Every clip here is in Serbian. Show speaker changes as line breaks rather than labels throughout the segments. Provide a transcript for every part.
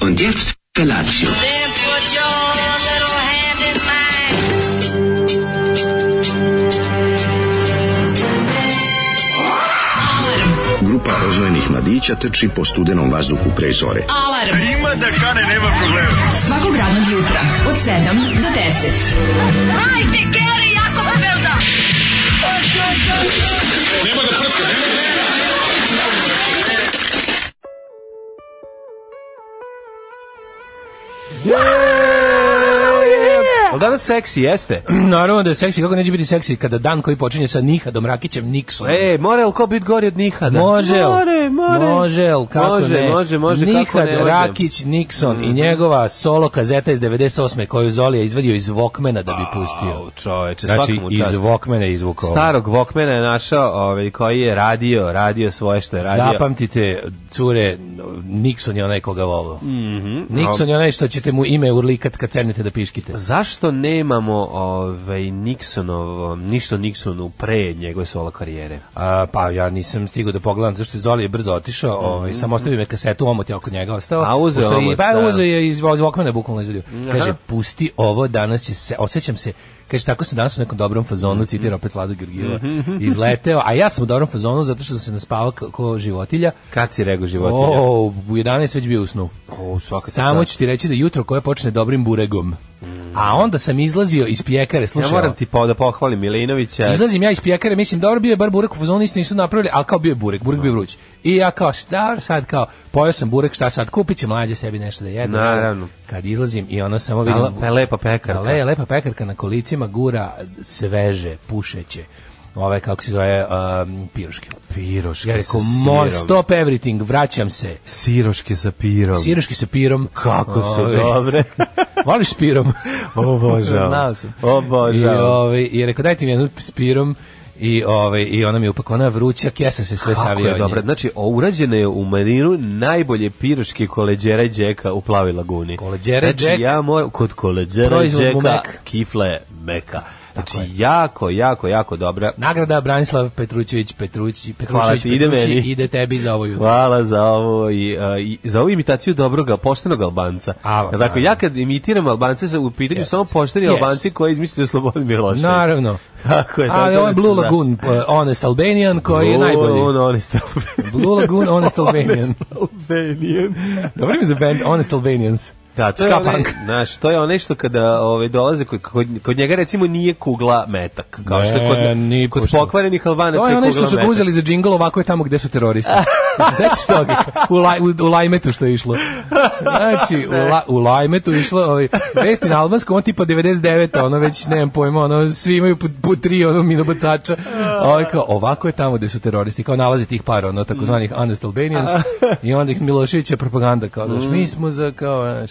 Und jetzt Felatio.
Then put your little hand in mine.
Grupa oznojenih mladića trči po studenom vazduhu pre zore.
Alarm. Ima da kane, nema problema. Svakog radnog jutra, od 7 do 10.
Ali danas da, seksi jeste.
Naravno da je seksi, kako neće biti seksi kada dan koji počinje sa Nihadom Rakićem Niksom.
E, more li ko bit gori od Nihada?
Može,
More, more.
može, kako
može,
ne?
Može, može,
Nihad
kako ne. može. Mhm.
Rakić, Nixon i njegova solo kazeta iz 98. koju Zoli je izvadio iz Walkmana da bi pustio.
Au, čoveče,
Znači,
svakom
iz
čast.
Walkmana je izvukao.
Starog Vokmena je našao, ovaj, koji je radio, radio svoje što je radio.
Zapamtite, cure, Nixon je onaj koga volao.
Mm, Mhm.
Nixon je onaj što ćete mu ime urlikat kad sednete da piškite.
Zašto nemamo ovaj Nixonovo, ništa o Nixonu pre njegove solo karijere?
A, pa ja nisam stigao da pogledam zašto je Zoli je brzo otišao, ovaj samo ostavio me kasetu, omot je oko njega ostao.
Mhm. A, uzeo
Pošto je-
omot,
Pa
da.
uzeo je iz iz Walkmana bukvalno izvadio. Kaže pusti ovo danas je se osjećam se Kaže, tako sam danas u nekom dobrom
Mhm.
fazonu, citira opet Vladu Georgijeva, izleteo, a ja sam u dobrom fazonu zato što sam se naspavao kao ko životilja,
Kad si rego životinja?
O, u 11 već bio u snu.
O, svaka ti
Samo
čast.
ću ti reći da jutro koje počne dobrim buregom. A onda sam izlazio iz pjekare,
Mhm. ja
slušaj.
moram
ovo.
ti po, da pohvalim Milinovića.
Izlazim ja iz pjekare, mislim, dobro, bio je bar burek u fazonu, ništa nisu napravili, ali kao bio je burek, burek bio vruć. I ja kao, šta sad, kao, pojao sam burek, šta sad, kupit će mlađe sebi nešto da jede.
Naravno.
Kad izlazim i ono samo vidim...
Pa, pa je lepa pekarka.
Ale, lepa pekarka na kolicima gura sveže, pušeće, ove, kako se zove, um, piroške.
Piroške
Ja
Pa sa
rekao,
sirom.
mor, stop everything, vraćam se.
Siroške sa pirom.
Siroški sa pirom.
Kako su
Ove,
dobre.
Voliš s pirom?
Obožavam.
Znao sam.
Obožavam.
I, ovaj, I rekao, dajte mi jednu s pirom. I, ovaj, I ona mi je upak, ona vruća, kesa se sve
Kako
savio
je
od
dobra.
nje.
Znači, o- urađena je u maniru najbolje piroške koleđera i džeka u Plavi laguni.
Koleđere
znači,
džek.
ja moram, kod koleđera i
Proizvod mu
džeka
mek.
kifla je meka. Znači, jako, jako, jako dobra.
Nagrada Branislav Petrućević, Petrući, Petrućević,
ti, ide
Petrući,
meni.
ide tebi za ovo jutro.
Hvala za ovo i, a, i za ovu imitaciju dobroga, poštenog Albanca.
A,
Jel tako,
naravno.
ja kad imitiram Albance, za- u pitanju
Jest.
samo pošteni
Jest.
Albanci koji izmislili Slobodan Milošević.
Naravno.
Tako je.
Ali
tako
ovo je
da
Blue
sam- da.
Lagoon, eh, Honest Albanian, koji je
Blue
najbolji.
Lagoon, Honest Albanian.
Blue Lagoon, Honest Albanian.
Albanian.
Dobro ime za band, Honest Albanians.
Da, to je,
Ska
onaj,
punk.
znaš, to je onaj što kada ove, dolaze, kod, kod, kod njega recimo nije kugla metak, kao što je
Ne,
kod,
ni
kod
pošto.
pokvarenih albanaca
To je
je
ono što
kugla
su ga
metak.
uzeli za džingl, ovako je tamo gde su teroristi. Znači toga? U, laj, u, u lajmetu što je išlo. Znači, u, la, u lajmetu je išlo, ovaj, vesti na albanskom, on tipa 99, ono već, nemam pojma, ono, svi imaju po, po tri, ono, minobacača. A ovaj kao, ovako je tamo gde su teroristi, kao nalazi tih par, ono,
Mm.
takozvanih honest Albanians, i onda ih Miloševića propaganda, kao, znaš, mi smo za, kao, znaš,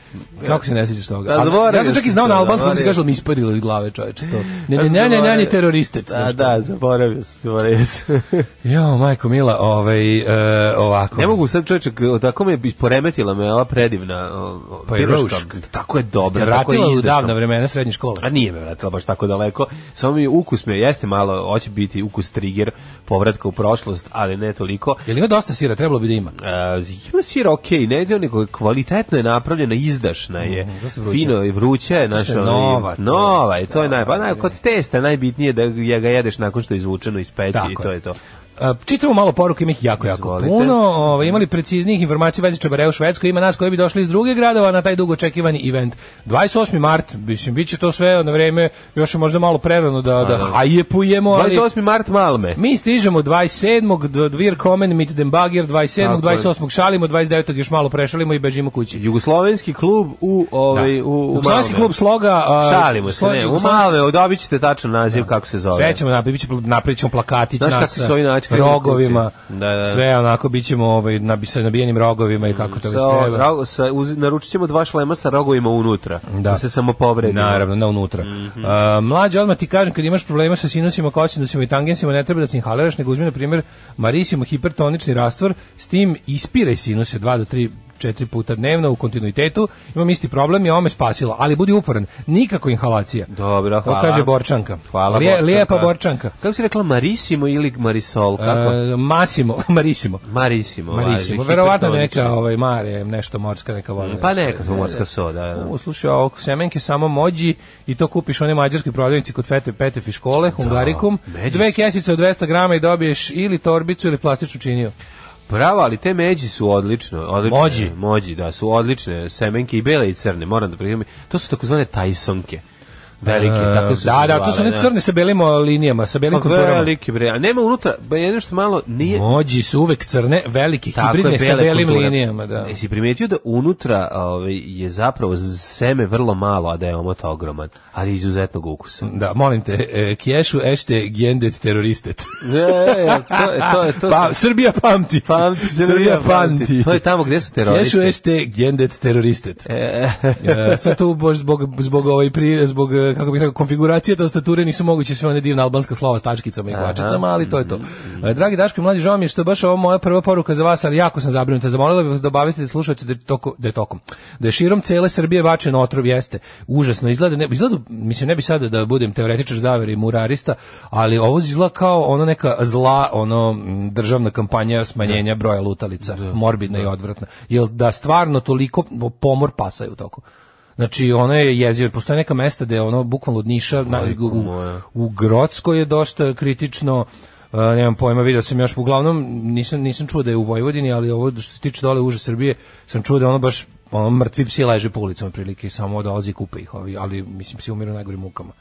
kako se ne sjećaš toga?
Mm. Da,
A, ja
zaboravio
sam čak i
sam
znao
to,
na albanskom, mi se
zaboravio
kaželo, mi isparilo iz glave, čoveče, to. Ne,
Ja
ne,
sam
ne, ne, ne, ne,
zaboravio.
teroriste.
Da,
znaš,
da, zaboravio sam, zaboravio sam.
Jo, majko Mila, ovaj, e, ovako.
ne mogu sad čovječe, k- tako me je poremetila me ova predivna o, o,
Pa i
piroška.
rušk.
Tako je dobra, da tako je
Vratila u
izdešna.
davna vremena srednje škole.
A nije me vratila baš tako daleko. Samo mi ukus me jeste malo, hoće biti ukus trigger povratka u prošlost, ali ne toliko.
Jel ima dosta sira, trebalo bi da ima.
Uh, ima sir ok, ne dio, nego kvalitetno je napravljena, izdašna je,
Mhm, dosta vruća.
fino je, vruća je,
Dosta
naša,
je nova, da, to
nova
je,
je, to je naj, pa naj, kod testa je najbitnije da je ga jedeš nakon što je izvučeno iz peći
Tako
i to
je.
je to.
A, E, Čitamo malo poruka, ima ih jako, jako
Izvolite.
puno. Ovaj, imali preciznijih informacija u vezi Čabarea u Švedskoj, ima nas koji bi došli iz druge gradova na taj dugo očekivani event. 28. mart, mislim, bit će to sve na vreme, još je možda malo prerano da, da hajepujemo, ali...
28. mart Malme.
Mi stižemo 27. do Dvir Komen, mit den Bagir, 27.
Tako je.
28. šalimo, 29. još malo prešalimo i bežimo kući.
Jugoslovenski klub u ovaj u, u
Da. Jugoslovenski
Malme.
klub sloga... a,
Šalimo se,
Slo-
ne, u
Jugoslovenski- Da.
Malme, dobit ćete tačno naziv kako se zove.
Sve ćemo napraviti, bit će- napravit ćemo plakatić
Pa da. Znaš
nas
kako se ovi načkaju na
rogovima,
kući? Da, da. Mm,
sve onako, bit ćemo ovaj, nabi, sa nabijenim rogovima i kako to već
Sa,
treba.
ra- sa, uz, naručit ćemo dva šlema sa rogovima unutra. Da. se samo povredi.
Naravno, ne unutra. Mm
Mhm.
mlađe, odmah ti kažem, kad imaš problema sa sinusima, kosinusima i tangensima, ne treba da se inhaliraš, nego uzmi, na primjer, marisimo hipertonični rastvor, s tim ispiraj sinuse 2 do 3 četiri puta dnevno u kontinuitetu, imam isti problem i ovo me spasilo, ali budi uporan, nikako inhalacija.
Dobro, hvala.
To kaže Borčanka.
Hvala,
Lije- Lijepa Borčanka.
Kako si rekla, Marisimo ili Marisol? Kako?
E, Masimo, Marisimo.
Marisimo.
Marisimo,
važi,
verovatno
hipertonično.
neka ovaj mare, nešto morska neka voda.
Pa
nešto.
neka smo morska soda. da.
U, slušaj, ovo semenke samo mođi i to kupiš u onoj mađarskoj prodavnici kod Fete Petef i
Da,
škole, Hungarikum.
međi
Dve
su.
kesice od 200 grama i dobiješ ili torbicu ili plastičnu
E,
činiju.
Bravo, ali te međi su odlično. odlične.
Mođi.
Mođi, da, su odlične. Semenke i bele i crne, moram da prijem. To su takozvane Tysonke. Velike, tako su se
da, da, to
zvale,
su ne
da.
crne sa belim o, linijama, sa belim
Pa
konturama.
velike bre, a nema unutra, ba jedno što malo nije...
Mođi su uvek crne, velike,
Tako
hibridne
je,
sa
bele
belim
kulture.
linijama. Da.
Jesi primetio da unutra ovaj, je zapravo seme vrlo malo, a da je omot ogroman, ali izuzetnog ukusa.
Da, molim te, e, kješu ešte gendet teroristet.
E, to, je- to, je- to,
Pa, Srbija pamti.
Pamti, Srbija pamti. To je tamo gde su teroristi.
Ješu ešte gendet teroristet.
E,
E, sve to baš zbog, zbog, ovaj pri, zbog e, kako bih rekao, konfiguracije tastature nisu moguće sve one divne albanska slova s tačkicama i kvačicama, ali to je to. E, dragi Daško i mlađi, žao mi je što je baš ovo moja prva poruka za vas, ali jako sam zabrinuta. Zamolila bih vas da obavestite slušalce da, je toko, da je tokom. Da je širom cele Srbije bačen otrov, jeste. Užasno izgleda, ne, izgleda, mislim, ne bi sada da budem teoretičar zavere i murarista, ali ovo izgleda kao ono neka zla, ono m, državna
Da.
kampanja smanjenja broja lutalica, morbidna i odvratna. Jel da stvarno toliko pomor pasaju u toku? Znači, ono je jezivo. Postoje neka mesta gde je ono, bukvalno od Niša, na, u,
moja.
u Grocko je dosta kritično, e, nemam pojma, vidio sam još, uglavnom, nisam, nisam čuo da je u Vojvodini, ali ovo što se tiče dole uže Srbije, sam čuo da je ono baš ono, mrtvi psi leže po ulicama prilike i samo dolazi i kupe ih, ovi, ali mislim psi umiru u najgorim mukama.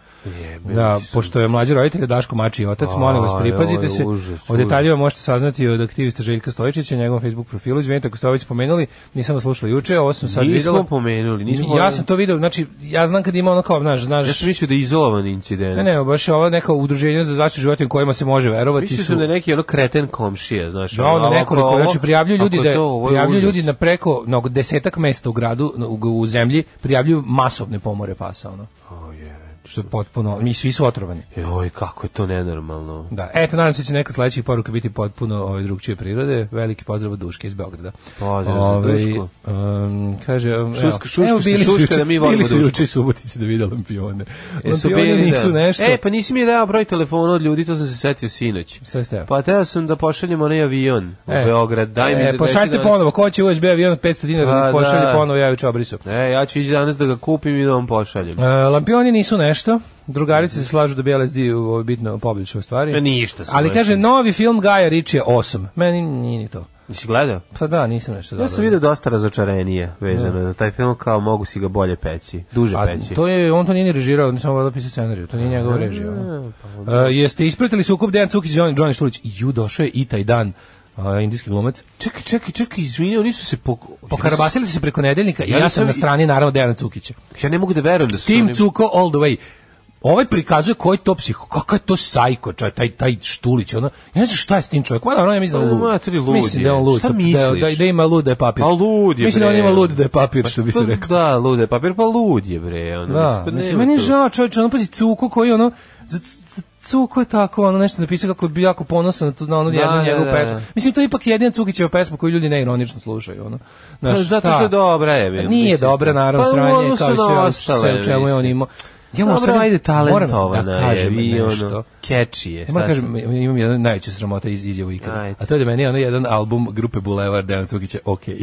da, pošto je mlađi roditelj Daško Mači i otac, molim vas
Aj, ovo
pripazite
je
se.
užas,
o detaljima možete saznati od aktivista Željka Stojičića, njegovom Facebook profilu. Izvinite ako ste ovo već spomenuli, nisam vas slušala juče, ovo sam sad
nismo
videla.
pomenuli, nismo
Ja sam to video, znači ja znam kad ima ono kao, znaš, znaš,
Ja sam mislio da je izolovan incident.
Ne, ne, baš je ovo neka udruženja za zaštitu životinja kojima se može verovati
Mislio
su.
sam da je neki ono kreten komšija, znaš.
Da, ono
ali
nekoliko,
ako ovo-
znači prijavljuju ljudi
ako
da je-
to, ovo je
prijavljuju
užas.
ljudi na preko na oko desetak mesta u gradu, na- u, u zemlji, prijavljuju masovne pomore pasa, ono. Što je potpuno, mi svi su otrovani.
Joj, kako je to nenormalno.
Da, eto, nadam se da će neka sledećih poruka biti potpuno ovaj, drugčije prirode. Veliki pozdrav od Duške iz Beograda. Ovaj,
Pozdrav za Dušku.
em, kaže, em,
Šuška-
evo,
šuška
evo,
se
bili su
šuška
juče-
da mi volimo
Bili su
Dušku.
juče i Subotici da vide lampione.
Jesu
Lampioni
bili, da.
nisu nešto.
E, pa nisi mi je dao broj telefona od ljudi, to sam se setio sinoć.
Sve ste.
Pa teo sam da pošaljem onaj avion u Beograd. Daj mi
e,
da-
pošaljite
da ti danas-
ponovo, ko će USB avion od 500 dinara,
Pa,
pošalje
da.
ponovo, ja joj obrisu.
E, ja ću ići danas da ga kupim i da vam pošaljem.
E, lampioni nisu nešto, drugarice se slažu da bi LSD u ovo bitno poboljšao u stvari.
Ma ništa E, su
Ali
nešto.
kaže, novi film Gaja Riči je 8. Meni nije ni to.
Jesi gledao?
Pa da, nisam nešto dobro.
Ja sam vidio dosta razočarenije vezano za taj film, kao mogu si ga bolje peći, duže
A
peći.
to je, on to nije ni režirao, on je samo voda pisao scenariju, to nije njegov režija.
pa
E, jeste ispratili sukob Dejan Cukić i Johnny, Johnny Štulić? Ju, došao je i taj dan, a, indijski glumac.
Čekaj, čekaj, čekaj, izvini, oni su se po...
Pokarabasili su se preko nedeljnika i
Ja
ja
nisam
sam na
i-
strani, naravno, Dejana Cukića.
Ja ne mogu da verujem da su
Tim
oni-
Cuko all the way. Ovaj prikazuje koji je to psiho, kakav je to sajko, čaj, taj, taj Štulić, ono, ja ne znam šta je s tim čovjekom, ma dobro, ja mislim da je
Pa, ma, to je
lud.
lud
Mislim
je.
da je on lud,
Šta
sa- da,
misliš?
da, da ima lud da je papir.
A lud je,
Mislim da on
bre.
ima lud da je papir, što bi se
Pa,
reklo.
Da, lude, papir pa lud je bre. Ono,
Da,
pa
mislim,
nema
meni je
tu.
žao čovječe, ono, pazi, Cuko koji, ono, za, za Cuko je tako, ono, nešto napisao kako bi jako ponosan na, tu, na onu
Da,
jednu
da,
njegovu
da.
pesmu. Mislim, to je ipak jedina Cukićeva pesma koju ljudi neironično slušaju, ono. Znaš,
Pa, zato
ta-
što je dobra je.
Pa
bre,
nije
mislim.
dobra, naravno,
Pa, u
sranje,
odnosu
kao i
na
sve, ono
ostale,
sve u čemu je on
mislim.
imao. mu
Dobro,
sad-
ajde,
moram
talentovana
da
je,
kažem
vi ono,
nešto.
catchy je.
Ja moram da
šta
kažem, imam jednu najveću sramota iz izjavu ikada.
Ajde.
A to je da meni je ono jedan album grupe Bulevar Dejan Cukića, okej.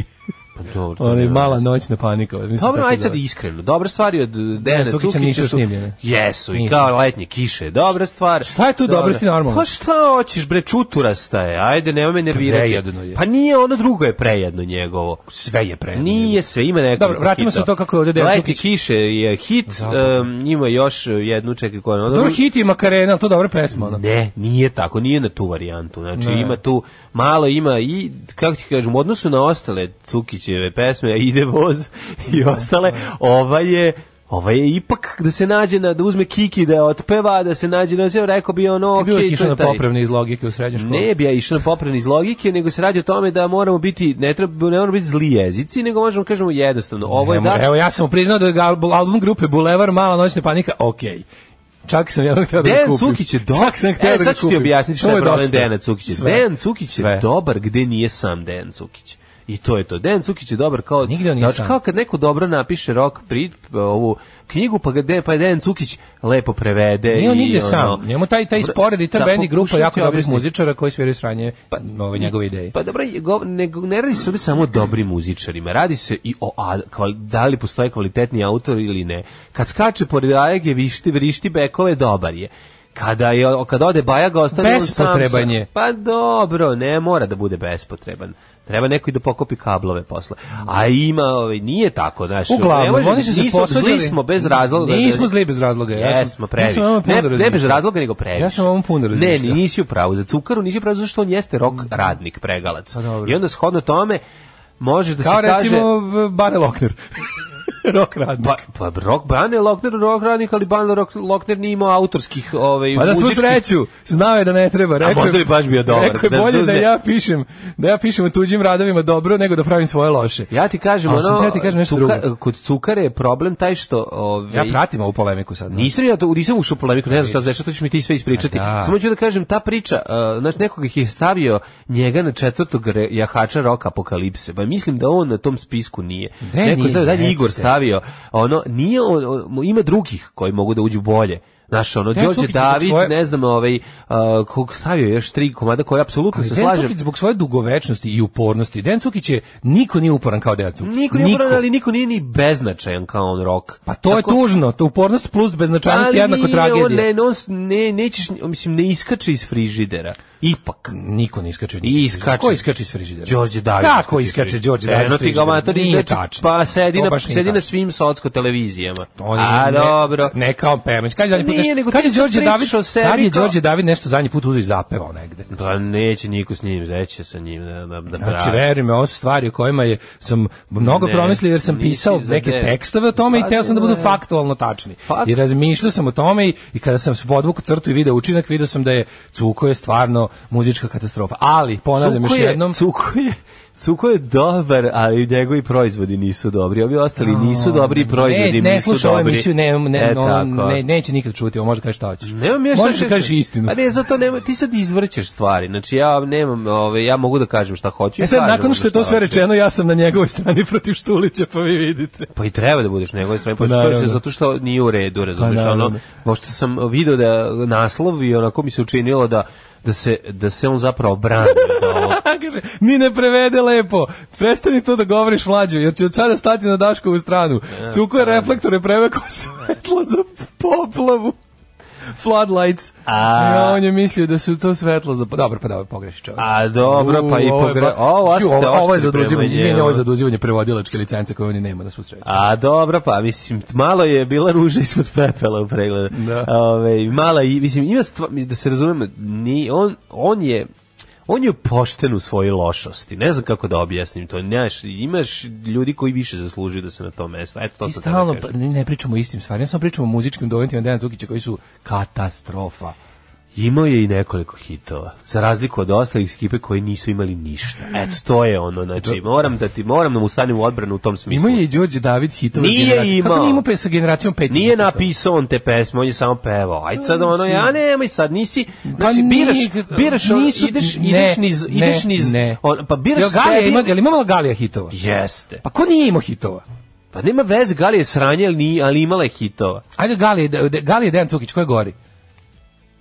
Pa dobro, to
Ono je
nema
mala
veze.
noćna panika. mislim,
Dobro,
tako da-
ajde sad
zove.
iskreno. Dobre stvari od Dejana
Cukića
Cukića
nisu
su...
snimljene.
Jesu, i
Nisu.
kao letnje kiše. Dobra stvar.
Šta je tu dobro, jesi ti normalan?
Pa šta hoćeš, bre, čuturasta je. Ajde, nema me nervirati.
Prejedno je.
Pa nije, ono drugo je prejedno njegovo.
Sve je predivno.
Nije sve, ima nekoliko
Dobro, vratimo se
hitova.
u to kako je ovdje Dejan
Letnje
Cukić-
kiše je hit,
Zapravo.
em, ima još eh, jednu, čekaj koja je ona.
Dobro, hit je Makarena, ali to je dobra pesma. Ono.
Ne, nije tako, nije na tu varijantu. Znači,
Ne.
ima tu, malo ima i, kako ti kažem, u odnosu na ostale Cukićeve pesme, ide voz i ostale, ova je... Ova je ipak da se nađe na da uzme kiki da je otpeva, da se nađe na sve, rekao bi ono,
Ti bio
okej,
je
to
išao
je
na
taj.
popravne iz logike u srednjoj školi.
Ne bi ja išao na popravni iz logike, nego se radi o tome da moramo biti, ne treba, ne moramo biti zli jezici, nego možemo kažemo jednostavno, ovo je
Nemo-
daš
Evo, ja sam mu priznao da je album, album grupe Bulevar, mala noćna panika, okej. Čak sam jednog htio da ga
Dejan
kupim.
Cukić je dobar.
Čak sam htio
E,
da ga
sad ću ti
kupim.
objasniti šta
Ovo
je problem
dosta.
Dejana Cukića.
Sve.
Dejan Cukić je
Sve.
dobar gde nije sam Dejan Cukić. I to je to. Dejan Cukić je dobar kao
Nigde on nije
znači,
sam.
kao kad neko dobro napiše rok pri ovu knjigu pa ga de, pa je Dejan Cukić lepo prevede
Nije on
i,
nigde
ono,
sam. Njemu taj, taj
br-
spored i ta
da,
band i grupa
pokušaj ti
jako dobrih
objasniti.
muzičara koji sviraju sranje
Pa-
ove njegove ideje.
Pa dobro, je gov- ne, ne radi se ovdje samo o dobrim muzičarima, radi se i o a, kval, da li postoje kvalitetni autor ili ne. Kad skače pored Ajage, višti, vrišti bekove, dobar je. Kada je kada ode Bajaga ostane on sam.
Bespotreban
sa-
je.
Pa dobro, ne mora da bude bespotreban. Treba neko i da pokopi kablove posle. A ima, ovaj, nije tako, znaš. ne
Uglavnom,
može-
oni su se
nismo-
posvađali.
Zli smo bez razloga.
Nismo zli bez razloga. Ja sam,
Jesmo, previše.
Ja sam ovom puno
ne, ne bez
razmišljao.
razloga, nego previše.
Ja sam ovom
Ne,
puno razmišljao.
nisi u pravu. Za Cukaru nisi u pravu, zato što on jeste rok radnik, pregalac.
Mm. Pa dobro.
I onda shodno tome, možeš da
Kao
se kaže...
recimo v- Bane Lokner. Rock radnik.
Pa, pa Rock Bane Lokner, Rock Radnik, ali Bane Rock, Lokner nije imao autorskih ovaj,
Pa da svu
muzičkih-
sreću, znao je da ne treba. Rekao, je-
možda bi baš bio dobar,
Rekao je
da
bolje da
uzme-
ja pišem, da ja pišem u tuđim radovima dobro nego da pravim svoje loše.
Ja ti kažem,
Ali sam
ono,
teo ti kažem nešto drugo.
kod Cukare je problem taj što... Ovaj,
Ja pratim ovu polemiku sad.
Nisam ja to, nisam ušao u polemiku, ne znam sad zašto, to ćeš mi ti sve ispričati.
A da.
Samo ću da kažem, ta priča, uh, znaš, nekog ih je stavio njega na četvrtog re- jahača roka apokalipse, pa mislim da on na tom spisku nije.
Ne,
Neko
nije,
je stavio, dalje
jeste.
Igor stavio, ono, nije, on, on- ima drugih koji mogu da uđu bolje. Znaš, ono,
Dejan
Đorđe
Cukić zbog
David,
svoje-
ne znam, ovaj, uh, kog stavio je još tri komada koje apsolutno
Ali
se
Dejan
slažem.
Cukić zbog svoje dugovečnosti i upornosti. Dejan Cukić je, niko nije uporan kao Dejan Cukić.
Niko nije uporan, ali niko nije ni beznačajan kao on rok.
Pa to je tužno, to upornost plus beznačajnost je jednako
On,
tragedija.
ne, on, s- ne, nećeš, mislim, ne iskače iz frižidera. Ipak.
Niko ne iskače.
I iskače.
Ko iskače iz frižidera?
Đorđe David.
Kako iskače Đorđe David?
Eno ti ga
iz frižidera?
matori,
Nije
znači,
tačno.
Pa sedi,
To
na,
baš nije
sedi na
tačno.
svim socko televizijama.
On je
A,
ne-
dobro.
Ne kao Pemić. Kad je zadnji put
Nije,
nešto-
nego
kad
ti
je
sad
Đorđe
pričaš
David,
o sebi
kad je
kao-
Đorđe David nešto zadnji put uzeo i zapevao negde.
Pa neće niko s njim, reće sa njim da, da, da
Znači,
braš.
veruj me, ovo su stvari o kojima je, sam mnogo
Ne,
promislio jer sam
nisi
pisao
za
neke
ne.
tekstove o tome
Pa,
i teo sam da
ne. Pa-
budu faktualno tačni.
Fakt.
I razmišljao sam o tome i, i kada sam podvuku crtu i video učinak, video sam da je Cuko je stvarno muzička katastrofa. Ali, ponavljam još
Cuko je-
da jednom,
Cuko je, Cuko je dobar, ali njegovi proizvodi nisu dobri. Ovi ostali nisu dobri i proizvodi
ne, ne
nisu
sluša ovu
dobri.
emisiju, ne, ne,
E,
ono,
tako.
ne, neće nikad čuti, ovo može kaži šta hoćeš.
Nemam ja šta
Možeš da kažeš istinu.
Pa ne, zato nema, ti sad izvrćeš stvari. Znači ja nemam, ove, ja mogu da kažem šta hoću. i
E sad,
kažem
nakon
ono
što je to sve
hoću.
rečeno, ja sam na njegovoj strani protiv Štulića, pa vi vidite.
Pa i treba da budeš njegove strane, pa
Pa
što
naravno.
zato što nije u redu, razumeš,
Pa
ono,
naravno.
pošto sam video da naslov i onako mi se učinilo da, da, se, da se on zapravo brani od ovog.
Kaže, ni ne prevede lepo. Prestani to da govoriš mlađo, jer će od sada stati na Daškovu stranu. Cuko je reflektore preveko svetlo za poplavu. Floodlights.
A.
Ja, on je mislio da su to svetlo za... Dobro, pa dobro, pogreši čovjek.
A dobro, pa i
U, ovo je
pogre...
ba-
Ovo,
Ju,
ostaje
ovo, ovo je
oštri prema
zaduzivanje,
njemu.
izvini, ovo je zaduzivanje prevodilačke licence koje oni nema na svu sreću.
A dobro, pa mislim, malo je bila ruža ispod pepela u pregledu.
Da.
Ove, mala, i- mislim, ima stva, da se razumemo, ni, on, on je on je pošten u svojoj lošosti. Ne znam kako da objasnim to. Znaš, imaš ljudi koji više zaslužuju da se na to mesto. Eto, to
Ti
sam teo da
stalno
kažem.
pa- ne pričamo o istim stvarima, samo pričamo o muzičkim dojentima Dejana Cukića koji su katastrofa.
Imao je i nekoliko hitova, za razliku od ostalih iz ekipe koji nisu imali ništa. Eto, to je ono, znači, moram da ti, moram da mu stanem u odbranu u tom smislu.
Imao je i Đorđe David hitove
Nije
generacije. Kako
imao.
nije imao pe- sa generacijom pet?
Nije napisao on te pesme, on je samo pevao. Ajde sad ono, ja nemoj sad, nisi, znači,
Pa nije-
biraš, biraš, on,
nisu-
ideš,
ne,
ideš niz,
ne,
ideš niz,
ne.
on, pa biraš
Jel Galija
sebi-
ima, jel imala Galija hitova?
Jeste.
Pa ko nije imao hitova?
Pa nema veze, Galija je sranje, ali, nije- ali imala je hitova.
Ajde Galija, de- de- Galija Dejan Cukić, ko je gori?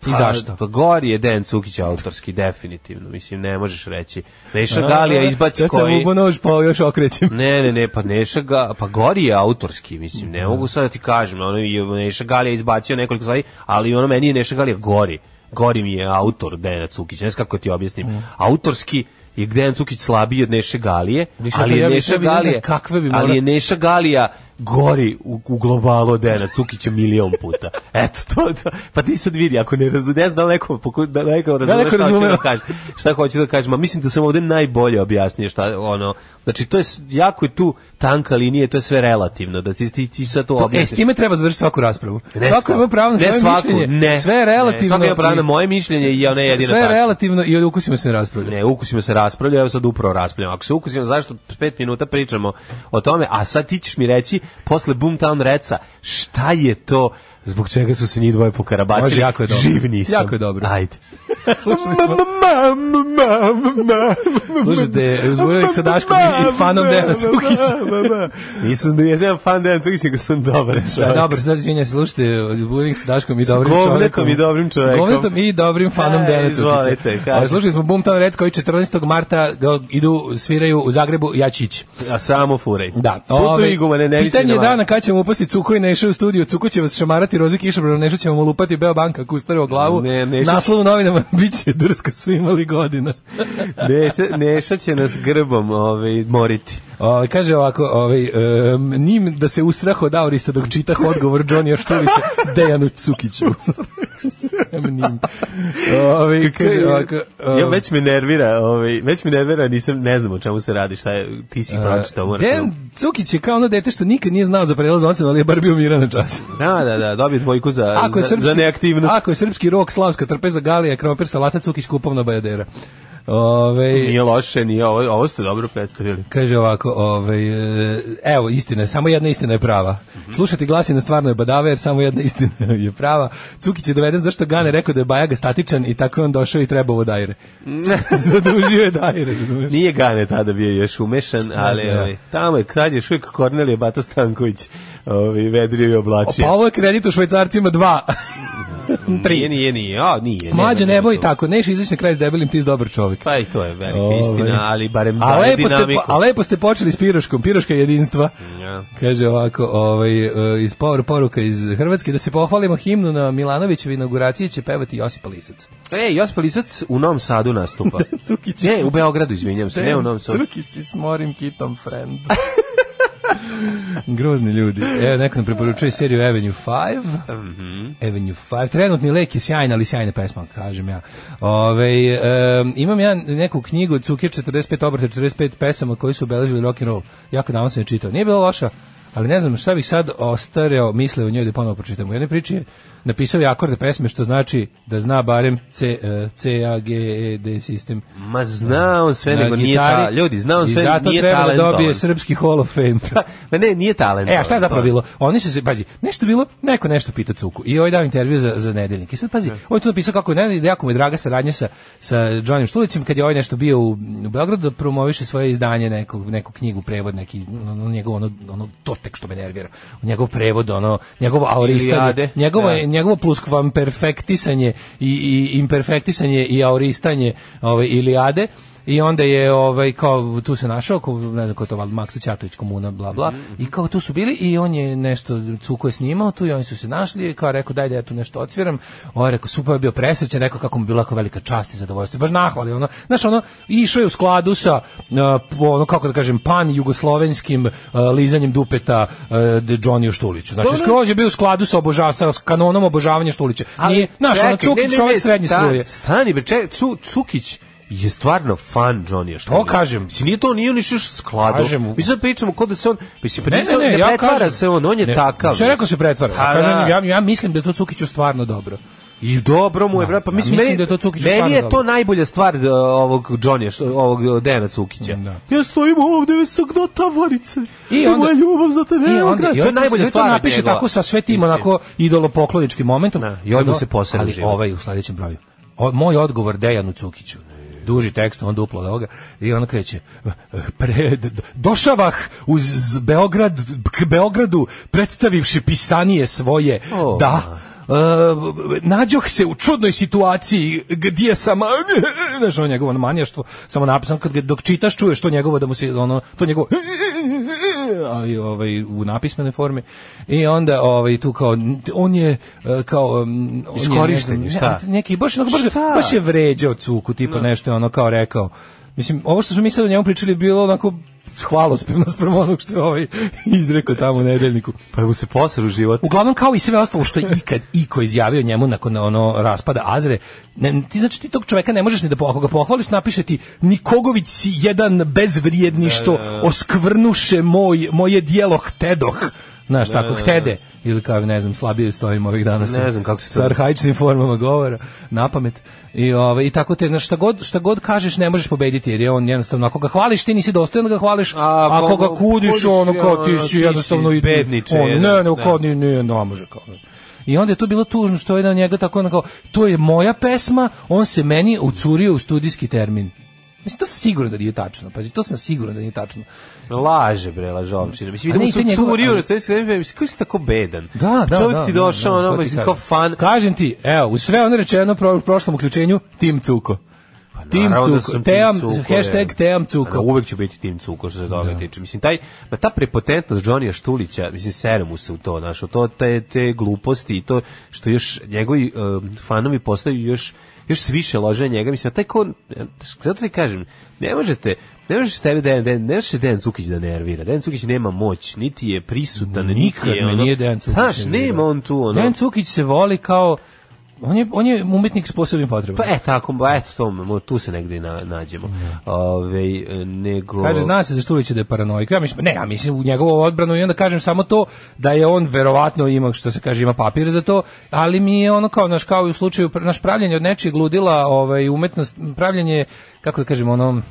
I
Pa-
zašto?
Pa gori je Dejan Cukić autorski, definitivno. Mislim, ne možeš reći. Neša
A,
Pa, Galija izbaci
sad sam
koji...
upao nož, pa još okrećem.
Ne, ne, ne, pa Neša ga, pa Gori je autorski, mislim, ne mogu sad da ti kažem, ono je Neša Galija izbacio nekoliko stvari, ali ono meni je Neša Galija Gori. Gori mi je autor Dejana Cukić, ne znam kako ti objasnim.
Da.
Autorski je Dejan Cukić slabiji od Neše Galije,
Neša
ali je
Galija,
Neša
ja bi ne znam
Galija,
kakve bi
ali
mora-
je Neša Galija gori u, u globalu od Dejana Cukića milion puta. Eto, to, to. Pa ti sad vidi, ako ne razume, ne znam da li neko, poku- da li neko razume
neko
šta hoću
razume.
da kažem. Šta hoću da kažem, a mislim da sam ovde najbolje objasnio šta ono. Znači to je s- jako je tu tanka linija, to je sve relativno. Da ti ti, ti sad to
E, s
objasniš.
time treba završiti svaku raspravu.
Ne
svako
znam.
ima pravo na
Ne
svoje
svaku,
mišljenje.
Ne,
Sve je
Ne,
relativno.
svako ima pravo na
i-
moje mišljenje i ona je jedina
Sve je
tačna.
relativno i o ukusima se ne raspravlja.
Ne, ukusimo se raspravlja, evo sad upravo raspravljamo. Ako se ukusimo, zašto pet minuta pričamo o tome, a sad ti ćeš mi reći, posle Boomtown Reca, šta je to zbog čega su se njih dvoje pokarabasili?
Može, jako je dobro.
Živ nisam.
Jako je dobro.
Ajde.
Slušali smo. Slušajte, Zbojevik
Pa
sa Daškom
da,
i fanom Dejana Cukića.
Nisam, ja sam fan Dejan Cukić, nego sam dobar
Da,
čovjek.
dobro, da, izvinjam se, slušajte, Zbojevik sa Daškom i dobrim čovjekom.
govnetom i dobrim čovekom.
S govnetom i dobrim fanom
E,
Dejana Cukića.
izvolite, kaži.
Ali slušali smo Boomtown Reds koji 14. marta ga idu, sviraju u Zagrebu, ja ću ići.
A samo furej.
Da.
Putu
Ove,
igumane, ne mislim
Pitanje je
na vas.
dana kada ćemo upasti Cuko i Neša u studiju. Cuko će vas šamarati, Rozi Kišobran, Neša ćemo mu lupati Beo Banka, Kustare o glavu.
Ne, Neša-
Naslov u novinama biće drska su imali godina.
Neša, neša će nas grbom ovaj, moriti.
Ove, kaže ovako, ovaj, em, nim da se usrah od aurista dok čitah odgovor Johnny Štulića Dejanu Cukiću. Em, nim. Ove, kaže ovako, um, em,
ja već me nervira, ovaj, već me nervira, nisam, ne znam o čemu se radi, šta je, ti
Uh,
si pročitao. moram da-
Dejan Cukić je kao ono dete što nikad nije znao za prelaz ocenu, ali je bar bio miran na času.
Da, da, da, dobio dvojku za,
Ako je
za,
srpski,
za neaktivnost.
Ako je srpski rok, slavska trpeza, galija, krompir, salata, cukić, kupovna bajadera. Ovaj, Ove,
Nije loše, nije, ovo, ovo ste dobro predstavili.
kaže ovako, ove, e, evo, istina je, samo jedna istina je prava. Slušati glasine stvarno je badava, jer samo jedna istina je prava. Cukić je doveden zašto Gane rekao da je Bajaga statičan i tako je on došao i trebao dajre. Zadužio je dajre. razumeš?
Nije Gane tada bio još umešan, ali
znam, da.
ovaj, tamo je kralj još uvijek Kornelije Bata Stanković ovaj, vedrio i oblačio.
Pa ovo je kredit u Švajcarcima dva.
Nije, nije, nije, a, nije.
Mlađe
nema,
ne
nema
boj
tu.
tako, neš izaći na kraj s debelim, ti si dobar čovjek.
Pa i to je velika
Ovaj.
istina, ali barem
a
daje
lepo, ste,
dinamiku.
a lepo ste počeli s piroškom, piroška je jedinstva.
Ja.
Kaže ovako, ovaj, e, iz power poruka iz Hrvatske, da se pohvalimo himnu na Milanovićevi inauguraciji će pevati Josip Lisac.
E, Josip Lisac u Novom Sadu nastupa.
Cukić
ne, u Beogradu, izvinjam se, ne u Novom Sadu.
Cukići s morim kitom friend. Grozni ljudi. Evo, neko nam preporučuje seriju Avenue 5. Avenue 5. Trenutni lek je sjajna, ali sjajna pesma, kažem ja. Ove, imam ja neku knjigu od Cukir 45 obrata, 45 pesama koji su obeležili rock and roll. Jako davno sam je čitao. Nije bila loša, ali ne znam šta bih sad ostareo misle o njoj da ponovo pročitam. U jednoj priči je napisao je akorde pesme, što znači da zna barem C, e, C A, G, E, D sistem.
Ma zna on sve,
Na
nego nije
gitari.
ta, ljudi, zna on
I
sve,
zato
nije
treba da
talentovan.
dobije srpski Hall of Fame.
Ma ne, nije Pa, talent.
E, a šta je zapravo bilo? Oni su se, pazi, nešto je bilo, neko nešto pita Cuku. I ovaj dao intervju za, za nedeljnik. I sad,
Da.
pazi, on je tu napisao kako je ne, jako mu je draga saradnja sa, sa Johnnym Štulicim, kad je ovaj nešto bio u, u Beogradu, da promoviše svoje izdanje, neku, neku knjigu, prevod, neki, ono, njegov, ono, ono, to tek što me nervira. Njegov prevod, ono, njegov aurista,
Iliade.
njegovo,
Da.
Ovaj, njegovo pluskvamperfektisanje i, i imperfektisanje i auristanje ovaj, Iliade i onda je ovaj kao tu se našao ko, ne znam ko je to valjda Maksa Ćatović komuna bla bla i kao tu su bili i on je nešto cuko je snimao tu i oni su se našli i kao rekao daj da ja tu nešto odsviram on je rekao super je bio presrećan rekao kako mu je bila kao velika čast i zadovoljstvo baš nahvali ono znaš ono išao je u skladu sa uh, po- ono kako da kažem pan jugoslovenskim uh, lizanjem dupeta uh, Johnny Štuliću znači skroz je bio u skladu sa obožav sa kanonom obožavanja Štulića nije znaš ono
čekaj, ne,
cuki
ne, ne,
čovjek srednje
sta-
struje
Stani bre, čekaj, Cu- Cukić je stvarno fan Johnny što.
To kažem.
Si nije to nije on išao skladu.
Kažem mu.
Mi sad pričamo kod da se on, mislim, pa ne, ne, ne, ja pretvara
kažem-
se on, on je
ne,
takav.
Sve rekao se pretvara.
Pa
Ja, kažem,
da.
ja, ja mislim da je to Cukiću stvarno dobro.
I dobro mu je, brat, pa
da,
mislim,
mislim
meni,
da je to Cukiću
meni
stvarno
je
dobro.
to najbolja stvar uh, ovog Johnny, što- ovog Dejana Cukića.
Da.
Ja stojim ovde, sa gno tavarice,
I
i
onda-
moja ljubav za tebe,
I
evo
onda
grad.
i
to je
on
najbolja
to
stvar od
napiše
njegova.
tako sa svetim
Mislim.
onako idolopokloničkim momentom.
Da, i odmah se posere
Ali
život.
ovaj u sledećem broju. O, moj odgovor Dejanu Cukiću. Duži tekst, on duplo od ovoga. I on kreće. Pre, d- došavah uz z- Beograd, k Beogradu predstavivši pisanije svoje.
O.
Da, E, nađoh se u čudnoj situaciji gdje sam znaš ono njegovo ono manjaštvo samo napisano kad ga dok čitaš čuješ to njegovo da mu se ono to njegovo ali ovaj u napismenoj formi i onda ovaj tu kao on je e, kao um, on je,
Iskorišten je,
ne znam,
šta?
ne, neki baš onako, baš, ga-
Šta?
baš je vređao cuku tipa nešto je ono kao rekao mislim ovo što smo mi sad o njemu pričali je bilo onako hvalospevno sprem onog što je ovaj izrekao tamo u nedeljniku
Pa mu se posere u život.
Uglavnom kao i sve ostalo što je ikad iko izjavio njemu nakon ono raspada Azre, ne, ti znači ti tog čoveka ne možeš ni da po- ako ga pohvališ napiše ti Nikogović si
Da,
jedan bezvrijedni što oskvrnuše moj moje dijelohtedoh. Znaš, tako, htede, ili kao, ne znam, slabije stojim ovih dana sa-
Da, Ne znam kako se to-
sa arhaičnim formama govora, na pamet. I, ovaj, I tako te, znaš, šta god, šta god kažeš ne možeš pobediti, jer je on jednostavno, ako ga hvališ, ti nisi dostojan da ga hvališ,
A
a
ako
ako ga
ga
kudiš,
kudiš,
ono,
ja,
kao, ti
ti
si
si
jednostavno... i-
bedniče
on,
jedan,
Ne, ne,
da.
kao, ni, ni, ne može, kao. I onda je to bilo tužno što je na njega tako ono kao, to je moja pesma, on se meni ucurio u studijski termin. Mislim, to sam siguran da nije tačno, pazi, to sam siguran da nije tačno.
Laže bre, lažovčina. Mislim,
A ne,
vidimo
i to
se
je njegova-
curio,
ali-
sve se gleda, mislim, kako si tako bedan?
Da, da,
Čovjek
da,
ti
da,
došao,
da,
ono,
to ti
mislim,
kažem.
kao fan,
Kažem ti, evo, u sve ono rečeno pro, u prošlom uključenju, Tim Cuko. Tim
Naravno da
Cuko,
sam
Team,
Tim Cuko,
hashtag
je.
Team
A,
Cuko. Da.
uvek ću biti Tim Cuko što se toga tiče. Mislim, taj, ma ta prepotentnost Johnnyja Štulića, mislim, sere mu se u to, znaš, u to te, te gluposti i to što još njegovi um, fanovi postaju još još se više lože na njega, mislim, a taj ko, zato ti kažem, ne možete, ne možeš tebi Dejan, Dejan, ne možeš se Dejan Cukić da nervira, Dejan Cukić nema moć, niti je prisutan, niti
Nikad
je,
me
ono,
nije Dejan Cukić.
znaš,
nervirao.
nema on tu, ono,
Dejan Cukić se voli kao, on je, on je umetnik s posebnim potrebama.
pa e, tako, ba, eto, to, mo- tu se negde i na, nađemo. Ove, nego...
Da. Kaže, zna se za Štulića da je paranoik. Ja mislim, ne, ja mislim u njegovu odbranu i onda kažem samo to da je on verovatno ima, što se kaže, ima papir za to, ali mi je ono kao, naš, kao i u slučaju, pr- naš pravljenje od nečijeg ludila, ovaj, umetnost, pravljenje, kako da kažem, ono,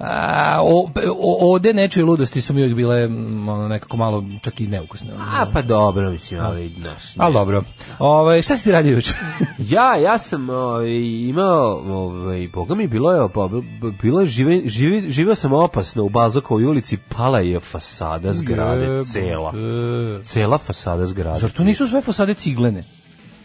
A, o, o, ode nečije ludosti su mi uvijek bile mm, ono, nekako malo čak i neukusne.
A pa dobro,
Da.
mislim, ali znaš. ne.
Ali dobro. Ovaj, šta si ti radio juče?
Ja, ja sam ovaj, imao, ovaj, boga mi bilo je, pa, b- bilo je žive, žive, živeo sam opasno u Bazakovoj ulici, pala je fasada zgrade, cela.
Jebote.
Cela fasada zgrade.
e, Zar tu nisu sve fasade ciglene?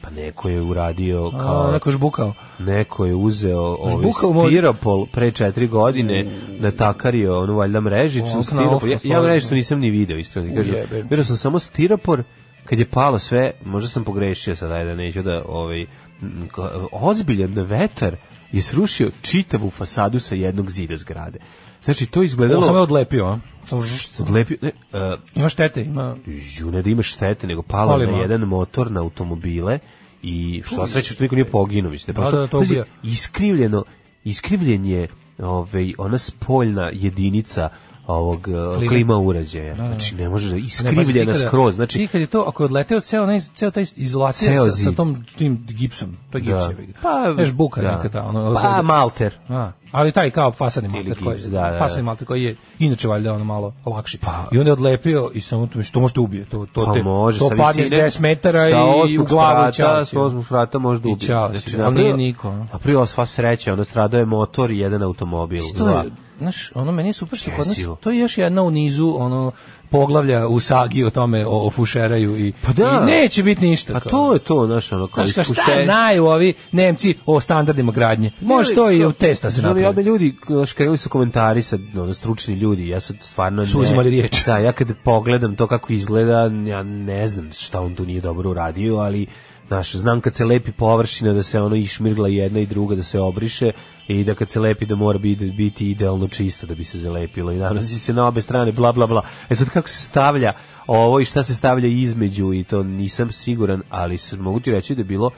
Pa neko je uradio
A,
kao...
neko žbukao.
Neko je uzeo ovaj
Žbukao mu od-
stiropol pre četiri godine, natakario onu valjda mrežicu,
Mm. Ono,
stiropor. Ja, ja
na
mrežicu nisam ni video, iskreno ti kažem.
Ujebe.
Vidio sam samo stiropor, kad je palo sve, možda sam pogrešio sad, ajde, neću da, ovaj, m, ko- ozbiljan vetar je srušio čitavu fasadu sa jednog zida zgrade. Znači, to je
Ovo sam je
izgledalo...
odlepio, a? Samo žšt.
Odlepio, ne, e,
Ima štete, ima...
Ju, ne da imaš štete, nego palo
Pali
na
malo.
jedan motor na automobile i što sreće što niko nije poginuo, mislim. je
Da,
prošlo-
da, to
Pazi,
ubija.
Iskrivljeno, iskrivljen je ovaj, ona spoljna jedinica ovog eh,
Klima.
klima uređaja. Znači, ne možeš da iskrivljena skroz. Znači,
Nikad je to, ako je odleteo ceo, onaj, ceo taj izolacija
Ceo
sa, sa
zid.
tom tim gipsom, to je gips.
da.
Da. Pa, Neš buka da. neka ta, ono,
pa, malter.
A, ali taj kao fasadni malter
gips,
koji je,
da, da, da.
fasadni malter koji je inače valjda ono malo lakši. I onda je odlepio i samo to, što može te ubije, to, to,
Pa
te,
može,
to
sa
padne s
visine,
10 metara
sa
i u
osmog
glavu
sprata,
čao
Sa osmog frata može da
I
ubije.
ćao si, ali
napravio-
nije niko, ono.
Napravio je sva sreća, ono stradao je motor i jedan automobil.
Što
dva.
je, znaš, ono meni je super što kod nas,
Jezivo.
to je još jedna u nizu ono poglavlja u sagi o tome o, o fušeraju i,
Pa da.
i neće biti ništa.
Pa
kao.
to je to, znaš, ono, kao
Znaš kao, šta
Pa iskušenje.
znaju ovi Nemci o standardima gradnje? Može to i u testa se
Znam, Ja
napravi.
bi ljudi, znaš, krenuli su komentari sa ono, stručni ljudi, ja sad stvarno ne...
Su uzimali riječ.
Da, ja kad pogledam to kako izgleda, ja ne znam šta on tu nije dobro uradio, ali znaš, znam kad se lepi površina da se ono išmirgla jedna i druga da se obriše i da kad se lepi da mora biti, biti idealno čisto da bi se zalepilo i nanosi se na obe strane bla bla bla. E sad kako se stavlja ovo i šta se stavlja između i to nisam siguran, ali s- mogu ti reći da je bilo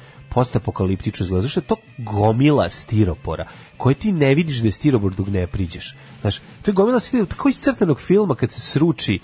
postapokaliptično izgleda, zašto je to gomila stiropora, koje ti ne vidiš da je stiropor dok ne priđeš. Znaš, to je gomila stiropora, tako iz crtenog filma kad se sruči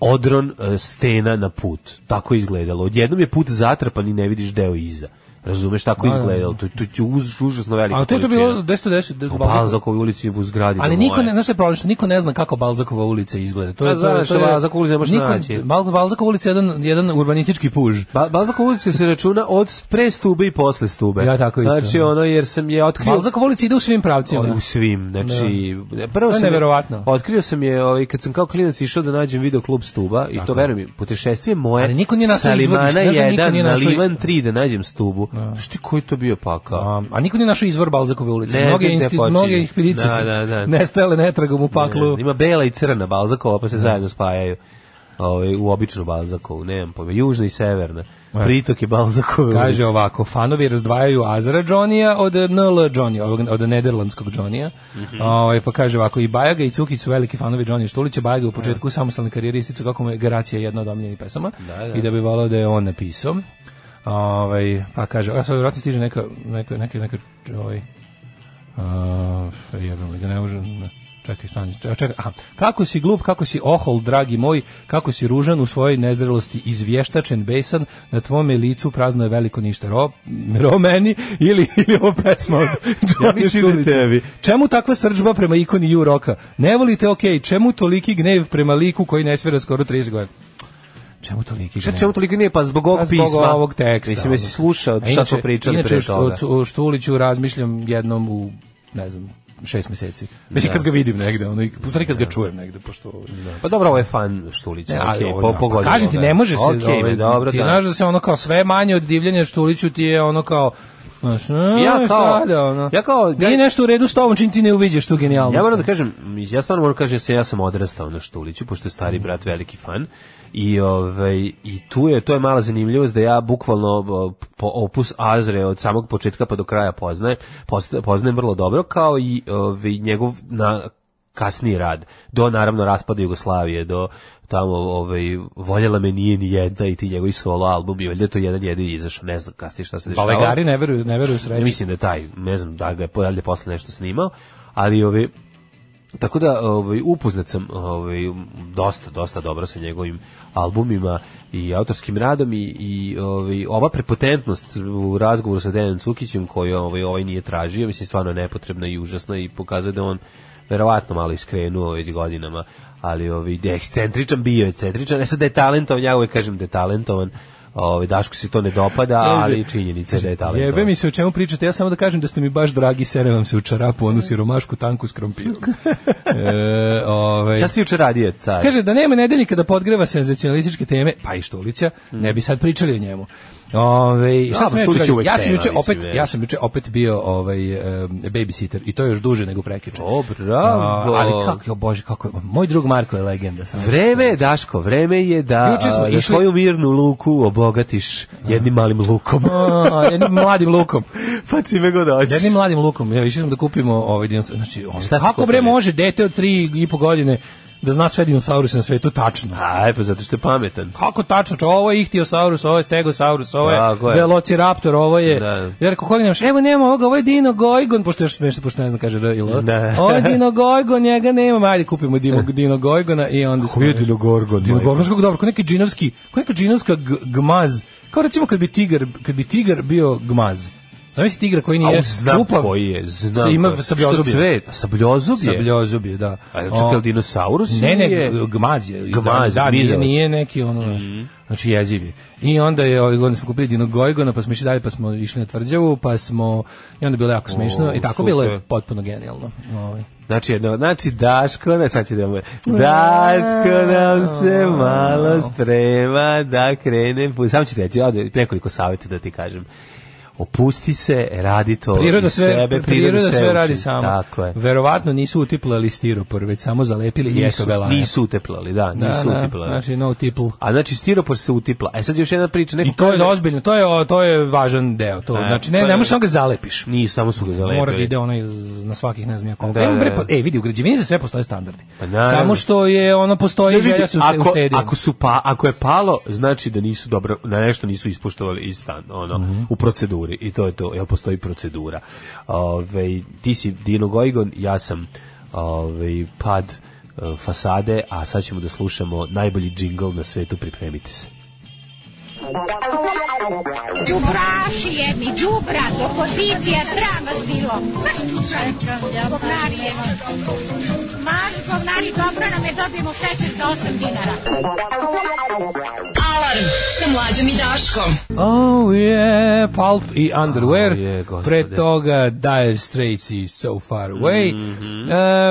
odron e, stena na put. Tako je izgledalo. Odjednom je put zatrpan i ne vidiš deo iza. Razumeš, tako je
da, da.
izgledalo. To, to, to je uz, užasno velika
A to je to
količina.
bilo 1010
U
Balzakova.
Balzakovoj ulici u zgradi.
Ali
do
niko
moje.
ne, znaš šta je problem, što niko ne zna kako Balzakova ulica izgleda. To
A
je, to, je-
znaš,
to je,
Balzakova ulica ne možeš
niko-
naći.
Bal- Balzakova ulica je jedan, jedan urbanistički puž.
Ba, Balzakova ulica se računa od pre stube i posle stube.
Ja tako isto,
Znači,
da.
ono, jer sam je otkrio...
Balzakova ulica ide u svim pravcima.
U svim, znači prvo
Da. To je
sam je-
neverovatno.
otkrio sam je ovaj kad sam kao klinac išao da nađem video klub Stuba i to verujem mi, putešestvije moje.
Ali niko nije našao
Salimana
izvorište, znaš da niko
1
nije
na
našao-
Livan 3 da nađem Stubu. Što ti koji to bio pakao?
Um, a niko nije našao izvor Balzakove ulice.
Ne
mnoge,
znam gde
insti,
počinje.
mnoge ekspedicije
Da,
su
da, da.
nestajale netragom u paklu.
Ne, Ima bela i crna Balzakova, pa se
Da.
zajedno spajaju. Ovaj u običnu Balzakovu, nemam pojma, južna i severna. Pritok je Balzakove.
E. Kaže
ulice.
ovako, fanovi razdvajaju Azra Johnija od NL Johnija, ovog- od nederlandskog Johnija.
Mhm.
Ovaj, pa kaže ovako, i Bajaga i Cukić su veliki fanovi Johnija Štulića. Bajaga u početku samostalne karijere isticu kako mu je Garacija jedna od omiljenih pesama
da.
i da bi volao da je on napisao. Ovaj, pa kaže, a sad vjerojatno stiže neka, neka, neka, neka, ovaj, a, jebem li ga, da ne možem, ne. Čekaj, stani, čekaj, čekaj. Aha. Kako si glup, kako si ohol, dragi moj, kako si ružan u svojoj nezrelosti, izvještačen, besan, na tvome licu prazno je veliko ništa. Ro, ro meni ili, ili ovo pesma od Johnny
mislim da
Štulića.
tebi.
Čemu takva srđba prema ikoni ju roka? Ne volite, okej, čemu toliki gnev prema liku koji ne svira skoro 30 godina? Čemu toliki
Čak
gnev?
čemu toliko nije, pa zbog ovog
Pa zbog
pisma.
ovog teksta.
Mislim, jesi slušao šta smo pričali pre toga.
Inače, o Štuliću razmišljam jednom u, ne znam, šest meseci. Mislim,
Da.
kad ga vidim negde, ono, i- u stvari kad ga čujem negde, pošto...
Pa dobro, ovo je fan Štulića,
Ne, ali
okej,
ovo,
po,
da,
pogodilo.
pa Kažem ti, ne može se...
Okej,
ovaj,
dobro,
ti
da.
znaš da se ono kao sve manje od divljenja Štuliću ti je ono kao... Znaš,
Ja
ja
kao-
kao, sada, ono.
ja kao-
Nije nešto u redu s tobom, čim ti ne uviđaš tu genijalnost.
Ja moram da kažem, ja stvarno moram da kažem da se ja sam odrastao na Štuliću, pošto je stari brat veliki fan. I ovaj i tu je to je mala zanimljivost da ja bukvalno o, po opus Azre od samog početka pa do kraja poznajem, post- poznajem vrlo dobro kao i ovaj njegov na kasni rad do naravno raspada Jugoslavije do tamo ovaj voljela me nije ni jedna i ti njegovi solo albumi valjda je to jedan jedini izašao ne znam kasnije šta se dešava
Balegari Pa ne veruju, ne veruju sreći.
Ne mislim da je taj, ne znam da ga je da li je posle nešto snimao, ali ove tako da ovaj upoznat sam ovaj dosta dosta dobro sa njegovim albumima i autorskim radom i, i ovaj ova prepotentnost u razgovoru sa Dejanom Cukićem koju ovaj ovaj nije tražio, mislim stvarno je nepotrebna i užasna i pokazuje da on verovatno malo iskrenuo već godinama, ali ovaj da je ekscentričan bio je ekscentričan, e sad da je talentovan, ja uvek kažem da je talentovan. Ovaj Daško se to ne dopada,
Kaže,
ali činjenica je da je talentovan.
Jebe mi se o čemu pričate, ja samo da kažem da ste mi baš dragi, sere vam se u čarapu, onu siromašku tanku s krompirom. e, ovaj,
Šta si juče radio, car?
Kaže da nema nedelje kada podgreva senzacionalističke teme, pa i Štulića, ne bi sad pričali o njemu. Ove, šta
Mm. Dobro,
sam ja,
Štulić je
juče
uvek
radio? ja sam
tema,
juče
mislim,
opet,
je.
ja sam juče opet bio ovaj em, babysitter i to još duže nego prekjuče.
O, bravo.
A, ali kako je, o bože, kako je, moj drug Marko je legenda. Sam
Vreme je, Daško, vreme je da,
Juče smo
a, da
išli-
svoju mirnu luku obogatiš jednim malim lukom.
A, jednim mladim lukom.
pa čime god hoćeš.
Jednim mladim lukom, ja išli sam da kupimo ovaj dinosaur. Znači, on,
Šta ste
kako bre
kupili?
može dete od tri i po godine da zna sve dinosauruse na svetu tačno?
Aj, pa zato što je pametan.
Kako tačno? Čo, ovo je ihtiosaurus, ovo je stegosaurus, ovo je
Tako je.
velociraptor, ovo je...
Da.
Jer kako hodim, nemaš, evo nema ovoga, ovo je dinogojgon, pošto je još smešno, pošto ne znam kaže R ili L.
Da.
Ovo je dinogojgon, njega nema, ajde kupimo dino, dinogojgona i onda... Kako
Dinogorgon?
Dinogorgon, znaš kako dobro, ko neki džinovski, ko neka džinovska g- gmaz, kao recimo kad bi tigar, kad bi tigar bio gmaz. Zamisli tigra koji nije
Au, znam
čupav,
koji je, znam.
sa- ima
koji-
sabljozubje.
Što cvet? A Sabljozubje?
Sabljozub je, da.
A čekaj, je li dinosaurus
Ne, ne,
ili je-
g- gmaz je.
Gmaz,
da, nije,
mizavac.
nije neki ono, znaš,
Mhm.
znači jeziv je. I onda je, ovaj godine smo kupili Dinogojgona, pa smo išli dalje, pa smo išli na tvrđavu, pa smo, i onda je bilo jako smešno,
O,
i tako bilo je
super.
potpuno genijalno. Ovaj.
Znači, jedno, znači Daško, ne, sad će da mu- Daško nam se malo sprema da krene, pu- samo ću ti reći, ovdje nekoliko savjeta da ti kažem. Opusti se, radi to
Priroda
iz
sve,
sebe,
priroda, sve radi
uči.
sama.
Tako je.
Verovatno nisu utiplali stiropor, već samo zalepili i
Nisu,
to belane.
nisu uteplali, da,
Da,
nisu
da,
uteplali.
Znači, no tipl.
A znači stiropor se utipla. E sad još jedna priča, neko
I to je
kaže-
ozbiljno, to je, o, to je važan deo. To, znači, ne,
to je-
ne možeš samo ga zalepiš.
Nisu, samo su ga zalepili.
Mora da ide onaj z- na svakih ne znam ja koliko.
Da,
Evo,
da,
bre,
da.
pa- ej, vidi, u građevini za sve postoje standardi.
Pa naravno.
Samo što je ono
Ne,
postoji
vidi,
Pa želja da se uste-
ako,
uštedi.
ako, su pa, ako je palo, znači da nisu dobro, da nešto nisu ispuštovali iz stan, ono,
Mhm.
u proceduri. I to je to, jel postoji procedura. Ove, ti si Dino Gojgon, ja sam ove, pad e, fasade, a sad ćemo da slušamo najbolji džingl na svetu, pripremite se.
Đubraši jedni, đubrat, opozicija, sram vas bilo. Maš čučaj, govnari jedni. Maš govnari, dobro nam je, dobijemo šećer za 8 dinara.
Alarm sa mlađom i Daškom.
Oh yeah, Pulp i Underwear.
Oh, je, gospode.
Pre toga Dire Straits i So Far Away.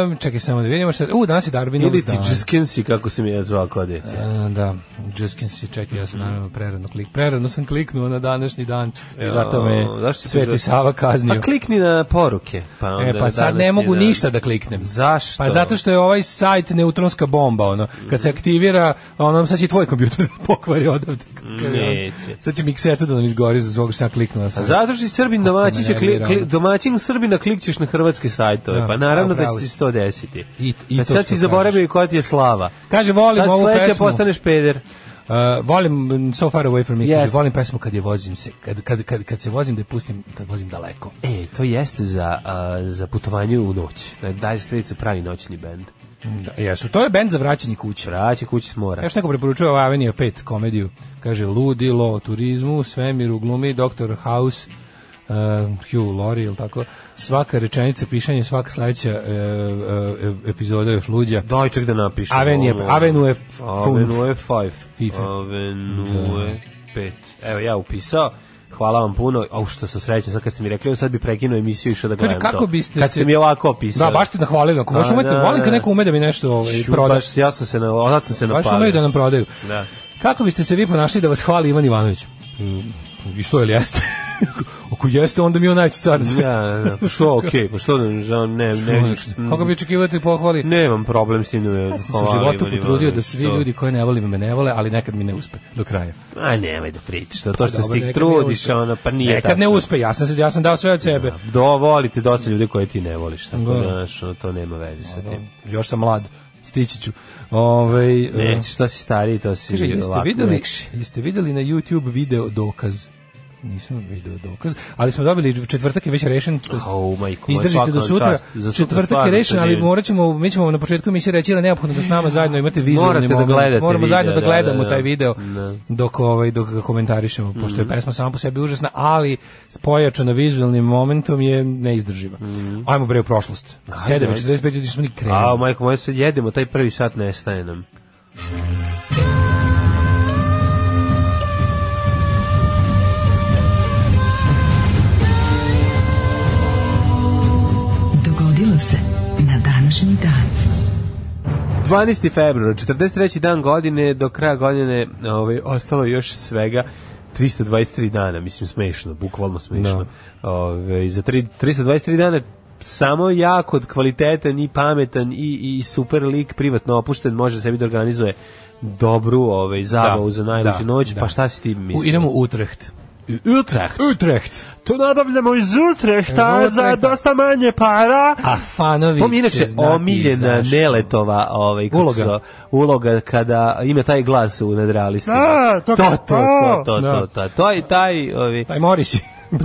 Em, čekaj samo da vidimo šta. U, danas je Darwin.
Mhm. Ili ti Jiskinsi, kako sam ja zvao kod djece.
da, Justin si čekaj, ja sam naravno prerano klik. Prerano sam kliknuo na današnji dan i zato me
Jao, zašto si
Sveti
prežao?
Sava kaznio.
Pa klikni na poruke. Pa, onda
E, pa sad
danas
ne
je
mogu
dan.
ništa da kliknem.
Zašto?
Pa zato što je ovaj sajt neutronska bomba, ono. Kad
Mhm.
se aktivira, ono, sad će tvoj kompjuter da pokvari odavde.
Neće.
Sad će miksetu da nam izgori za svog što sam kliknuo. na
A
sajt.
zato što si srbin domaćin, će kli,
nervira,
kli-
ono.
domaćin srbina klikćeš na hrvatske sajtove,
Da,
pa naravno da
pravo
će ti
si.
se to desiti.
I-
Znači,
i to
sad
što
si
kažeš.
zaboravio i koja ti je slava.
Kaže, volim
Sad
ovu
sledeće
pesmu.
postaneš peder.
Uh, volim So Far Away From Me,
Yes.
yes. volim pesmu kad je vozim se, kad, kad, kad, kad se vozim da je pustim, kad vozim daleko.
E, to jeste za, a, za putovanje u noć. Dalje strica pravi noćni bend.
Da, jesu, to je bend za vraćanje kuće.
Vraća kući s mora.
Još neko preporučuje ovaj Avenija 5 komediju. Kaže, ludilo, o turizmu, svemiru, glumi, Dr. House, uh, Hugh Laurie, ili tako. Svaka rečenica, pišanje, svaka sledeća uh, uh, epizoda još luđa.
Daj čak da napišem.
Avenue-
ovo.
Avenue f-
Avenue 5.
Fife.
Avenue 5. Evo ja upisao. Hvala vam puno. Au što sam srećan, sad kad ste mi rekli, evo sad bi prekinuo emisiju i išao da
Kaže,
gledam to.
kako biste
Kad ste
se-
mi ovako opisali.
Da, baš te nahvalili. Ako možeš
A,
umeti,
da,
volim kad
da.
neko ume da mi nešto ovaj,
Ću,
proda.
Baš, ja sam se, na, sad sam se
Baš
napalio.
umeju da nam prodaju.
Da.
Kako biste se vi ponašali da vas hvali Ivan Ivanović? Mm, I što, jel jeste? Ako jeste, onda mi je on najveći car na svetu.
Ja, da, da. Pa Što, okej, pa što da ne, ne, ne, Mm.
Koga bi očekivao da te pohvali?
nemam problem s tim da me
Ja sam se u životu potrudio da svi
To-
ljudi koje ne volim me ne vole, ali nekad mi ne uspe do kraja.
Aj, nemaj da pričaš, to, to što se
Pa Dobro,
ti
nekad ne
trudiš,
uspe.
ono, pa nije
Nekad ne uspe, ja sam, se, ja sam dao sve od sebe.
Do, volite dosta ljudi koje ti ne voliš, tako da,
Da.
znaš, ono, to nema veze sa tim.
Još sam mlad, stići ću. Ovaj, e,
Ne, što si stariji, to si
Kaže, jeste
lako
videli,
nekši.
jeste videli na YouTube video dokaz? Nisam video dokaz, ali smo dobili četvrtak je već rešen. to jest-
Au, majko moja, Oh svaka
Izdržite do
vam
sutra.
čast. Za sutra
Četvrtak je
stvarno
rešen,
to
ali
nije-
morat ćemo, mi ćemo vam na početku emisije reći da je neophodno da s nama zajedno imate vizualni
Morate da
moment.
gledate
Moramo
video,
zajedno da
da,
gledamo
da, da.
taj video
Da. Mhm.
dok, ovaj, dok ga komentarišemo, pošto je pesma sama po sebi užasna, ali spojačana vizualnim momentom je neizdrživa. Ajmo bre u prošlost. 7.45 ljudi smo ni krenuli.
Mhm. A, majko moja, sad jedemo, taj prvi sat nestaje nam.
Dogodilo se na današnji dan.
12. februar, 43. dan godine, do kraja godine ovaj, ostalo je još svega 323 dana, mislim smešno, bukvalno smešno.
Da.
Ovaj, za tri, 323 dana samo jak od kvalitetan i pametan i, i super lik privatno opušten može sebi da organizuje dobru ovaj, zabavu za najluđu noć,
da.
pa šta si ti
U,
mislim?
idemo u Utrecht.
Utrecht.
Utrecht!
To nabavljamo iz
Iz
Utrechta
Utrechta.
za dosta manje para.
A fanovi
To mi je
će
inače
znati
omiljena
zašto.
Neletova ovaj, kako
Uloga.
se zove, uloga kada ima taj glas u nadrealistima.
Da,
to,
to
to, to,
kao-
to,
Da.
to, to, to i taj, ovi,
Taj Morisi.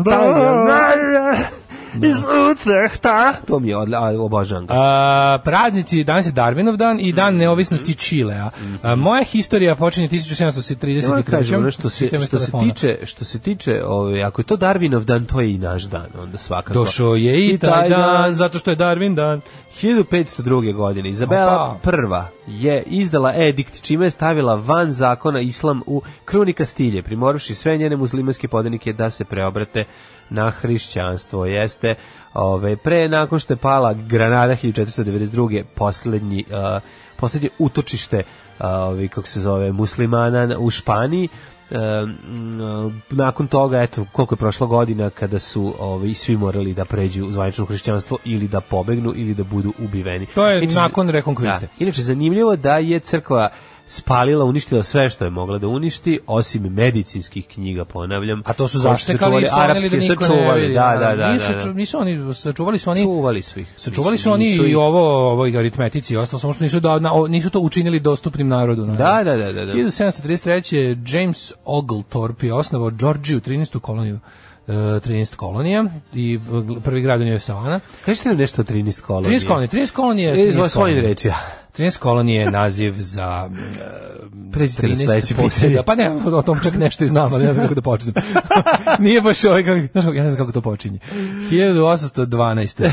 taj, da, iz Utrechta. To mi je odla, a, obožavam ga.
A, praznici, danas je Darwinov dan i
Mm.
dan neovisnosti Čilea. A, moja historija počinje
Ja da
1733.
Mm. kažem, ono što se,
da Čitam iz
što se
telefona.
tiče, što se tiče, ovaj, ako je to Darwinov dan, to je i naš dan, onda svakako.
Došao je i taj dan, zato što je Darwin dan.
1502. godine Izabela prva je izdala edikt čime je stavila van zakona islam u kruni Kastilje, primoravši sve njene muslimanske podanike da se preobrate na hrišćanstvo. Jeste ove, pre nakon što je pala Granada 1492. poslednji uh, poslednje utočište uh, ovaj, kako se zove muslimana u Španiji E, m, nakon toga eto koliko je prošla godina kada su ovaj svi morali da pređu u zvanično hrišćanstvo ili da pobegnu ili da budu ubiveni. Znači,
To je nakon rekonkviste.
Da. Inače zanimljivo da je crkva spalila, uništila sve što je mogla da uništi, osim medicinskih knjiga, ponavljam.
A to su
koje Pa sačuvali
zaštekali i sklonili da
arapske,
niko ne
sačuvali,
vidi.
Da, da, da.
Nisu,
da, da.
ču- nisu oni, sačuvali su oni
Čuvali su ih.
Sačuvali su
Mislim,
oni
nisu
i
ih-
ovo, ovoj aritmetici i ostalo, samo što nisu, da, na, o- nisu to učinili dostupnim narodu. naravno.
Da, da, da, da, da.
1733. James Oglethorpe je osnovao Georgiju, 13. koloniju. e, 13 kolonija i e, prvi grad u njoj je Savana.
Kažite nam nešto o 13 kolonije.
13 kolonije, 13 kolonije,
E,
13
svojim
kolonije.
reči, ja.
13 kolonije je naziv za e,
Pređite na
13
sledeće pitanje.
poseda. Pa ne, o tom čak nešto i znam, ali ne znam kako da počnem. Nije baš ovaj, kako, znaš, kako- ja ne znam kako to počinje. 1812.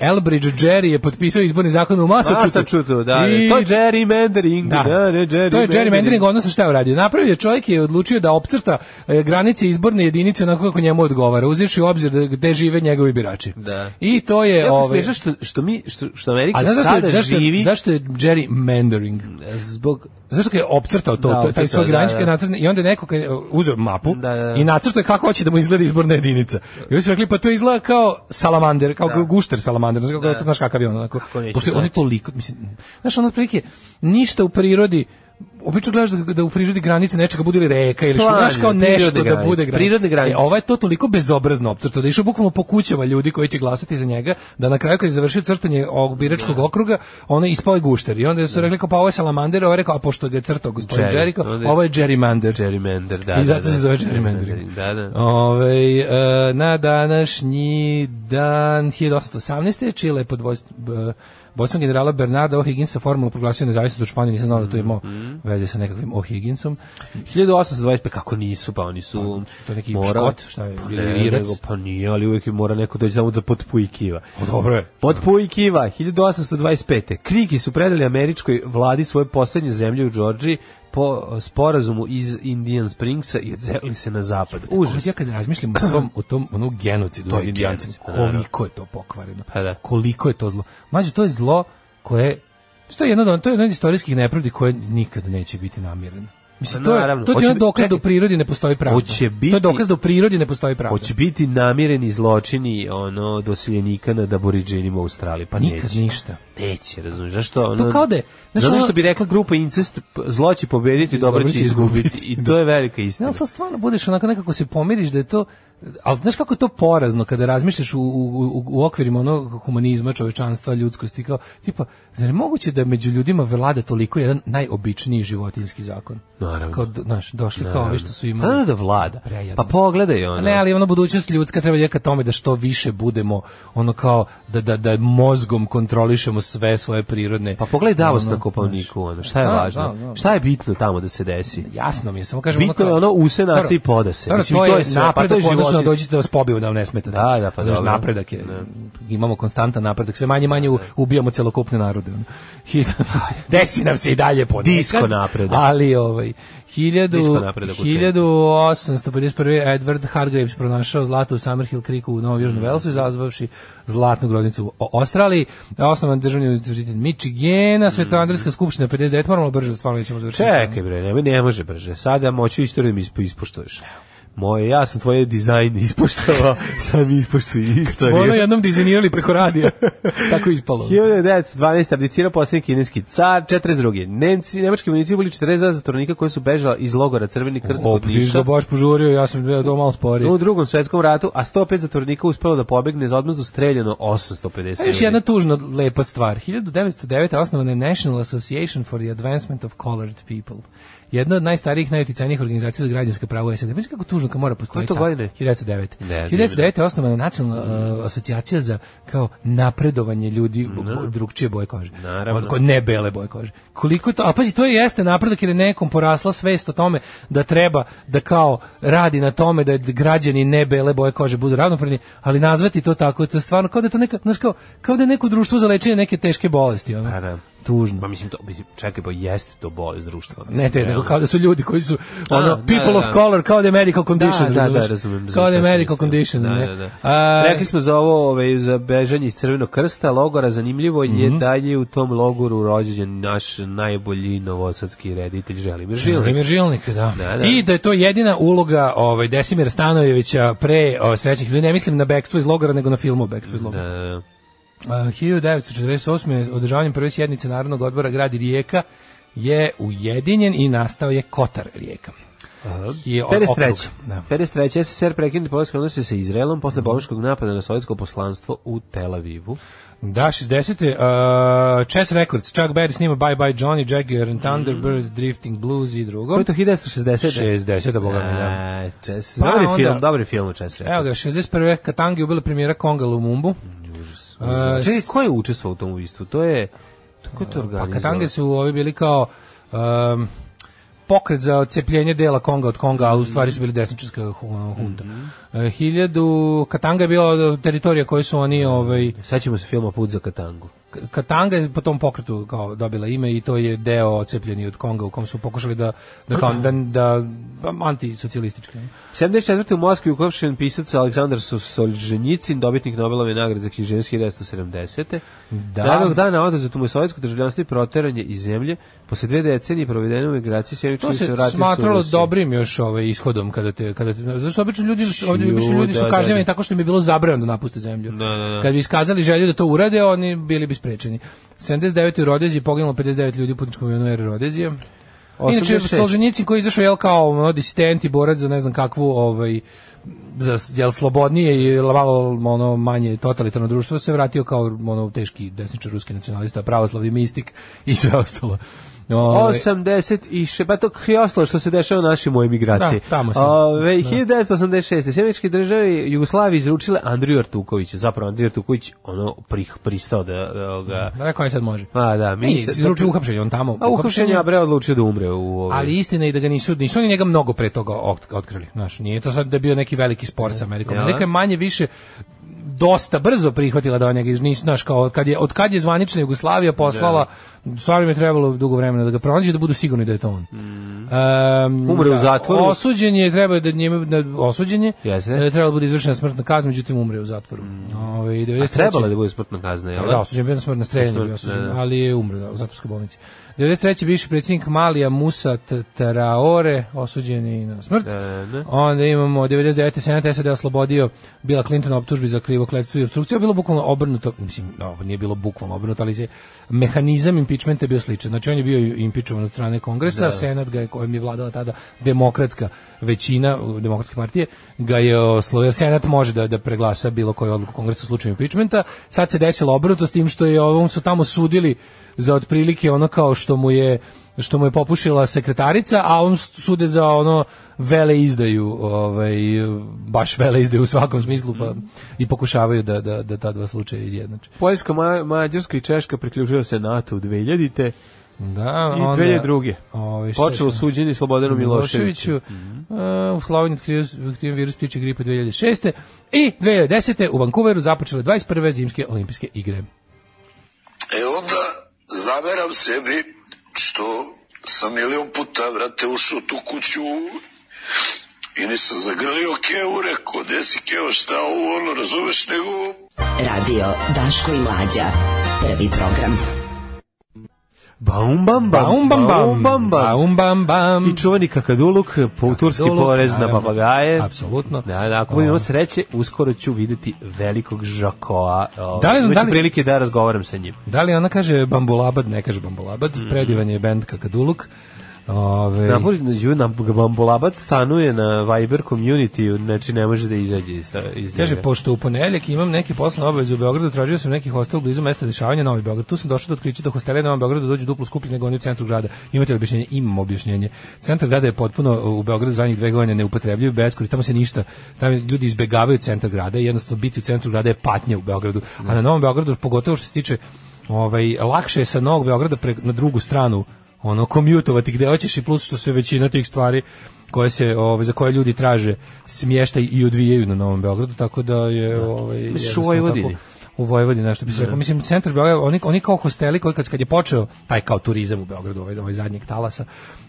Elbridge Jerry je potpisao izborni zakon u Massachusettsu.
Massachusetts, da,
I-
da. To je gerrymandering, da,
Da.
da, ne, gerrymandering.
to je gerrymandering, odnosno šta je uradio? Napravio je čovjek je odlučio da opcrta e, granice izborne jedinice onako kako njemu odgovara, uzevši u obzir da, gde žive njegovi birači.
Da.
I to je...
Jako
ovaj,
smiješno što, što mi, što, što Amerika
a znaš zašto,
sada
je, zašto, je-
živi
zašto je gerrymandering?
zbog...
Zašto ga je opcrtao to,
Da,
to
opcrtao,
taj svoj
da,
granički
da.
nacrt i onda je neko kad je uzeo mapu
Da, da, da.
i nacrtao je kako hoće da mu izgleda izborna jedinica. I oni su rekli pa to izgleda kao salamander, kao gušter salamander, znaš, kako, znaš kakav je on onako.
Da. neće da.
Pošto
znati.
oni toliko, mislim, znaš ono otprilike ništa u prirodi obično gledaš da, da u prirodi granice nečega bude ili reka ili što
Plan
znaš
je,
kao nešto
prirodne
da
granice,
bude granica.
prirodne granice.
E, ova je to toliko bezobrazno opcrto da je išao bukvalno po kućama ljudi koji će glasati za njega, da na kraju kad je završio crtanje ovog biračkog
Da.
okruga, ona je ispao je gušter. I onda su rekli kao pa ovo je salamander, ovo je rekao, a pošto ga je crtao gospodin
Jerry,
Jericho,
onda je-
ovo je gerrymander.
Gerrymander, da.
I zato
da, da.
se zove gerrymandering.
Da, da.
Ove, e, na današnji dan 1818. Čile je pod vojstvom vojstvom generala Bernarda O'Higginsa formalno proglasio nezavisnost od Španije, nisam znao da to imao
Mhm.
veze sa nekakvim O'Higginsom.
1825, kako nisu, pa oni su...
znači, to neki
mora-
Škot, šta je,
Pa
ili
ne,
Irac?
nego, Pa nije, ali uvijek im mora neko doći samo da potpujkiva.
O, dobro je.
Potpujkiva, 1825. Kriki su predali američkoj vladi svoje poslednje zemlje u Đorđiji po sporazumu iz Indian Springsa i odzelili se na zapad.
Ovo
Užas.
Ja kad razmišljam o tom, o tom onu genocidu
To
to
je
indijancima,
genocid, da, naravno.
koliko je to pokvareno,
Pa da.
koliko je to zlo. Mađo, to je zlo koje, to je jedno od, to je jedno od istorijskih nepravdi koje nikada neće biti namireno. Mislim,
Pa
to je,
naravno.
to ti je
Hoće
ono
bi-
dokaz da u
čekaj.
prirodi ne postoji pravda.
Hoće
To
biti-
je dokaz da u prirodi ne postoji pravda.
Hoće biti namireni zločini ono doseljenika nad aboriđenima u Australiji, pa
Nikad
neće.
ništa.
Neće, razumiješ, zašto ono...
To kao da je- znaš,
Zato
ono-
što bi rekla grupa incest, p- zlo će pobediti, dobro će izgubiti. I to je velika
Ne,
istina.
ali to stvarno budeš onako nekako se pomiriš da je to ali znaš kako je to porazno kada razmišljaš u, u, u- u okvirima onog humanizma, čovečanstva, ljudskosti, kao, tipa, zar je moguće da među ljudima vlada toliko jedan najobičniji životinski zakon?
Naravno.
Kao, do- znaš, došli kao ovi što su
Pa naravno
imali.
da vlada.
Prejedno.
Pa pogledaj ono.
Ne, ali ono budućnost ljudska treba je ka tome da što više budemo ono kao da, da, da mozgom kontrolišemo sve svoje prirodne.
Pa pogledaj Davos
ono,
na Kopalniku, ono, šta je
Znam,
važno?
znam, znam.
šta je bitno tamo da se desi?
Jasno mi je, samo kažem
Bitno je
kao-
ono use nas
Dobro,
i poda se.
dobro,
Mislim,
to,
i to
je
je sve, pa
napredak,
to je
odnosno
životinjski-
dođite da vas pobiju da vam ne smeta.
Da, da, Da, pa
Znaš,
dobro.
napredak je. Imamo konstantan napredak, sve manje i manje u- ubijamo celokupne narode. ono. Hiljadu- Desi nam se i dalje ponekad.
Disko napredak.
Ali ovaj
Disko
1000
napredak u
1851. Edward Hargreaves pronašao zlato u Summerhill Creeku u Novom
Mhm.
Južnom Velsu, izazvavši zlatnu groznicu u O- Australiji. Osnovan državni univerzitet Michigana, Svetoandrijska skupština 59. Moramo brže, da stvarno nećemo završiti.
Čekaj bre, ne, ne može brže. Sada moću istoriju mi ispo- ispoštuješ. Moje, ja sam tvoje dizajn ispoštovao, sam ispoštuj
Smo ono
istoriju.
jednom dizajnirali preko radija. Tako je ispalo.
1912. abdicirao posljednji kineski car, 42. Nemci, nemački vojnici ubili 42 zatvornika koji su bežala iz logora Crveni krst
O,
od
viš da
Niša.
baš požurio, ja sam bio to malo sporije.
U drugom svetskom ratu, a 105 zatvornika uspelo da pobegne za odmazdu streljeno 850.
A još jedna tužno lepa stvar. 1909. osnovana je National Association for the Advancement of Colored People. Jedna od najstarijih, najuticajnijih organizacija za građanska prava u SAD. Mislim kako tužno kad mora
Koje
postojati.
to
ta-
godine?
1909.
Ne,
1909. je osnovana nacionalna
Mm.
uh, asocijacija za kao napredovanje ljudi no. drugčije boje kože.
Naravno.
Od- ko- ne bele boje kože. Koliko je to, a pazi, to jeste napredak jer je nekom porasla svest o tome da treba da kao radi na tome da građani ne bele boje kože budu ravnopravni, ali nazvati to tako, to je stvarno kao da je to neka, znaš, kao, kao da je neko društvo za lečenje neke teške bolesti, ono.
Pa da.
Tužno.
Ma mislim, to, mislim, čekaj, pa jeste to bolest društva. mislim,
Ne te, nego
realno.
kao da su ljudi koji su
A, da,
ono, people
da,
of
da.
color, kao da je medical condition.
da, da,
razumeš?
da, razumem.
Kao da je
šta si
medical
mislio.
condition.
Da,
ne?
da, da.
A,
Rekli smo za ovo, ovaj, za bežanje iz Crvenog krsta, logora, zanimljivo je
Mhm.
da je u tom logoru rođen naš najbolji novosadski reditelj Želimir Žilnik.
Žilnik. Žilnik, da.
Da, da.
I da je to jedina uloga ovaj, Desimira Stanojevića pre ovaj, srećnih ljudi. Ne mislim na bekstvo iz logora, nego na filmu Bekstvo iz logora.
E,
Uh, 1948. održavanjem prve sjednice Narodnog odbora gradi Rijeka je ujedinjen i nastao je Kotar Rijeka. Je o-
53.
okrug, da.
53. SSR prekinuti poljske odnose sa Izraelom posle bolničkog napada na sovjetsko poslanstvo u Tel Avivu.
Da, 60. Uh, Chess Records, Chuck Berry snima Bye Bye Johnny, Jaguar and Thunderbird, Drifting Blues i drugo.
Koji je to 1960?
60. boga mi, da.
E, Čes,
Pa
dobri
onda-
film, dobri film u Čes
Evo
rekao.
ga, 61. Katangi ubila premijera Konga Lumumbu. E,
Čekaj, ko je učestvovao u tom ubistvu? To je... to- Ko je to
Pa
organizovao?
Katange su ovi bili kao um, pokret za odcepljenje dela Konga od Konga, a u stvari su bili desničarska hu- ono, hunta. E, Hiljadu, Katanga je bila teritorija koju su oni, ovaj,
Sećamo se filma Put za Katangu.
K- Katanga je po tom pokretu kao dobila ime i to je deo odcepljeni od Konga u kom su pokušali da, da, kao, da, da antisocijalistički.
74. u Moskvi ukopšen pisac Aleksandar So- Solženjicin, dobitnik Nobelove nagrade za književnost 1970.
Da.
Davnog dana oduzeto mu je sovjetsko državljanstvo i proteranje iz zemlje. Posle dve decenije provedene u migraciji
To
Sjemičkovi se
se
vratio
smatralo
Rusiju.
dobrim još ovaj ishodom kada te kada te zašto obično ljudi ovdje obično
Ju,
ljudi su
da, da,
kažnjavani
da.
tako što im je bilo zabranjeno da napuste zemlju.
Da, da, da.
Kad bi iskazali želju da to urade, oni bili bi sprečeni. 79. u Rodeziji poginulo 59 ljudi u putničkom avionu Air Rodezije. Inače,
86.
Solženjicin koji je izašao jel kao ono, disident i borac za ne znam kakvu ovaj, za jel slobodnije i malo ono manje totalitarno društvo se vratio kao ono teški desničar ruski nacionalista, pravoslavni mistik i sve ostalo. Ovaj,
80 i še, pa to je ostalo što se dešava u našim u emigraciji.
Da, tamo sam.
Ove, 1986. Sjemeničke države Jugoslavije izručile Andriju Artukovića. Zapravo, Andriju Artuković ono prih, pristao da, da ga...
Rekao je sad može.
A, da, mi
mi
se-
izručio uhapšenje, on tamo.
A uhapšen je, a bre odlučio da umre u... ovaj-
Ali istina je da ga nisu, nisu oni njega mnogo pre toga ot- otkrili. Znaš, nije to sad da je bio neki veliki spor sa Amerikom.
Ja.
Amerika je manje više dosta brzo prihvatila da on njega iz- nisu, znaš, kao od kad je, od kad je zvanična Jugoslavija poslala,
Da.
stvarno mi je trebalo dugo vremena da ga pronađe, da budu sigurni da je to on. Um,
Mm. Umre u
da,
zatvoru.
Osuđen je, treba je da njemu, da, osuđen je,
Jeste. Mm.
da je trebalo da bude izvršena smrtna kazna, međutim umre u zatvoru. Ovaj,
A
93..
trebala je da bude smrtna kazna, jel?
Da, osuđen je bio na smrt na streljanju,
Smrt,
bio osuđen,
da, da.
ali je umro da, u zatvorskoj bolnici. 93. bivši predsjednik Malija Musa T- Traore, osuđen je i na smrt.
Da, da.
Onda imamo 99. senat SAD oslobodio Bila Clintona optužbi za krivo kletstvo i obstrukciju. Bilo bukvalno obrnuto, mislim, no, nije bilo bukvalno obrnuto, ali je mehanizam impeachmenta je bio sličan. Znači, on je bio impeachovan od strane kongresa, senat ga je, kojem je vladala tada demokratska većina u demokratske partije, ga je oslovio. Senat može da, da preglasa bilo koju odluku kongresa u slučaju impeachmenta. Sad se desilo obrnuto s tim što je ovom su tamo sudili za otprilike ono kao što mu je što mu je popušila sekretarica, a on sude za ono vele izdaju, ovaj, baš vele izdaju u svakom smislu, pa i pokušavaju da, da, da ta dva slučaja izjednače.
Poljska, Ma- Mađarska i Češka priključila se NATO u 2000-te
Da,
i
onda-
2002.
Ovaj, šta
Počelo
je sad?
suđenje Slobodanu Miloševiću. Mhm.
Miloševiću. E, u Sloveniji otkriven otkriven virus ptičje gripe 2006. I 2010. u Vancouveru započele 21. zimske olimpijske igre.
E onda zameram sebi što sam milion puta vrate ušao u tu kuću i nisam zagrlio Kevu, rekao, gde si Keo, šta ovo, ono, razumeš, nego
Radio Daško i Mlađa. Prvi program.
Baum bam bam.
Baum um, bam bam,
um, bam, bam.
baum bam bam.
I čuveni kakaduluk, po, turski
Kakaduluk,
porez na
naravno.
papagaje.
Apsolutno.
Da, da, ako
O.
budemo sreće, uskoro ću videti velikog žakoa.
Da li-
Imaću
da li-
prilike da razgovaram sa njim.
Da li ona kaže bambulabad, ne kaže bambulabad,
Mhm.
predivan je bend Kakaduluk. Ove,
Napoli na Đu, na Bambulabac stanuje na Viber community, znači ne može da izađe iz, iz njega.
Kaže, pošto u ponedeljak imam neke poslovne obaveze u Beogradu, tražio sam neki hostel blizu mesta dešavanja Novi Beograd. Tu sam došao do otkrića da hostele na Novom Beogradu dođu duplo skuplji nego oni u centru grada. Imate li objašnjenje? Imam objašnjenje. Centar grada je potpuno u Beogradu zadnjih dve godine neupotrebljiv, beskori, tamo se ništa. Tamo ljudi izbegavaju centar grada i jednostavno biti u centru grada je patnja u Beogradu. A na Novom Beogradu, pogotovo što se tiče ovaj, lakše je sa Novog Beograda pre, na drugu stranu ono komjutovati gde hoćeš i plus što se većina tih stvari koje se ovaj za koje ljudi traže smještaj i odvijaju na Novom Beogradu tako da je ovaj jednostavno
Vojvodini.
tako- u Vojvodini nešto bi se
Da.
rekao mislim centar Beograda oni oni kao hosteli koji kad kad je počeo taj kao turizam u Beogradu ovaj ovaj zadnjeg talasa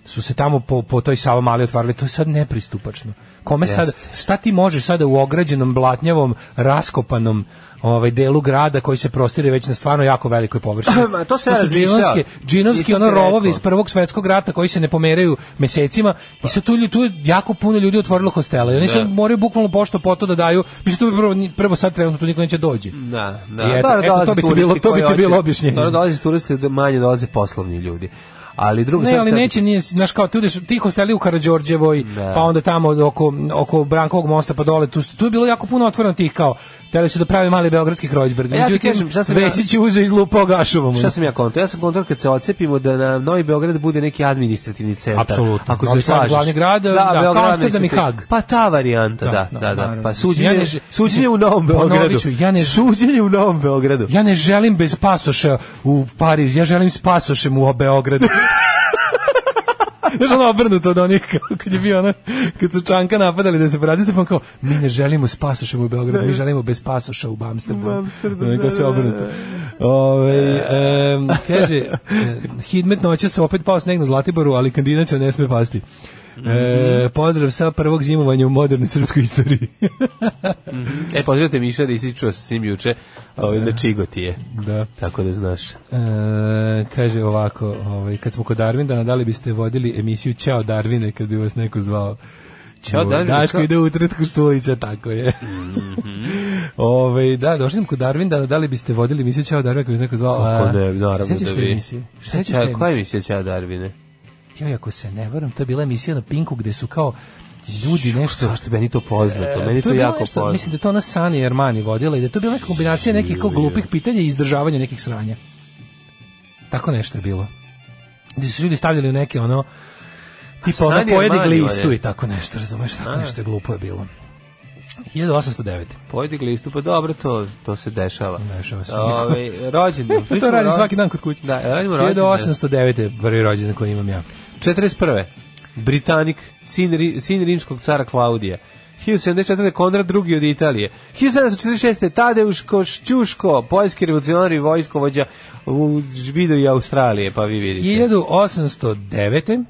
su se tamo po po toj Sava Mali otvarali to je sad nepristupačno kome sad šta ti možeš sada u ograđenom blatnjavom raskopanom ovaj delu grada koji se prostire već na stvarno jako velikoj površini
Ma, to se
su
razmišljao.
džinovske džinovski
Nisam
ono
ti rekao.
rovovi iz prvog svetskog rata koji se ne pomeraju mesecima i sad tu, lju- tu je jako puno ljudi otvorilo hostele i oni
Da.
sad moraju bukvalno pošto po to da daju mislim to prvo, prvo sad trenutno tu niko neće dođe
Da, da.
I eto-
Dobro,
eto,
dolaze
to bi ti
turisti
bilo- to bi
koji
ti bilo
hoće-
objašnjenje.
Dobro, dolaze turisti, da manje dolaze poslovni ljudi. Ali drugo
Ne,
sad-
ali
sad-
neće, nije, znaš kao, tu su ti hosteli u Karađorđevoj,
Da.
pa onda tamo oko, oko Brankovog mosta, pa dole, tu, su- tu je bilo jako puno otvoreno tih kao, teli su da pravi mali beogradski Kreuzberg,
A E, ja ti
međutim,
kažem, šta sam ja-
Vesić je uzeo iz lupa gašovom.
Šta sam ja konto? Ja sam konto kad se odcepimo da na Novi Beograd bude neki administrativni centar.
Apsolutno.
Ako
Novi
se
Sad,
slažeš.
glavni grad, da, kao
Beograd
Amsterdam i
administrativni-
Hag.
Pa ta varijanta, da, da, da.
naravno.
Pa
Mislim,
suđenje,
ja ne ž-
suđenje u Novom
Ponovit
Beogradu.
ću, ja ne ž-
Suđenje u Novom Beogradu.
Ja ne želim bez pasoša u Pariz, ja želim s pasošem u Beogradu. Znaš ono obrnuto od onih kao kad je bio ono, kad su Čanka napadali da se bradi se pa on kao, mi ne želimo s pasošem u Beogradu, mi želimo bez pasoša u Amsterdamu.
Da. U Amsterdamu,
Ono, kao sve
da, da,
obrnuto.
da.
Ove, em, kaže, e, hidmet noće se opet pao sneg na Zlatiboru, ali kandinaća ne sme pasti.
Mhm.
E, pozdrav sa prvog zimovanja u modernoj srpskoj istoriji.
E, pozdravite Miša da isičuo sa svim juče ovaj, na Čigotije.
da.
Tako da znaš.
E, kaže ovako, ovaj, kad smo kod Darvindana, da li biste vodili emisiju Ćao Darvine kad bi vas neko zvao?
Ćao,
O,
Darvine,
Daško
kao- Mhm.
ide u tretku Štulića, tako je. Ovaj, da, došli smo kod Darvindana, da li biste vodili emisiju Ćao Darvine kad bi vas neko zvao?
Kako
A,
ne, naravno
sećaš
da
te
vi.
emisije? Sećaš te
Koja
emisije?
emisija Ćao Darvine?
joj, ako se ne varam, to je bila emisija na Pinku gde su kao ljudi nešto
Zašto meni to poznato? Meni to,
E, je bilo
jako
nešto,
poznato.
Mislim da je to ona Sani Armani vodila i da je to bila neka kombinacija nekih kao glupih pitanja i izdržavanja nekih sranja. Tako nešto je bilo. Gde su ljudi stavljali u neke ono tipa ono
Sani
pojedi
Armani,
glistu
one.
i tako nešto, razumeš, tako nešto je glupo je bilo. 1809.
Podigli istu, pa dobro, to, to se dešava.
Dešava se.
Ove, rođendan.
Pa to radim svaki dan kod kuće.
Da, radimo rođendan.
1809 je prvi rođendan koji imam ja.
41. Britanik, sin, ri, sin rimskog cara Klaudija. 1074. Konrad II. od Italije. 1746. Tadeuš Košćuško, poljski revolucionar i vojskovođa u Žvidu i Australije, pa vi vidite.
1809.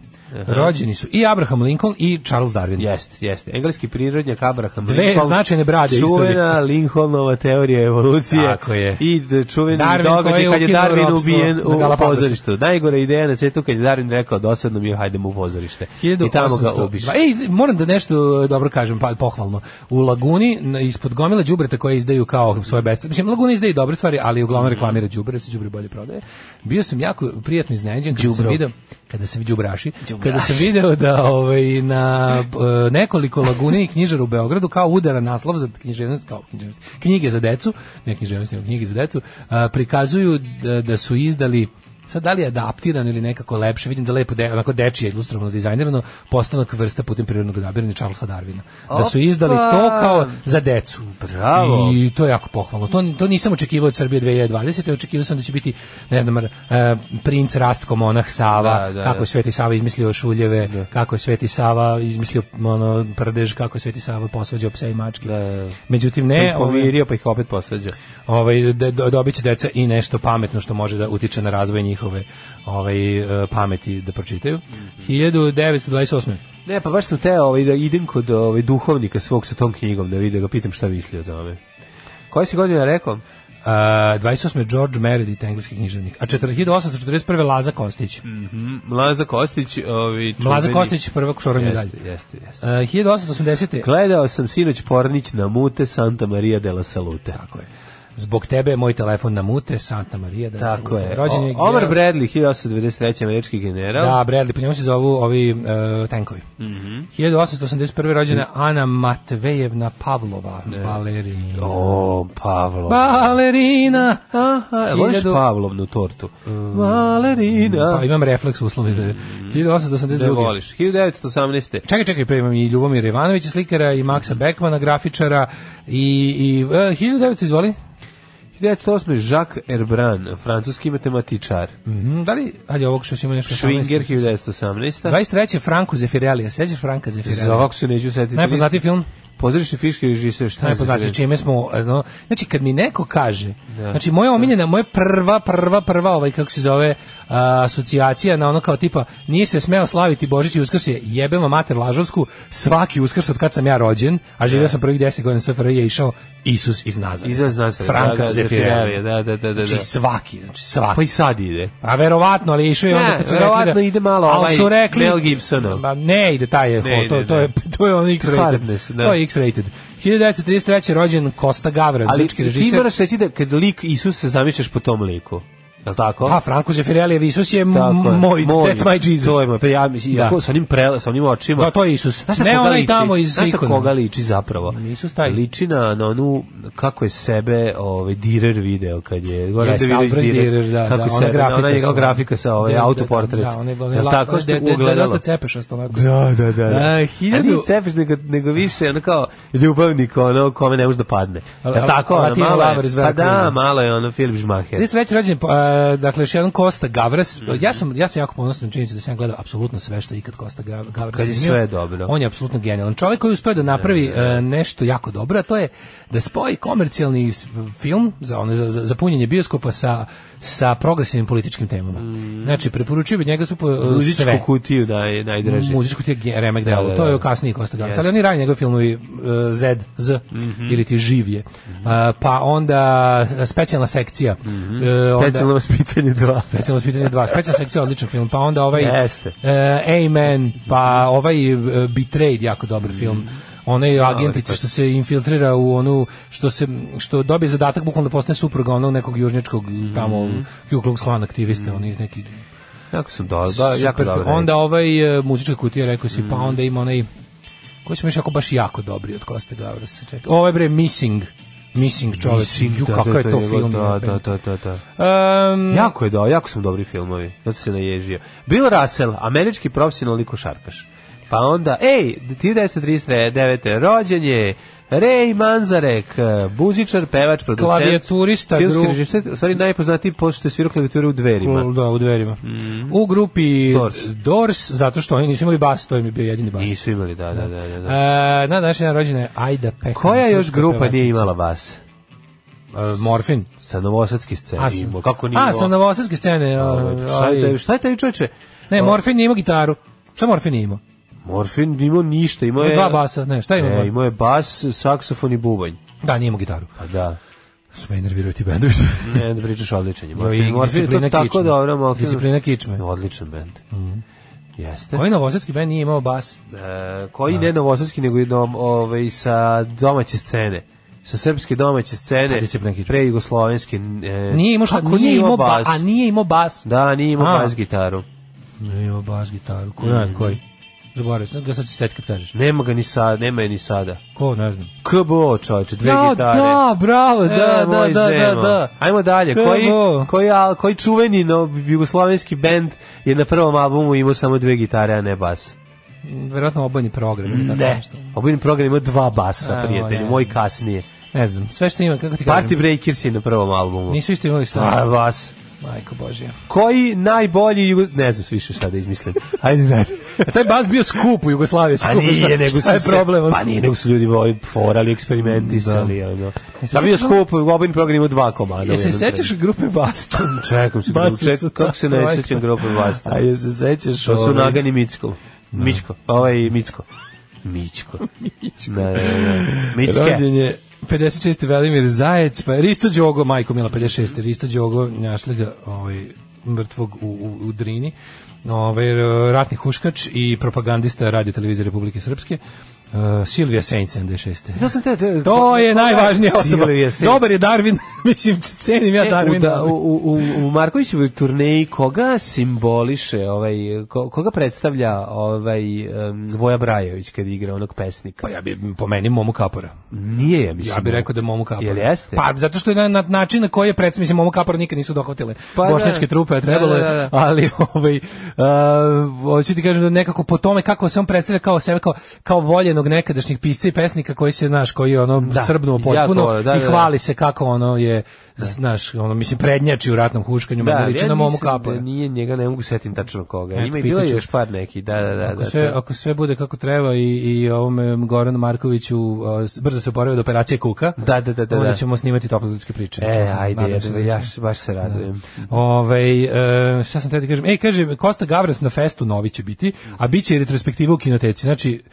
Rođeni su i Abraham Lincoln i Charles Darwin.
Jeste, jeste. Engleski prirodnjak Abraham
Dve
Lincoln.
značajne brade isto
Čuvena Lincolnova teorija evolucije.
Tako je.
I d- čuveni
Darwin koji
događaj
je
kad je
ukinuo
Darwin
ropstvo
ubijen
na
u
Galapagosu.
pozorištu. Najgore ideja na svetu kad je Darwin rekao dosadno mi je, hajde mu u pozorište. I tamo ga
1802.
ubiš.
Ej, moram da nešto e, dobro kažem, pa pohvalno. U Laguni, na- ispod gomile đubreta koje izdaju kao svoje best. Mislim, Laguna izdaje dobre stvari, ali uglavnom reklamira đubre, se đubre bolje prodaje. Bio sam jako prijatno iznenađen kada sam
Đubro.
video, kada sam đubraši, kada sam video da ovaj, na e, nekoliko laguni i knjižara u Beogradu kao udara naslov za književnost, kao književnost, knjige za decu, ne književnost, nego knjige za decu, a, prikazuju da, da su izdali Sad da li je adaptiran ili nekako lepše, vidim da lepo de, onako dečije ilustrovano dizajnirano postanak vrsta putem prirodnog odabiranja Charlesa Darwina. Da su izdali to kao za decu.
Bravo.
I to je jako pohvalno. To, to nisam očekivao od Srbije 2020. Očekivao sam da će biti, ne znam, e, princ Rastko Monah Sava,
Da, da,
kako
da.
je Sveti Sava izmislio šuljeve, kako je Sveti Sava izmislio ono, prdež, kako je Sveti Sava posvađao pse i mačke.
da.
Međutim,
Pa
ne,
ih
ovaj-
pomirio, pa ih opet posvađa.
ovaj de, do- dobit će deca i nešto pametno što može da utiče na razvoj njihove ovaj e, pameti da pročitaju. 1928.
Ne, pa baš sam teo ovaj, da idem kod ovaj, duhovnika svog sa tom knjigom, da vidim, da ga pitam šta misli o tome. Koje si godina rekao?
Uh, 28. George Meredith, engleski književnik. A 1841. Laza Kostić.
Mlaza Kostić. Ovaj,
Laza
Mm, čuveni-
Kostić, prvak u šoranju dalje.
Jeste, jeste, jeste.
Uh, 1880.
Gledao sam sinoć Pornić na mute Santa Maria de la Salute.
Tako je. Zbog tebe je moj telefon na mute, Santa Maria. Da vas
Tako
ljubi.
je.
Rođen je
O- Omar
Gerald-
Bradley, 1893. američki general.
Da, Bradley, po njemu se zovu ovi e, tenkovi.
Mhm.
1881. rođena Ana Matvejevna Pavlova, balerina.
E, O, Pavlov.
Balerina!
Aha, voliš
Hiljadu- Mm.
Pavlovnu tortu? Malerina.
Pa imam refleks uslovni da je. 1882.
da voliš. 1918.
Čekaj, čekaj, pre imam i Ljubomira Ivanovića slikara i Maksa Beckmana grafičara i, i e, 1900 izvoli.
1908. Jacques Herbran, francuski matematičar.
Mhm, da li, ajde ovog što si imao nešto 18.
Schwinger 1918.
23. Franco Zeffirelli, a sećaš Franka
Za
Zeffirelli?
ovako se neću setiti.
Najpoznatiji film?
Pozorišni fiški režiser, šta je
Najpoznatiji
za-
čime smo, e, no, znači kad mi neko kaže,
Da.
znači moja omiljena, moja prva, prva, prva, ovaj kako se zove, a, asocijacija na ono kao tipa, nije se smeo slaviti Božić i Uskrs je jebem vam mater Lažovsku, svaki Uskrs od kad sam ja rođen, a
Da.
živio sam prvih 10 godina SFRJ je išao Isus iz Nazara.
Iza Nazara, da,
Franka
da,
Zeffirelli.
Zeffirelli, da, da, da, da, da.
Znači svaki, znači svaki.
Pa i sad ide.
A verovatno, ali je išao i onda
Ne,
kad su rekli
verovatno
da...
ide malo
ali
ovaj
su rekli,
Mel Gibsonov.
Ma ne ide taj, je,
Ne
o, to,
ide,
to, je,
ne.
to je on
Hardness,
X-rated.
da.
To je X-rated. 1933. rođen Kosta Gavra,
Ali
zlički
ti
režiser.
moraš reći da kad lik Isus se zamišljaš po tom liku. Je li tako?
Pa, Franko Zeffirelli je Isus je m-
Tako je.
moj, that's my Jesus.
To je moj, pa ja mislim,
Da.
iako sa onim, prele, sa onim očima.
Da, to je Isus.
Znaš na
Ne
koga
onaj
liči?
tamo iz
Znaš na
ikona.
koga liči zapravo?
Isus taj.
Liči na, na onu, kako je sebe ovaj, Direr video, kad je Goran
Jeste,
Davidović
Alfred
Direr.
Direr, da,
kako
da, ona
sebe,
grafika
ona njegova
sa-
grafika sa ovaj,
Da, da,
autoportret.
Da, on je
Je li tako što ugledalo?
Da, cepešast onako.
Da, da, da. da.
E,
A
hiljadu-
nije cepeš, nego, nego više, ono kao ljubavnik, ono kome ne može da padne.
Al-
Je li
al-
tako? Ono,
Latino
malo je-
lover iz
pa da,
Veracruza.
malo je ono Filip Žmaher.
33. rođen, pa, e, dakle, još jedan Kosta Gavras.
Mhm.
Ja, sam, ja sam jako ponosan na činjenicu da sam ja gledao apsolutno sve što je ikad Kosta Gra- Gavras
Kad je
snimio.
sve dobro.
On je apsolutno genijalan. Čovjek koji uspio da napravi e, nešto jako dobro, a to je da spoji komercijalni s- film za, one, za, za, za punjenje bioskopa sa, sa progresivnim političkim temama. Znači, preporučio bi njega sve. po- e,
Mhm. Muzičku
sve.
kutiju da je najdraže.
Muzičku ti je ge- remek delo,
Da, da,
to je
da.
kasnije Kosta Gavras,
Jeste. Mhm.
ali oni ranije njegove filmovi uh, Z, Z, ili ti Živje, Uh, pa onda e, specijalna sekcija, e, onda-
Mhm. Specijalno vaspitanje 2.
Specijalno vaspitanje 2. Specijalna sekcija odličan film, pa onda ovaj
Jeste.
e, Amen, pa ovaj e, Betrayed jako dobar
Mhm.
film. Onaj agentica što se infiltrira u onu što se što dobije
Mhm.
zadatak bukvalno da postane supruga onog nekog južnjačkog tamo Ku Klux Klan aktiviste, onih neki
Jako su dobro, da, jako
Super,
dobro.
Onda ovaj e, muzička kutija, rekao si, pa
Mm.
onda ima onaj koji su mi još ako baš jako dobri od Koste Gavrasa. Čekaj. Ovo je bre Missing. Missing čovjek. Ju, kakav je to film.
Da, da, da, da, da.
Mm.
Jako je da, jako su dobri filmovi. Zato se naježio. Bill Russell, američki profesionalni košarkaš. Pa onda, ej, 1939. rođen je Ray Manzarek, eh, buzičar, pevač, producent.
Klavijaturista,
filmski
gru-
režiser, u stvari najpoznatiji pošto je svirao klavijature u dverima.
Da, u dverima.
Mm.
U grupi
Doors.
Doors. zato što oni nisu imali bas, to im je bio jedini bas.
Nisu imali, da, da, da. da, da.
E, na današnji dan rođena je Ajda Pekan.
Koja još
turska
grupa nije
pevačica.
imala vas?
E, Morfin.
Sa novosadske scene.
A, sam-
imao. Kako nije
A,
imao?
sam na Vosadske scene. a,
Ovaj, Šta je
ali-
taj, šta je taj čoveče?
Ne, Morfin nije imao gitaru. Šta Morfin nije imao?
Morfin nije imao ništa, imao je...
Dva basa, ne, šta
E,
imao?
imao je bas, saksofon i bubanj.
Da, nije imao gitaru.
Pa da.
Sve nerviraju ti bendovi.
Ne, da pričaš odličan je.
i
Morfin, Morfin je to
disciplina
tako
kičme.
dobro. Morfin.
Disciplina kičme. Mhm.
Odličan bend. Jeste.
Koji Da. novosadski band nije imao bas?
E, koji ne novosadski, nego i dom, ovaj, sa domaće scene. Sa srpske domaće scene,
A, disciplina kičme.
pre jugoslovenske. E,
Nije imao šta,
kako
nije imao bas. A nije imao bas.
Da, nije imao
A.
bas gitaru.
Nije imao bas gitaru. Ko ne znam koji? Zaboravio sam, ga sad ću set kad kažeš.
Nema ga ni sad, nema je ni sada.
Ko, ne znam.
KBO, čovječe, dve
ja,
gitare.
da, bravo, da,
E,
da,
moj
da, da,
zemo.
da.
Ajmo dalje,
Ko je
koji,
ovo?
koji, al- koji čuveni no, jugoslovenski bend je na prvom albumu imao samo dve gitare, a ne bas?
Verovatno obojni program. ili tako nešto.
Obojni program ima dva basa,
A,
prijatelji,
ne.
moj kasnije.
Ne znam, sve što ima, kako ti kažem.
Party Breakers je na prvom albumu.
Nisu da. isto imali
A,
šta.
bas.
Majko Božja.
Koji najbolji jugo... Ne znam više šta da izmislim. Ajde, dalje.
Taj bas bio skup u Jugoslaviji.
Pa
skup, šta-
nije, nego su
šta je
se-
problem? ono?
Pa nije, nego su ljudi ovaj, forali, eksperimentisali. Da. Ono.
E,
Da bio skup, obojni program ima dva komada. u
Jesi se
jednom
sećaš grupe Basta?
Čekam se,
Basi
ček,
su-
kako se ne sećam grupe Basta?
A jesi se sećaš?
To su
ovaj, Da.
Nagan i Micko. Mičko, pa ovaj Micko. Mičko. Mičko. Da, da, da. Mičke.
Rođen je 56. Velimir Zajec, pa Risto Đogo, majko Mila 56. Risto Đogo, našli ga ovaj, mrtvog u, u, u Drini, ovaj, ratni huškač i propagandista radio televizije Republike Srpske, uh, Silvija Sejn 76.
To sam te... te- pa-
To je najvažnija osoba.
Silvije Sejn.
Dobar je Darwin, mislim, cenim ja
E,
Darwin.
u, da, u, u, u Markovićevoj turneji koga simboliše, ovaj, ko, koga predstavlja ovaj, em, Voja Brajović kad igra onog pesnika?
Pa ja bi pomenim Momu Kapora.
Nije, ja mislim.
Ja bih rekao da je Momu Kapor.
Jel jeste?
Pa zato što je na, na način na koji je predstavljen, mislim Momu Kapor nikad nisu dohvatile
Pa da.
bošnjačke trupe, a trebalo je,
Da, da, da.
ali ovaj uh, hoću ti kažem da nekako po tome kako se on predstavlja kao sebe kao kao voljenog nekadašnjih pisca i pesnika koji se znaš koji je ono
Da,
srbnuo
jako
potpuno
volio, da,
i
da, da.
hvali se kako ono je znaš ono mislim prednjači u ratnom huškanju, da, liči na Momu
mislim
Kapora.
Da nije njega, ne mogu setim tačno koga.
Eto,
Ima i
pitat
bilo je
ću.
još par neki, da, da, da.
Ako
da,
sve,
to-
ako sve bude kako treba i, i ovom Goranu Markoviću a, s- brzo se oporavio od operacije kuka,
Da, da, da, da,
onda
da.
ćemo snimati tople ljudske priče.
E, ajde,
Nadam
ja,
se da
ja
će.
baš se radujem.
Ovaj, e, šta sam te da kažem? Ej, kaže, Kosta Gavras na festu novi će biti, a bit će i retrospektiva u kinoteci. Znači,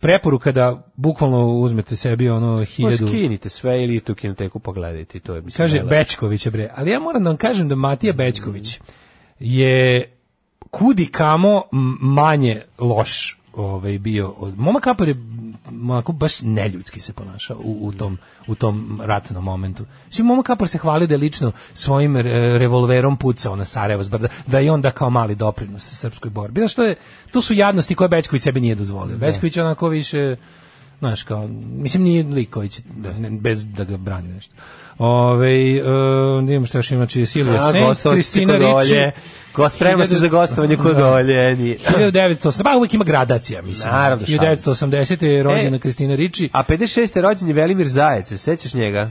preporuka da bukvalno uzmete sebi ono
Pa
hiljadu...
Skinite sve ili tu kinoteku pogledajte, to je mislim.
Kaže
najlepše.
Bečković je bre, ali ja moram da vam kažem da Matija
Mm.
Bečković je kudi kamo m- manje loš ovaj bio od Moma Kapor je m, onako baš neljudski se ponašao u, u tom u tom ratnom momentu. Mislim Moma Kapor se hvali da je lično svojim e, revolverom pucao na Sarajevo s brda, da je onda kao mali doprinos srpskoj borbi. Znaš, to je to su jadnosti koje Bečković sebi nije dozvolio.
Da.
Bečković je onako više znaš kao, mislim nije lik koji će, ne, bez da ga brani nešto. Ove, uh, imamo što još ima, znači Silvija
A,
Sejn,
gostovao si
Kristina
kod Olje.
Riči,
Gost, sprema se za gostovanje kod
Da.
Olje. nije.
1980, pa uvijek ima gradacija, mislim.
Naravno, šalim se.
1980. je rođena
E.
Kristina Riči.
A 56. rođen je Velimir Zajec, se sećaš njega?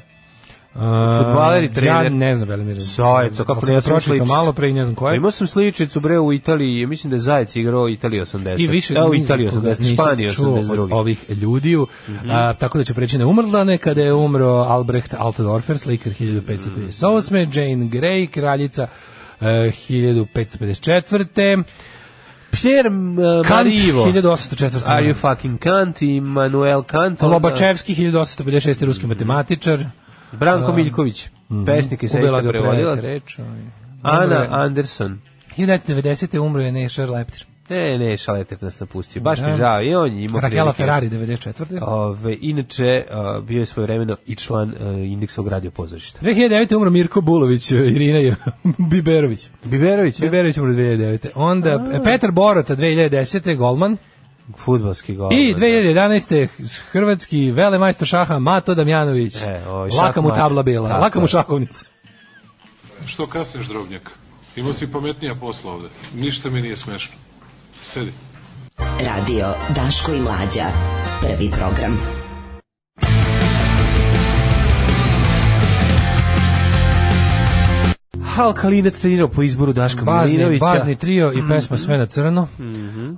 Uh,
fudbaler i trener.
Ja ne znam, Velimir.
Zajec, kako ne, ja sam
pročito
sličica.
malo pre i ne znam koje.
Imao sam sličicu bre u Italiji, ja mislim da je Zajec igrao Italiju 80.
I više
e, u
nikog
Italiji
koga
80,
nisam
Španiju
čuo od
82.
ovih ljudiju.
Mhm.
A, tako da ću preći na umrlane kada je umro Albrecht Altdorfer, slikar 1538. Jane Grey, kraljica e, 1554.
Pierre uh,
Kant
Marivo.
1804.
Are you fucking Kant i Manuel Kant. onda
Lobačevski 1856. ruski matematičar.
Branko Miljković, pesnik i
Da. Mhm.
sestra
Ubila ga prelaka
prevodilac.
reč. ovaj. Umro
Ana
je-
Anderson.
1990. umro je Nešar Leptir.
Ne, ne, šaleter nas napustio. Baš mi žao. I on je imao
Rakela
prilike-
Da.
da
Ferrari 94.
Ove, inače, a, bio je svojevremeno i član a, Indeksovog radio pozorišta.
2009. umro Mirko Bulović, e, Irina je- Biberović.
Biberović je
Biberović umro 2009. Onda E, Petar Borota 2010. golman.
futbalski gol.
I 2011. hrvatski velemajstor šaha Mato Damjanović.
E, ovaj šah
Laka mu
Mato.
tabla bila,
Tako
laka mu
je.
šahovnica.
Što kasniš, drobnjak? Imao si pametnija posla ovde. Ništa mi nije smešno. Sedi.
Radio Daško i Mlađa. Prvi program.
Halkalinac trenirao po izboru Daška
Bazni,
Milinovića. Mhm.
bazni trio i pesma Sve na crno.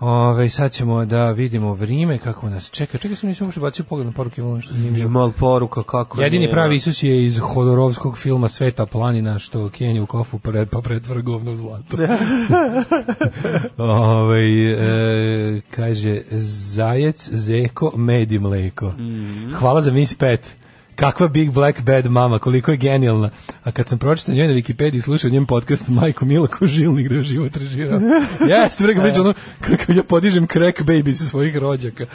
Ove, sad ćemo da vidimo vrijeme kako nas čeka. Čekaj, sam nisam uopšte bacio pogled na poruke. ono što nije bio.
Mal poruka kako
Pa Jedini
nema.
pravi Isus je iz Hodorovskog filma Sveta planina što Kenje u kofu pred, pa pretvara govno u zlato.
Da.
Ove, e, kaže Zajec, Zeko, med i mleko.
Mhm.
Hvala za Miss Pet. Kakva Big Black Bad mama, koliko je genijalna. A kad sam pročitao njoj na Wikipediji i slušao njen podcast Majko Mila ko žilnik da je život režirao. Ja ste vrega pričao ono kako ja podižem crack baby sa svojih rođaka.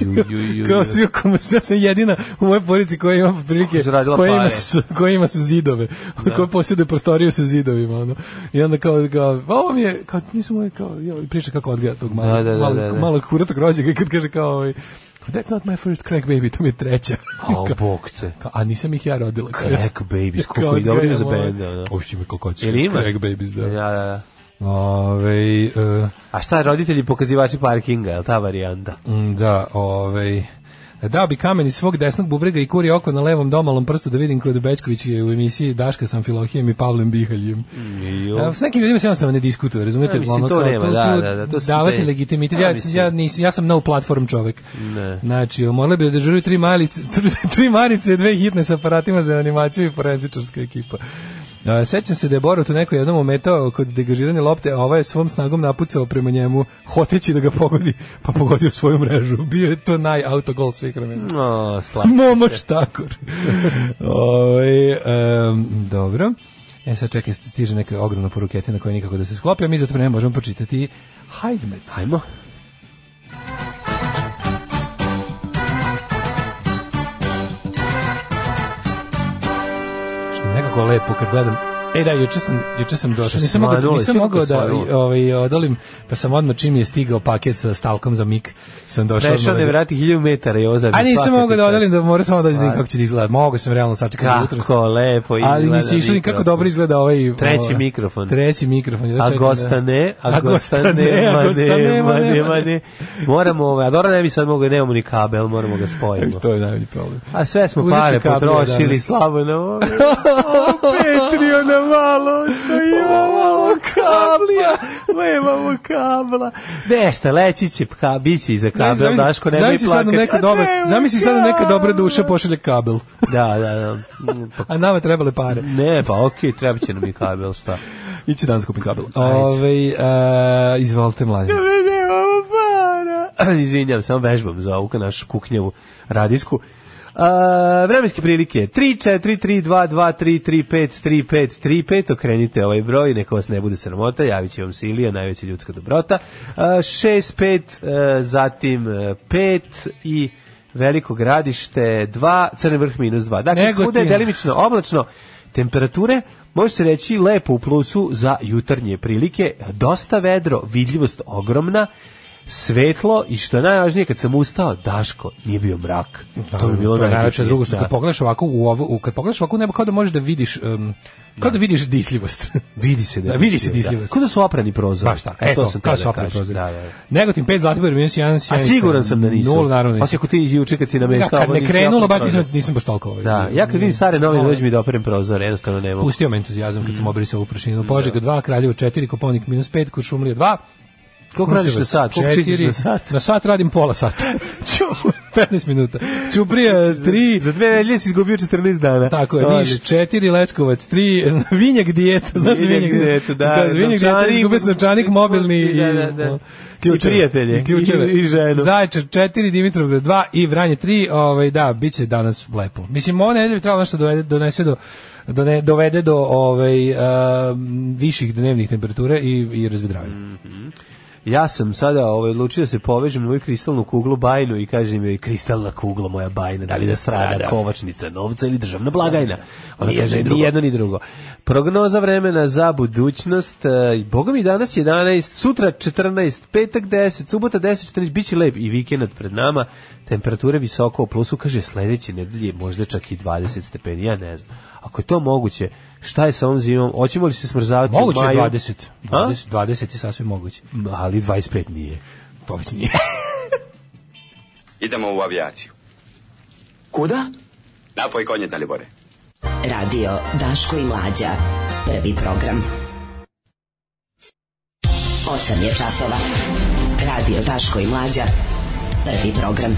Ju, ju, ju, ju.
Kao svi oko ja sam jedina u mojoj porodici koja ima prilike
Koja je zaradila
koja ima
pare.
s, koja ima sa zidove,
Da.
koja posjeduje prostoriju sa zidovima, ono. I onda kao kao ovo mi je kao nisu moje kao ja priča kako odgleda tog malog
Da, da, da,
malog,
da, da.
malog kuratog rođaka i kad kaže kao ovaj, That's not my first crack baby, to mi je treća.
O,
Kao-
bog te.
Kao, a nisam ih ja rodila.
Crack Babies, koliko i dobro ime za benda, da.
Ušće me koliko hoćeš.
Jel ima?
Crack Babies, da.
Da, da, da.
Ovaj, e,
A šta, roditelji pokazivači parkinga, je li ta varijanta?
Mm, Da, ovaj Dao bi kamen iz svog desnog bubrega i kuri oko na levom domalom prstu da vidim kod Bečković je u emisiji Daška sam Filohijem i Pavlem Bihaljem. Da, s nekim ljudima se jednostavno ne diskutuje, razumete?
Da, mislim,
Ono
to
kao
nema, da, da, da, to su
davati
te-
legitimitet,
Ja
ja,
mislim.
ja, nis, ja sam no platform čovek.
Ne.
Znači, morali bi da dežuraju tri, malice, tri marice, dve hitne sa aparatima za animaciju i forenzičarska ekipa. A, sećam se da je Borut u nekoj jednom ometao kod degažirane lopte, a ovaj je svom snagom napucao prema njemu, hoteći da ga pogodi, pa pogodio svoju mrežu. Bio je to najautogol svih vremena.
O, slabo.
Momo Štakor. Ovaj, em, dobro. E sad čekaj, stiže neka ogromna poruketina koja nikako da se sklopi, a mi zato ne možemo pročitati Hajdmet.
Ajmo.
što je nekako lepo kad gledam E da, juče sam, juče sam
Što
došao.
si
Nisam mogao, da,
smanula,
nisam
si
mogao da
smanula.
i, ovaj, odolim, pa sam odmah čim je stigao paket sa stalkom za mik, sam došao.
Prešao
odmah
ne
da-
vrati hiljaju metara i ozabio
A nisam mogao da odolim, da moram samo dođe da
Pa.
vidim kako će da izgleda. Mogao sam realno sačekati jutro.
Kako lepo izgleda.
Ali nisi išao ni kako
mikrofon.
dobro izgleda ovaj...
Treći
ovaj-
mikrofon.
Treći mikrofon. Ja
A
čekam da-
gosta ne, a, gosta ne, ma
a gosta
ne, ma ne, ma
ma
ne. Moramo, ovaj, a dobro ne bi sad mogu, nemamo ni kabel, moramo ga spojimo.
To je najbolji problem.
A sve smo
Uzet ću
pare
kabel
potrošili,
danas.
slabo na ovo. Patreona malo, što imamo kabla. Nemamo kabla. Nešta, leći će, ka, bit će iza kabel,
Zamisli-
Daško, nemoj
zamisli sad na
plakati.
neka
A
dobra,
nemam
zamisli sad na neka
kabla.
dobra duša pošalje kabel.
Da, da, da. Mm, Pa,
A nama trebale pare.
ne, pa okej, treba će nam i kabel, šta.
Ići danas kupim kabel.
Ajde.
Ove, e,
eh,
izvolite mlađe.
nemamo para. Izvinjam, samo vežbam za ovu našu kuknjavu radisku. A, vremenske prilike 3 4 3 2 2 3 3 5 3 5 3 5 okrenite ovaj broj neka vas ne bude sramota javit će vam se Ilija najveća ljudska dobrota A, 6 5 e, zatim e, 5 i veliko gradište 2 crni vrh minus 2 dakle
Negotin.
svuda je delimično oblačno temperature Može se reći lepo u plusu za jutarnje prilike, dosta vedro, vidljivost ogromna, svetlo i što je najvažnije kad sam ustao, Daško, nije bio mrak. to bi bilo
je najlepše
najlepše.
drugo što
Da.
kad pogledaš ovako u ovo u kad pogledaš ovako u nebo kao da možeš da vidiš em, kao da vidiš disljivost.
Vidi se
Da, vidi se disljivost.
Kuda su oprani prozor?
Baš tako. Eto,
sam
kao
teo da
su opet
kažem.
prozori.
Da, da, da.
Negotin 5 Zlatibor minus 1
A siguran sam da nisu.
Nul naravno.
Osim ako ti juče kad si na
Ja,
mesto.
kad
ovo
me
nisi
krenulo,
oprao
baš nisam,
prozor.
nisam baš toliko. Ovaj.
Da, ja kad vidim stare novine, dođe mi da operem prozor, jednostavno ne mogu.
Pustio me entuzijazam kad sam obrisao ovu
Da.
prašinu. Požega 2, Kraljevo 4, Koponik minus 5, Kuršumlija 2.
Koliko radiš na sat? Koliko čistiš na sat?
Na sat radim pola sata. Ću- 15 minuta. Ćuprija 3,
Za dve nedelje si izgubio 14 dana.
Tako je, Niš
Odlično.
4, Leskovac 3, Vinjak dijeta, znaš za
Vinjak
Vinjak
dijetu,
dijeta,
da,
za Vinjak dijeta,
novčanik,
izgubio sam novčanik, mobilni i,
da, da, da.
o,
I prijatelje,
i ključeve.
i- i ženu.
Zaječar 4, Dimitrovgrad 2 i Vranje 3, ovaj, da, bit će danas lepo. Mislim, ovo nedelje bi trebalo nešto dovede, donese do done, dovede
Mm,
do ovaj, um, viših dnevnih temperature i, i razvedravanja.
ja sam sada ovaj, odlučio da se povežem na moju kristalnu kuglu bajnu i kažem joj, kristalna kugla moja bajna, da li da strada,
Da, da.
kovačnica novca ili državna blagajna? Ona
Nijedno
kaže,
i drugo.
ni jedno ni drugo. Prognoza vremena za budućnost, e, boga mi danas 11, sutra 14, petak 10, subota 10, 14, bit će lep i vikend pred nama, temperature visoko u plusu, kaže sledeće nedelje možda čak i 20 stepeni, ja ne znam. Ako je to moguće, šta je sa ovom zimom? Hoćemo li se smrzavati
Moguće
u
je
maju?
20.
A?
20, 20 je sasvim moguće.
Ali 25 nije. To već nije.
Idemo u avijaciju.
Kuda?
Napoj konje, Dalibore.
Radio Daško i Mlađa. Prvi program. 8 je časova. Radio Daško i Mlađa. Prvi program.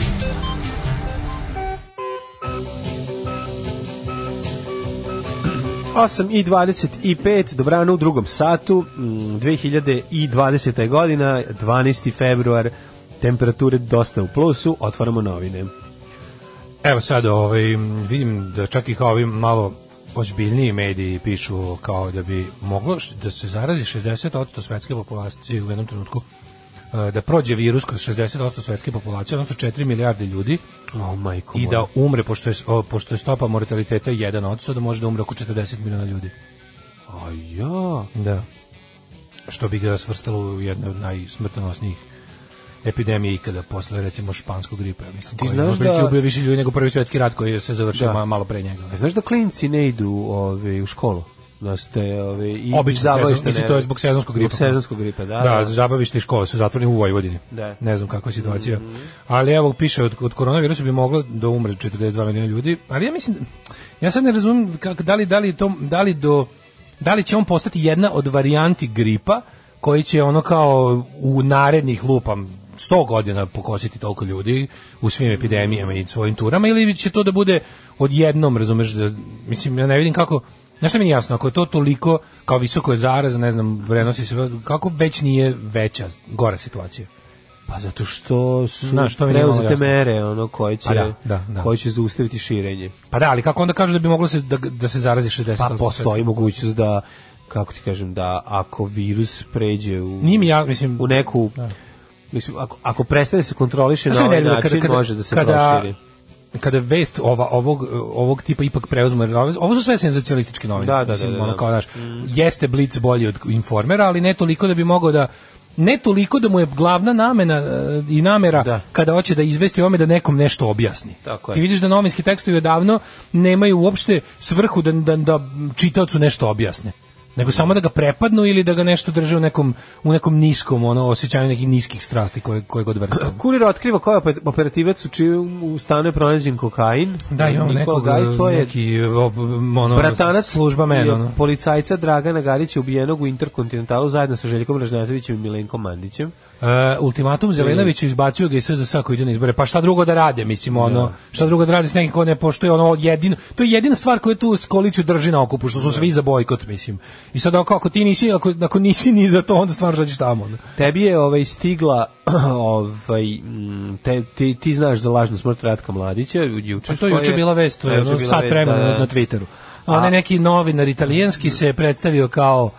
Osam i 25, dobrano u drugom satu, mm, 2020. godina, 12. februar, temperature dosta u plusu, otvaramo novine.
Evo sad, ovaj, m, vidim da čak i kao ovi malo ozbiljniji mediji pišu kao da bi moglo š- da se zarazi 60% svetske populacije u jednom trenutku e, da prođe virus kroz 60% svetske populacije, odnosno 4 milijarde ljudi
O, majko
i da umre, pošto je, s- o, pošto je stopa mortaliteta 1%, da može da umre oko 40 miliona ljudi.
A ja...
Da. Što bi ga svrstalo u jednu od najsmrtonosnijih epidemije ikada posle recimo španskog gripa, ja mislim. Ti
znaš da-
ubio više ljudi nego prvi svetski rat koji je se završio
Da.
ma- malo pre njega.
A znaš da klinci ne idu ove, u školu? Da ste, ove, i,
Obično
i zabavište
sezon- mislim,
ne-
to je zbog sezonskog gripa.
Zbog sezonskog gripa, da.
Da, zabavište i škole su zatvorene u Vojvodini.
Da.
Ne znam kakva je situacija. Ali evo piše od, od koronavirusa bi moglo da umre 42 miliona ljudi, ali ja mislim ja sad ne razumem kako da li da li to da li do da li će on postati jedna od varijanti gripa koji će ono kao u narednih lupam 100 godina pokositi toliko ljudi u svim epidemijama i svojim turama ili će to da bude odjednom, razumeš, da, mislim, ja ne vidim kako, znaš što mi nije jasno, ako je to toliko, kao visoko je zaraza, ne znam, prenosi se, kako već nije veća, gora situacija?
Pa zato što su
Znaš, to mi nije malo
preuzete
jasno.
mere ono, koje, će,
Pa da, da, da.
koje će zaustaviti širenje.
Pa da, ali kako onda kažu da bi moglo se, da, da se zarazi 60%?
Pa postoji mogućnost da, kako ti kažem, da ako virus pređe u...
Nije mi ja, mislim, Da.
u neku mislim ako ako prestane da se kontroliše na
Znaš što me
ovaj
nervira?
način može da se proširi.
kada vest ova, ovog, ovog tipa ipak preuzme, ovo, ovo su sve senzacionalističke novine.
Da, da, da,
mislim,
da, da.
ono kao, znaš, Jeste Blitz bolji od informera, ali ne toliko da bi mogao da ne toliko da mu je glavna namena e, i namera
Da.
kada hoće da izvesti ome da nekom nešto objasni.
Tako je.
Ti vidiš da novinski tekstovi odavno nemaju uopšte svrhu da, da, da čitaocu nešto objasne nego samo da ga prepadnu ili da ga nešto drže u nekom, u nekom niskom ono, osjećanju nekih niskih strasti koje, koje god vrste.
Kurir otkriva koja operativac u čiju u stanu je pronađen kokain.
Da, imam
Nikola
nekog,
Gajić, to je
neki, ob- ono,
bratanac
služba
i
mena, ono.
policajca Dragana Garića ubijenog u Interkontinentalu zajedno sa Željkom Ražnatovićem i Milenkom Mandićem.
E, ultimatum Zelenoviću izbacio ga iz SZS ako ide na izbore. Pa šta drugo da rade, mislim, ono, šta drugo da rade s nekim ko ne poštuje, ono, jedino, to je jedina stvar koju tu s koaliciju drži na okupu, što su svi za bojkot, mislim. I sad, ako, ako ti nisi, ako, ako nisi ni za to, onda stvarno šta ćeš tamo, ono.
Tebi je ovaj stigla ovaj mm, te, ti, ti znaš za lažnu smrt Ratka Mladića juče.
Pa to je juče bila vest, to je ono sat vremena
da,
na- na Twitteru. A Mm. onaj neki novinar italijanski se predstavio kao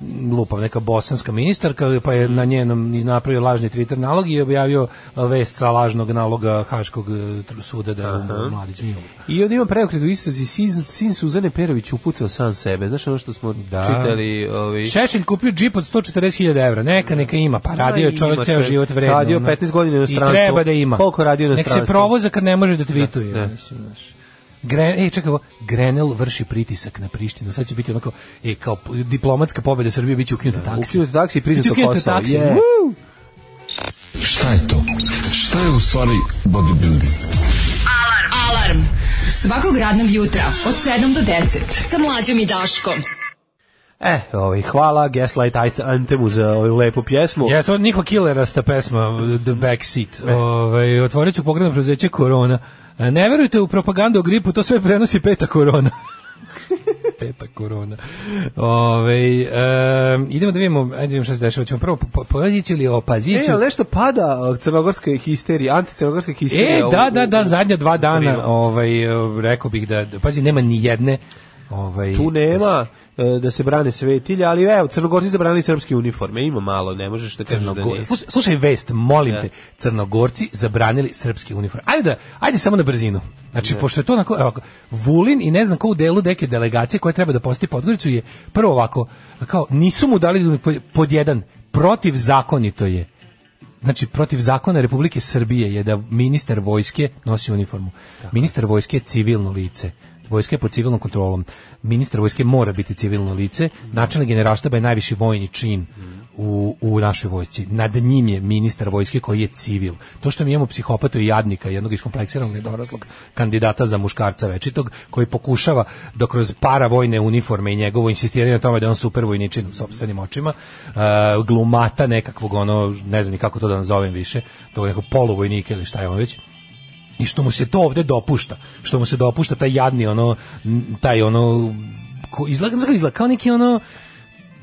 m, lupam, neka bosanska ministarka, pa je na njenom i napravio lažni Twitter nalog i objavio a, vest sa lažnog naloga Haškog e, tr- suda da umro mladić nije umro.
I onda ima preokret u istrazi, sin, sin Suzane Perović upucao sam sebe. Znaš ono što smo
Da.
čitali? ovaj, Ovi,
Šešelj kupio džip od 140.000 evra, neka, neka ima, pa radio je
Da. Ima
čovjek ceo
čovjek.
život vredno.
Radio
ono.
15 godina u
I
inostranstvu.
treba da ima.
Koliko radio u
Nek se
inostranstvu?
provoza kad ne može da tweetuje.
Da, da.
Mislim, znaš. Gren, e, čekaj, ovo, Grenell vrši pritisak na Prištinu, sad će biti onako, e, kao p- diplomatska pobjeda Srbije, bit će ukinuta taksi.
Ukinuti Da, taksi i
Bit će
priznato
ukinuta
Kosovo.
taksi,
Je.
wuu!
Šta je to? Šta je u stvari bodybuilding?
Alarm. Svakog radnog jutra od 7 do 10. Sa Mlađom i Daškom.
E, ovaj, hvala Gaslight Ant- Anthemu za ovu lepu pjesmu.
Jeste, ovo je Niko Killerasta pesma, The Backseat. Ovaj, otvorit ću pogledno preuzeće korona. E, Ne verujte u propagandu o gripu, to sve prenosi peta korona. peta korona. Ovaj, em, idemo da vidimo, ajde vidimo šta se dešava. Ćemo prvo po- po- poziciju ili
E,
opaziciju?
ali nešto pada od crnogorske histerije, anticrnogorske histerije.
E,
u-
da,
u-
da, da, zadnja dva dana,
Rimu.
ovaj, e, rekao bih da, da- pazi, nema ni jedne Ovaj,
Tu nema e, da se brane svetilja, ali evo, crnogorci zabranili srpske uniforme, ima malo, ne možeš da kažeš da
Crnogor...
nije.
slušaj, slušaj vest, molim
Da.
te, Crnogorci zabranili srpski uniforme. Ajde, da, ajde samo na brzinu.
Da.
Znači, pošto je to onako, ovako, Vulin i ne znam ko u delu neke delegacije koja treba da posjeti Podgoricu je prvo ovako, kao, nisu mu dali da- pod- pod jedan, protiv zakonito je znači protiv zakona Republike Srbije je da ministar vojske nosi uniformu. Ministar vojske je civilno lice. Vojska je pod civilnom kontrolom. Ministar vojske mora biti civilno lice. Načelnik generalštaba je najviši vojni čin u, u našoj vojsci. Nad njim je ministar vojske koji je civil. To što mi imamo psihopatu i jadnika, jednog iskompleksiranog nedoraslog kandidata za muškarca večitog, koji pokušava da kroz paravojne uniforme i njegovo insistiranje na tome da je on super vojničin u sopstvenim očima, e, glumata nekakvog ono, ne znam ni kako to da nazovem više, to je neko poluvojnika ili šta je on već, i što mu se to ovde dopušta, što mu se dopušta taj jadni ono, m, taj ono, ko, izgleda, znaš kako izgleda, kao neki ono,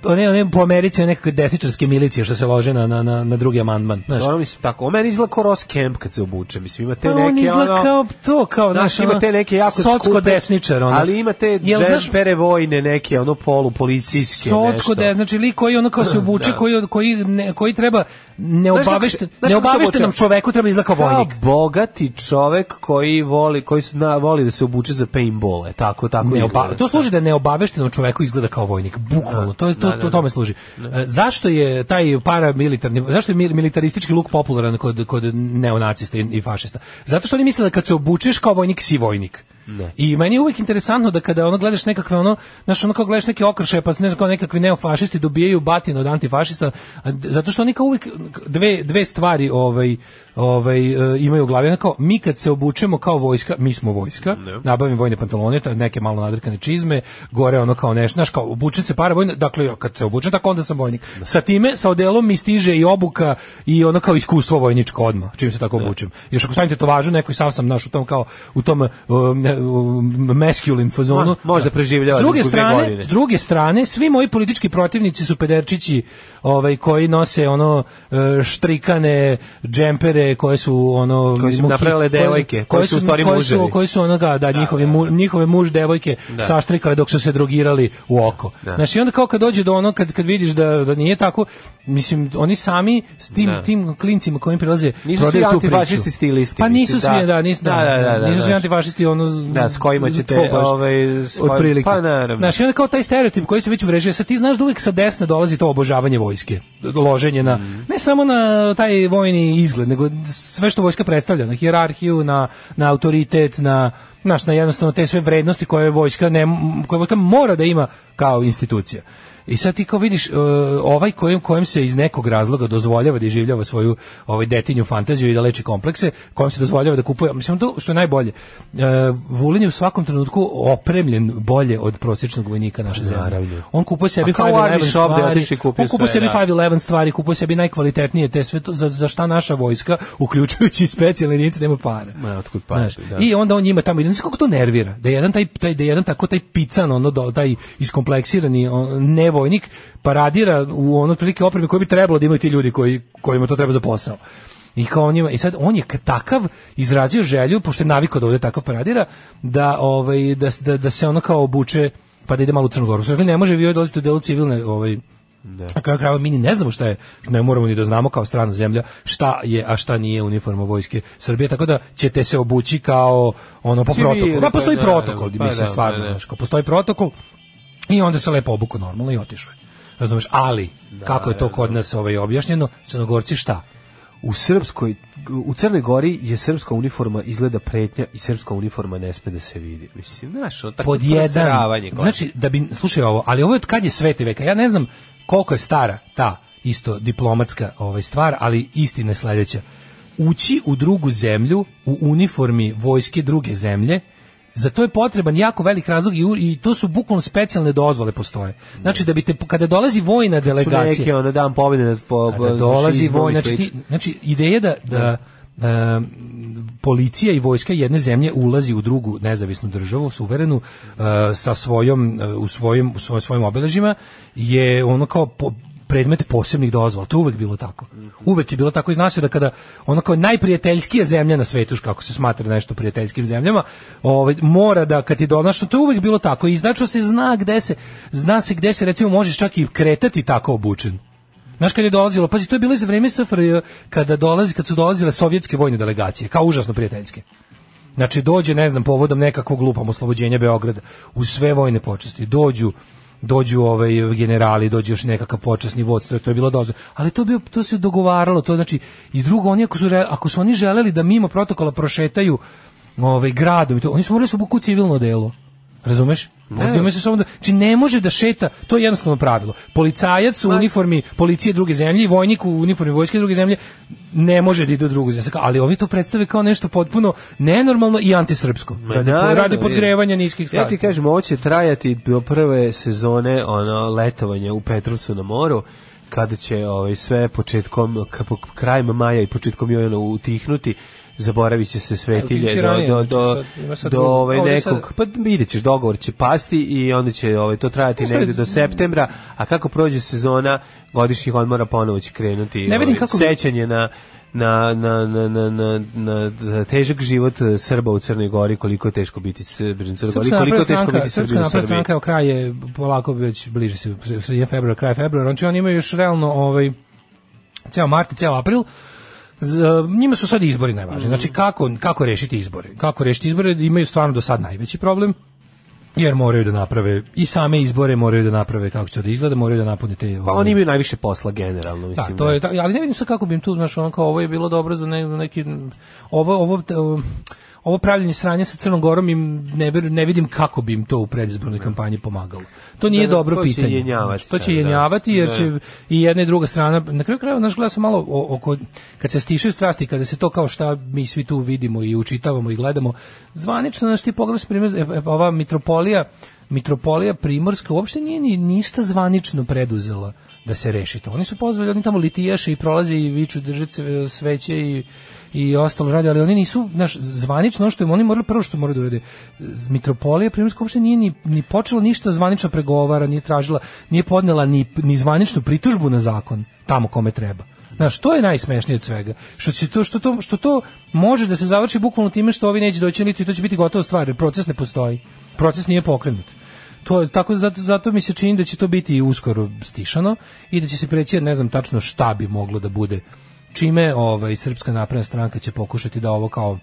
one, one po Americi nekakve desničarske milicije što se lože na, na, na, na drugi amandman, znaš.
Ono mislim tako, o meni izgleda kao Ross Kemp kad se obuče, mislim ima te
Pa
neke
on izgleda
ono,
kao to, kao,
Znaš,
znaš, ono,
ima te neke jako
socko
skupe,
desničar, ono.
ali ima te
Jel, znaš,
džempere vojne neke, ono polu policijske,
Socko da je, znači lik koji ono kao se obuče,
Da.
koji, koji, ne, koji treba
Znaš kako se-
neobavešten,
znaš kako se
neobaveštenom
obuče?
čoveku treba izlaka
Kao
vojnik.
bogati čovek koji voli, koji zna, voli da se obuče za paintball, e, tako, tako
Neoba,
izgleda.
to služi da neobaveštenom čoveku izgleda kao vojnik, bukvalno. To je to,
Da, da,
to
da.
tome služi. E, zašto je taj paramilitarni, zašto je mil- militaristički luk popularan kod kod neonacista i, i fašista? Zato što oni misle da kad se obučeš kao vojnik si vojnik.
Da.
I meni je uvijek interesantno da kada ono gledaš nekakve ono, znaš ono kao gledaš neke okršaje pa ne znam kao nekakvi neofašisti dobijaju batin od antifašista a d- zato što oni kao uvijek dve, dve stvari ovaj ovaj e, imaju u glavi Ono kao mi kad se obučemo kao vojska mi smo vojska nabavim vojne pantalone ta- neke malo nadrkane čizme gore ono kao nešto znaš kao obučen se para vojna dakle ja kad se obučem tako onda sam vojnik sa time sa odelom mi stiže i obuka i ono kao iskustvo vojničko odma čim se tako obučem još ako stavim tetovažu neko i sam sam naš u tom kao u tom um, ne, um, masculine fazonu
Ma- možda preživljava
s druge
dve
strane
godine.
s s druge strane, svi moji politički protivnici su pederčići, ovaj koji nose ono e, štrikane džempere koje su ono
Koje su
muhi-
napravile devojke, koje su u stvari
koje su,
muževi.
koji su onoga da, njihovi mu- njihove muž devojke
Da.
saštrikale dok su se drogirali u oko. Znači onda kao kad dođe do ono kad kad vidiš da da nije tako, mislim oni sami s tim
Da.
tim klincima kojim prilaze
Nisu
prodaju
svi
tu priču.
antifašisti stilisti,
Pa
mislim,
nisu
da.
svi, da, nisu, da,
Da, da, da, da,
nisu svi
znaš.
antifašisti ono
Da, s kojima ćete,
to baš,
ovaj, s kojim-
otprilike.
pa naravno.
Znaš, Znači, onda kao taj stereotip koji se već uvrežio, sad ti znaš da uvijek sa desne dolazi to obožavanje vojske, loženje na,
Mhm.
ne samo na taj vojni izgled, nego sve što vojska predstavlja, na hijerarhiju, na, na autoritet, na, znaš, na jednostavno te sve vrednosti koje vojska, ne, koje vojska mora da ima kao institucija. I sad ti kao vidiš, e, ovaj kojem, kojem se iz nekog razloga dozvoljava da iživljava svoju ovaj detinju fantaziju i da leči komplekse, kojem se dozvoljava da kupuje, mislim to što je najbolje. E, Vulin je u svakom trenutku opremljen bolje od prosječnog vojnika naše zemlje. On kupuje sebi
A kao u
511
Army shop da je
stvari,
otišao i kupio
on kupuje
sve,
sebi
da.
511 stvari, kupuje sebi najkvalitetnije te sve to, za, za šta naša vojska, uključujući i specijalne jedinice, nema para.
Ma, otkud pare,
Znaš,
da.
I onda on njima tamo ide, znaš kako to nervira, da je jedan taj, taj da je jedan tako taj pican, ono, do, taj iskompleksirani on, nevojnik paradira u ono prilike opreme koje bi trebalo da imaju ti ljudi koji, kojima to treba za posao. I kao on njima, i sad on je k- takav izrazio želju, pošto je naviko da ovde tako paradira, da, ovaj, da, s- da, da se ono kao obuče pa da ide malo u Crnogoru. Znači, ne može vi ovdje dolazite u delu civilne ovaj,
Da.
na kraju krajeva mi ni ne znamo šta je, ne moramo ni da znamo kao strana zemlja šta je, a šta nije uniforma vojske Srbije, tako da ćete se obući kao ono po
Civili,
protokolu.
pa
Pa postoji
da,
protokol,
pa
mislim
da,
stvarno,
pa da.
znaš, kao postoji protokol i onda se lepo obuku normalno i otišao je. Razumeš, ali
Da,
kako je to kod nas ovaj objašnjeno, Crnogorci šta?
u srpskoj u Crnoj Gori je srpska uniforma izgleda pretnja i srpska uniforma ne sme da se vidi. Mislim, znaš, ono tako
pod jedan.
prosiravanje koje-
Znači, da bi, slušaj ovo, ali ovo je od kad je sveti veka. Ja ne znam koliko je stara ta isto diplomatska ovaj, stvar, ali istina je sledeća. Ući u drugu zemlju u uniformi vojske druge zemlje, za to je potreban jako velik razlog i, u- i to su bukvalno specijalne dozvole postoje. Znači da bi te, kada dolazi vojna
su
delegacija,
neke ono dan pobjede nad po,
kada da dolazi
fašizmom i
vojna, znači, ti,
slično.
znači ideja da, da em, policija i vojska jedne zemlje ulazi u drugu nezavisnu državu, suverenu, e, sa svojom, e, u svojim, u svoj, svojim obeležima, je ono kao po- predmet posebnih dozvola. To je uvek bilo tako. Uvek je bilo tako i zna se da kada ono kao najprijateljskija zemlja na svetu, kako se smatra nešto prijateljskim zemljama, ovaj mora da kad ti donašno, to je uvek bilo tako. I znači se zna gde se zna se gde se recimo možeš čak i kretati tako obučen. Znaš kad je dolazilo, pazi, to je bilo i za vreme SFRJ, kada dolazi, kad su dolazile sovjetske vojne delegacije, kao užasno prijateljske. Znači, dođe, ne znam, povodom nekakvog lupam oslobođenja Beograda, u sve vojne počasti, dođu, dođu ovaj generali, dođe još nekakav počasni vodstvo, to je bilo dozvoljeno. Ali to bio to se dogovaralo, to znači i drugo oni ako su re- ako su oni želeli da mimo protokola prošetaju ovaj gradom i to, oni su morali se obuku u civilno delo. Razumeš? Ne. se samo da, znači ne može da šeta, to je jednostavno pravilo. Policajac u uniformi policije druge zemlje i vojnik u uniformi vojske druge zemlje ne može da ide u drugu zemlju. Sad kao, Ali ovi to predstave kao nešto potpuno nenormalno i antisrpsko. Radi,
Naravno,
radi
vidi.
podgrevanja niskih
Ja ti
strasti.
kažem, ovo će trajati do prve sezone ono letovanja u Petrovcu na moru kada će ovaj sve početkom ka- po- krajem maja i početkom juna utihnuti zaboravit će se
Ali ti
svetilje
si
do,
ranije,
do,
znači
do,
sad- ima sad
do
drugo.
ovaj
Ovdje
nekog,
sad-
pa vidjet ćeš, dogovor će pasti i onda će ovaj, to trajati
Ostaje-
negde do septembra, a kako prođe sezona godišnjih odmora ponovo će krenuti
Ne vidim
ovaj,
kako bi-
sećanje na na na na na na na težak život eh, Srba u Crnoj Gori koliko je teško biti Srbin u Crnoj Gori
Srpska
koliko
napredna
je teško
stranka,
biti
Srpska
Srbin u
napredna
Srbiji
stranka, evo, kraj je polako već bliže se, sredina februara, kraj februara, znači oni imaju još realno ovaj, ceo mart i ceo april, Z, njima su sad izbori
Mm.
najvažniji. Znači kako, kako rešiti izbore? Kako rešiti izbore? Imaju stvarno do sad najveći problem jer moraju da naprave i same izbore, moraju da naprave kako će da izgleda, moraju da napune te...
pa
ovaj,
oni imaju najviše posla generalno mislim
da, to je, ta- ali ne vidim sad kako bi im tu, znaš, ono kao, ovo je bilo dobro za ne- neki, ovo, ovo, t- ovo, pravljenje sranja sa Crnom Gorom im ne, ver- ne vidim kako bi im to u predizbornoj kampanji pomagalo. To nije
Da,
dobro
to će
pitanje.
jenjavati
To
sad,
će
da.
jenjavati jer
Da.
će i jedna i druga strana, na kraju krajeva, znaš, gleda sam malo o- oko, kad se stišaju strasti, kada se to kao šta mi svi tu vidimo i učitavamo i gledamo, zvanično, znaš, ti pogledaš primjer, e, e, ova mitropolija, mitropolija Primorska uopšte nije ni ništa zvanično preduzela da se reši to. Oni su pozvali, oni tamo litijaše i prolaze i viču držati sve- sveće i i ostalo radi, ali oni nisu, znaš, zvanično ono što im oni morali prvo što moraju da urede. Mitropolija Primorska uopšte nije ni, ni počela ništa zvanično pregovara, nije tražila, nije podnela ni, ni zvaničnu pritužbu na zakon tamo kome treba. Znaš, to je najsmešnije od svega. Što, će to, što, to, što to može da se završi bukvalno time što ovi neće doći niti to će biti gotova stvar, jer proces ne postoji. Proces nije pokrenut. To je tako zato, zato mi se čini da će to biti i uskoro stišano i da će se preći jer ne znam tačno šta bi moglo da bude. Čime ovaj Srpska napredna stranka će pokušati da ovo kao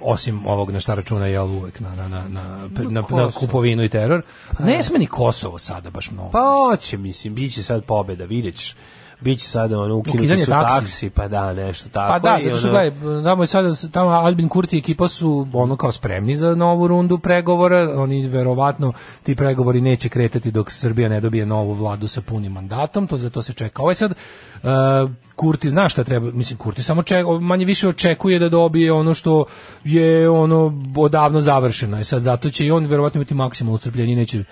osim ovog na šta računa jel uvek na, na, na, na, pre- na, na kupovinu i teror. Ne sme ni Kosovo sada baš mnogo.
pa hoće mislim biće sad pobeda videćeš biće sad ono ukinuti
Ukidanje
su
taksi.
taksi. pa da nešto tako
Pa da,
i
zato što
ono-
gledaj, tamo je sada, tamo Albin Kurti i ekipa su ono kao spremni za novu rundu pregovora, oni verovatno ti pregovori neće kretati dok Srbija ne dobije novu vladu sa punim mandatom, to zato se čeka. Ovaj sad, e, Kurti zna šta treba, mislim Kurti samo čeka, manje više očekuje da dobije ono što je ono odavno završeno i sad zato će i on verovatno biti maksimalno strpljenje i neće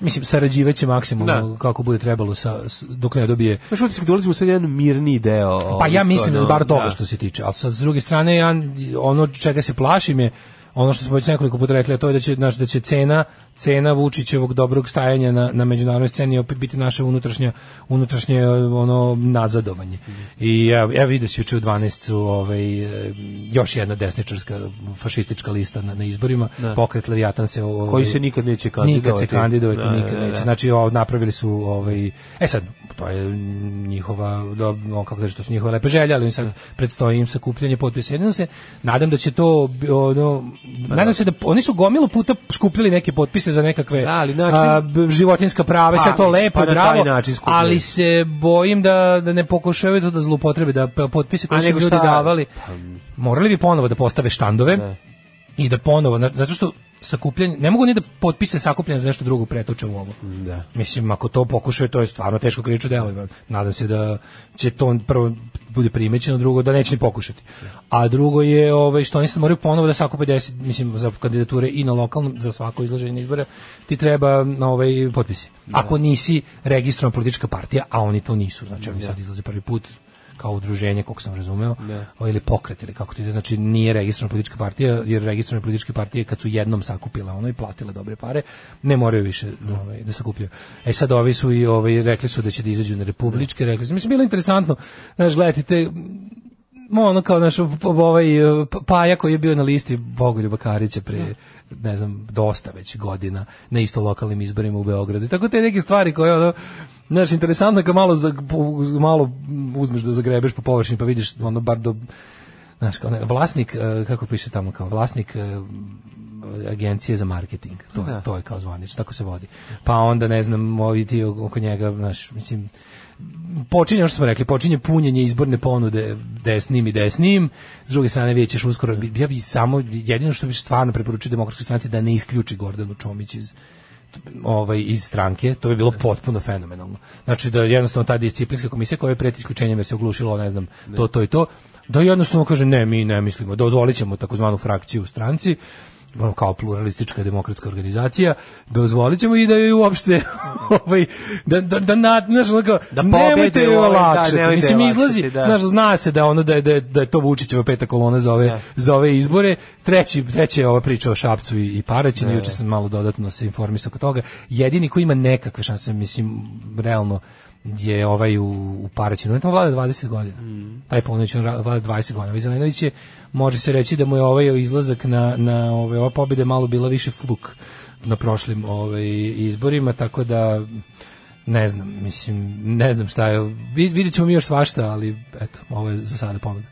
Mislim, sarađivaće maksimalno
Da.
kako bude trebalo sa, s- dok ne dobije
Znaš, utisak da ulazimo sad u jedan mirni deo.
pa
ovaj,
ja mislim
ono,
da bar toga
da.
što se tiče, ali sa s druge strane ja ono čega se plašim je ono što smo već nekoliko puta rekli, a to je da će naš da će cena cena Vučićevog dobrog stajanja na na međunarodnoj sceni opet biti naše unutrašnje unutrašnje e, ono nazadovanje. I ja ja vidim se juče u 12 su ovaj e, još jedna desničarska fašistička lista na, na izborima, pokret Leviatan se ovaj,
Da. Koji se nikad neće
Nikad
kandidovati.
se kandidovati,
Da,
nikad
da, da.
neće. Znači, o, napravili su ovaj e sad to je njihova do, o, kako kaže, to su njihove lepe želje, ali im sad predstoji im sakupljanje potpisa. Jedino se nadam da će to bi- ono
Pa
nadam se da oni su gomilu puta skupljali neke potpise za nekakve
Da, ali način-
a, b- životinska prava, i
Pa,
sve to
mislim,
lepo,
pa na taj
bravo,
način skupljaju.
ali se bojim da, da ne pokušavaju to da zloupotrebe, da p- potpise
A
koje su
nego
ljudi
šta? Pa,
davali, morali bi ponovo da postave štandove i da ponovo, na- zato što sakupljanje, ne mogu ni da potpise sakupljanje za nešto drugo pretuče u ovo. Da. Mislim, ako to pokušaju, to je stvarno teško krivično delo. Nadam se da će to prvo bude primećeno, drugo da neće ni pokušati. A drugo je ovaj, što oni sad moraju ponovo da sakupe 10, mislim, za kandidature i na lokalnom, za svako izlaženje izbora, ti treba na ovaj, potpisi. Ako nisi registrovana politička partija, a oni to nisu, znači oni sad izlaze prvi put, kao udruženje, koliko sam razumeo, o, ili pokret, ili kako to ide, znači nije registrovana politička partija, jer registrovane političke partije kad su jednom sakupile ono i platile dobre pare, ne moraju više ovaj, da sakupljaju. E sad ovi su i ovaj, rekli su da će da izađu na republičke, rekli su, mislim, bilo je interesantno, znaš, gledajte, te, ma, ono kao naš p- p- ovaj e, p- Paja koji je bio na listi Bogoljuba Karića pre ne znam dosta već godina na isto lokalnim izborima u Beogradu. I Tako te neke stvari koje ono znaš interesantno je kad malo za, malo uzmeš da zagrebeš po površini pa vidiš ono bar do znaš kao ne, vlasnik e, kako piše tamo kao vlasnik e, agencije za marketing. To, je- to je kao zvanično, tako se vodi. Pa onda, ne znam, ovi ti oko njega, znaš, mislim, počinje, ono što smo rekli, počinje punjenje izborne ponude desnim i desnim, s druge strane vidjet ćeš uskoro, bi- ja bi samo, jedino što bi stvarno preporučio demokratskoj stranci da ne isključi Gordanu Čomić iz ovaj iz stranke, to bi bilo potpuno fenomenalno. Znači da jednostavno ta disciplinska komisija koja je pred isključenjem jer se oglušilo, ne znam, to, to i to, da jednostavno kaže ne, mi ne mislimo, da dozvolit ćemo takozvanu frakciju u stranci, ono, kao pluralistička demokratska organizacija, dozvolit ćemo i da joj uopšte ovaj, da, da, da, na- znaš, ono kao,
Da pobede
nemojte joj
u ovoj, da,
olakšati.
nemojte
Mislim,
joj
izlazi,
olakšati, da.
znaš, zna se da ono da je, da je, da je to Vučićeva peta kolona za ove, za ove izbore. Treći, treći je ova priča o Šapcu i, i Paraćinu, juče sam malo dodatno se informisao oko toga. Jedini koji ima nekakve šanse, mislim, realno, je ovaj u, u Paraćinu. On tamo vlada 20 godina. Taj Ponović, on ra- vlada 20 godina. Ovaj Zelenović je, može se reći da mu je ovaj izlazak na, na ove, ova pobjede malo bila više fluk na prošlim ovaj, izborima, tako da ne znam, mislim, ne znam šta je. Vi- Vidjet ćemo mi još svašta, ali eto, ovo je za sada ponuda.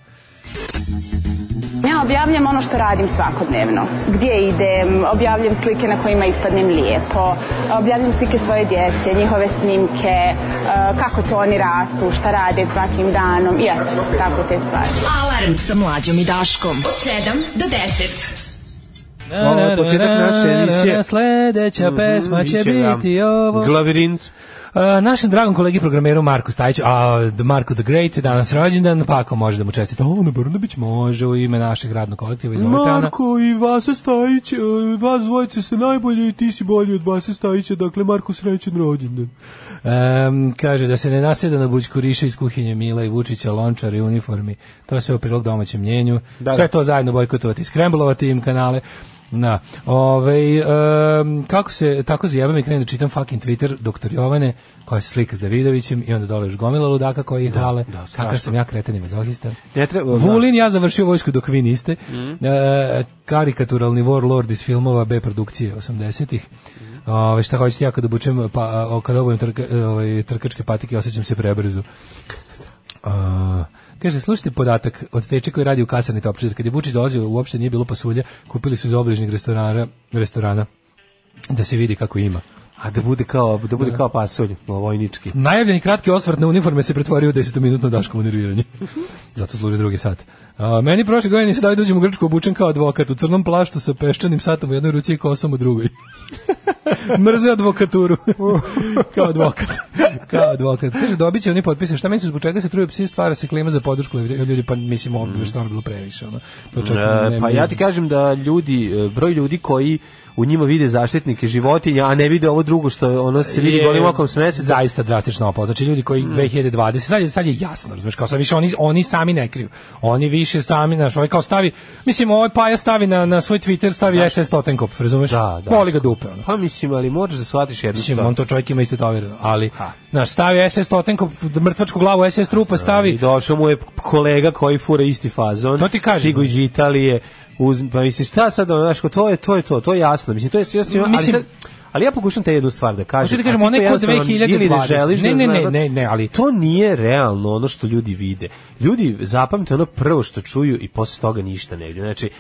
Ja objavljam ono što radim svakodnevno. Gdje idem, objavljam slike na kojima ispadnem lijepo, objavljam slike svoje djece, njihove snimke, eh, kako to oni rastu, šta rade svakim danom i eto, tako te stvari.
Alarm sa mlađom i Daškom. Od 7 do 10.
Ovo je početak naše emisije.
Sledeća
Mhm,
pesma će
bit će ga.
biti ovo.
Glavirint.
A, našem dragom kolegi programeru Marku Stajiću, a d- Marko the Great je danas rođendan, pa ako može da mu čestite, Ana Brnabić može u ime našeg radnog kolektiva, izvolite Ana.
Marko i Vasa Stajić, e, vas dvojice ste najbolje i ti si bolji od Vasa Stajića, dakle Marko srećen rođendan.
Em, kaže da se ne nasjeda na bućku riše iz kuhinje Mila i Vučića, lončar i uniformi. To je sve u prilog domaćem mnjenju.
Da,
sve
da.
to zajedno bojkotovati, skremblovati im kanale. Na, ovaj, em, kako se, tako zajebam i krenem da čitam fucking Twitter doktor Jovane, koja se slika s Davidovićem i onda dole još gomila ludaka koji
Da,
ih hvale. Kakav sam ja kreten i mazohista.
Ne treba- da. Mhm.
Vulin, ja završio vojsku dok vi niste. E, karikaturalni warlord iz filmova B produkcije 80-ih.
Mhm.
Ove, šta hoćete ja kad obučem, pa, o, kad obujem trka, ovaj, trkačke patike, osjećam se prebrzo. A, kaže, slušajte podatak od teče koji radi u kasarni Topčider. Kad je Vučić dolazio, uopšte nije bilo pasulja, kupili su iz obližnjeg restorana, restorana da se vidi kako ima.
A da bude kao, da bude kao pasulj, vojnički.
Najavljeni kratki osvrt na uniforme se pretvorio u 10-minutno daškovo nerviranje.
Mhm.
Zato služi drugi sat. A, meni prošle godine se dao da uđem u Grčku obučen kao advokat u crnom plaštu sa peščanim satom u jednoj ruci i kosom u drugoj. Mrze advokaturu. kao advokat. kao advokat. Kaže, dobit će oni potpise. Šta misliš, zbog čega se truje psi stvara se klima za podršku ljudi, pa mislim, ovo bi stvarno bilo previše. Ono. To čak
E,
ne-
pa ja ti kažem da ljudi, e, broj ljudi koji u njima vide zaštitnike životinja, a ne vide ovo drugo što ono se vidi
je
golim okom s meseca.
Zaista drastično opao. Znači ljudi koji
Mm.
2020 sad je sad je jasno, razumeš, kao sad više oni oni sami ne kriju. Oni više sami, znaš, ovaj kao stavi, mislim ovaj Paja stavi na na svoj Twitter stavi SS Totenkopf, razumeš?
Da, da.
Boli ga dupe ono.
Pa mislim, ali moraš da shvatiš jednu
Mislim,
stvar.
on to čovjek ima istetovirano, ali, znaš, stavi SS Totenkopf, mrtvačku glavu SS trupa
Da, I
stavi,
došao mu je kolega koji fura isti fazon.
To ti kažem.
Stigo iz Italije. Uz, pa mislim, šta sad, ono, znaš, ko, to je, to je to, to je jasno. Mislim, to je jasno, ali,
Mislim-
sad, ali ja pokušam te jednu stvar da kažem.
Hoću ti
a
kažem,
ti to
onaj ko
jednostavno
2020.
ili ne želiš da
Ne, ne, ne,
znaš,
ne, ne, ali-
To nije realno ono što ljudi vide. Ljudi zapamte ono prvo što čuju i posle toga ništa ne vide. Znači,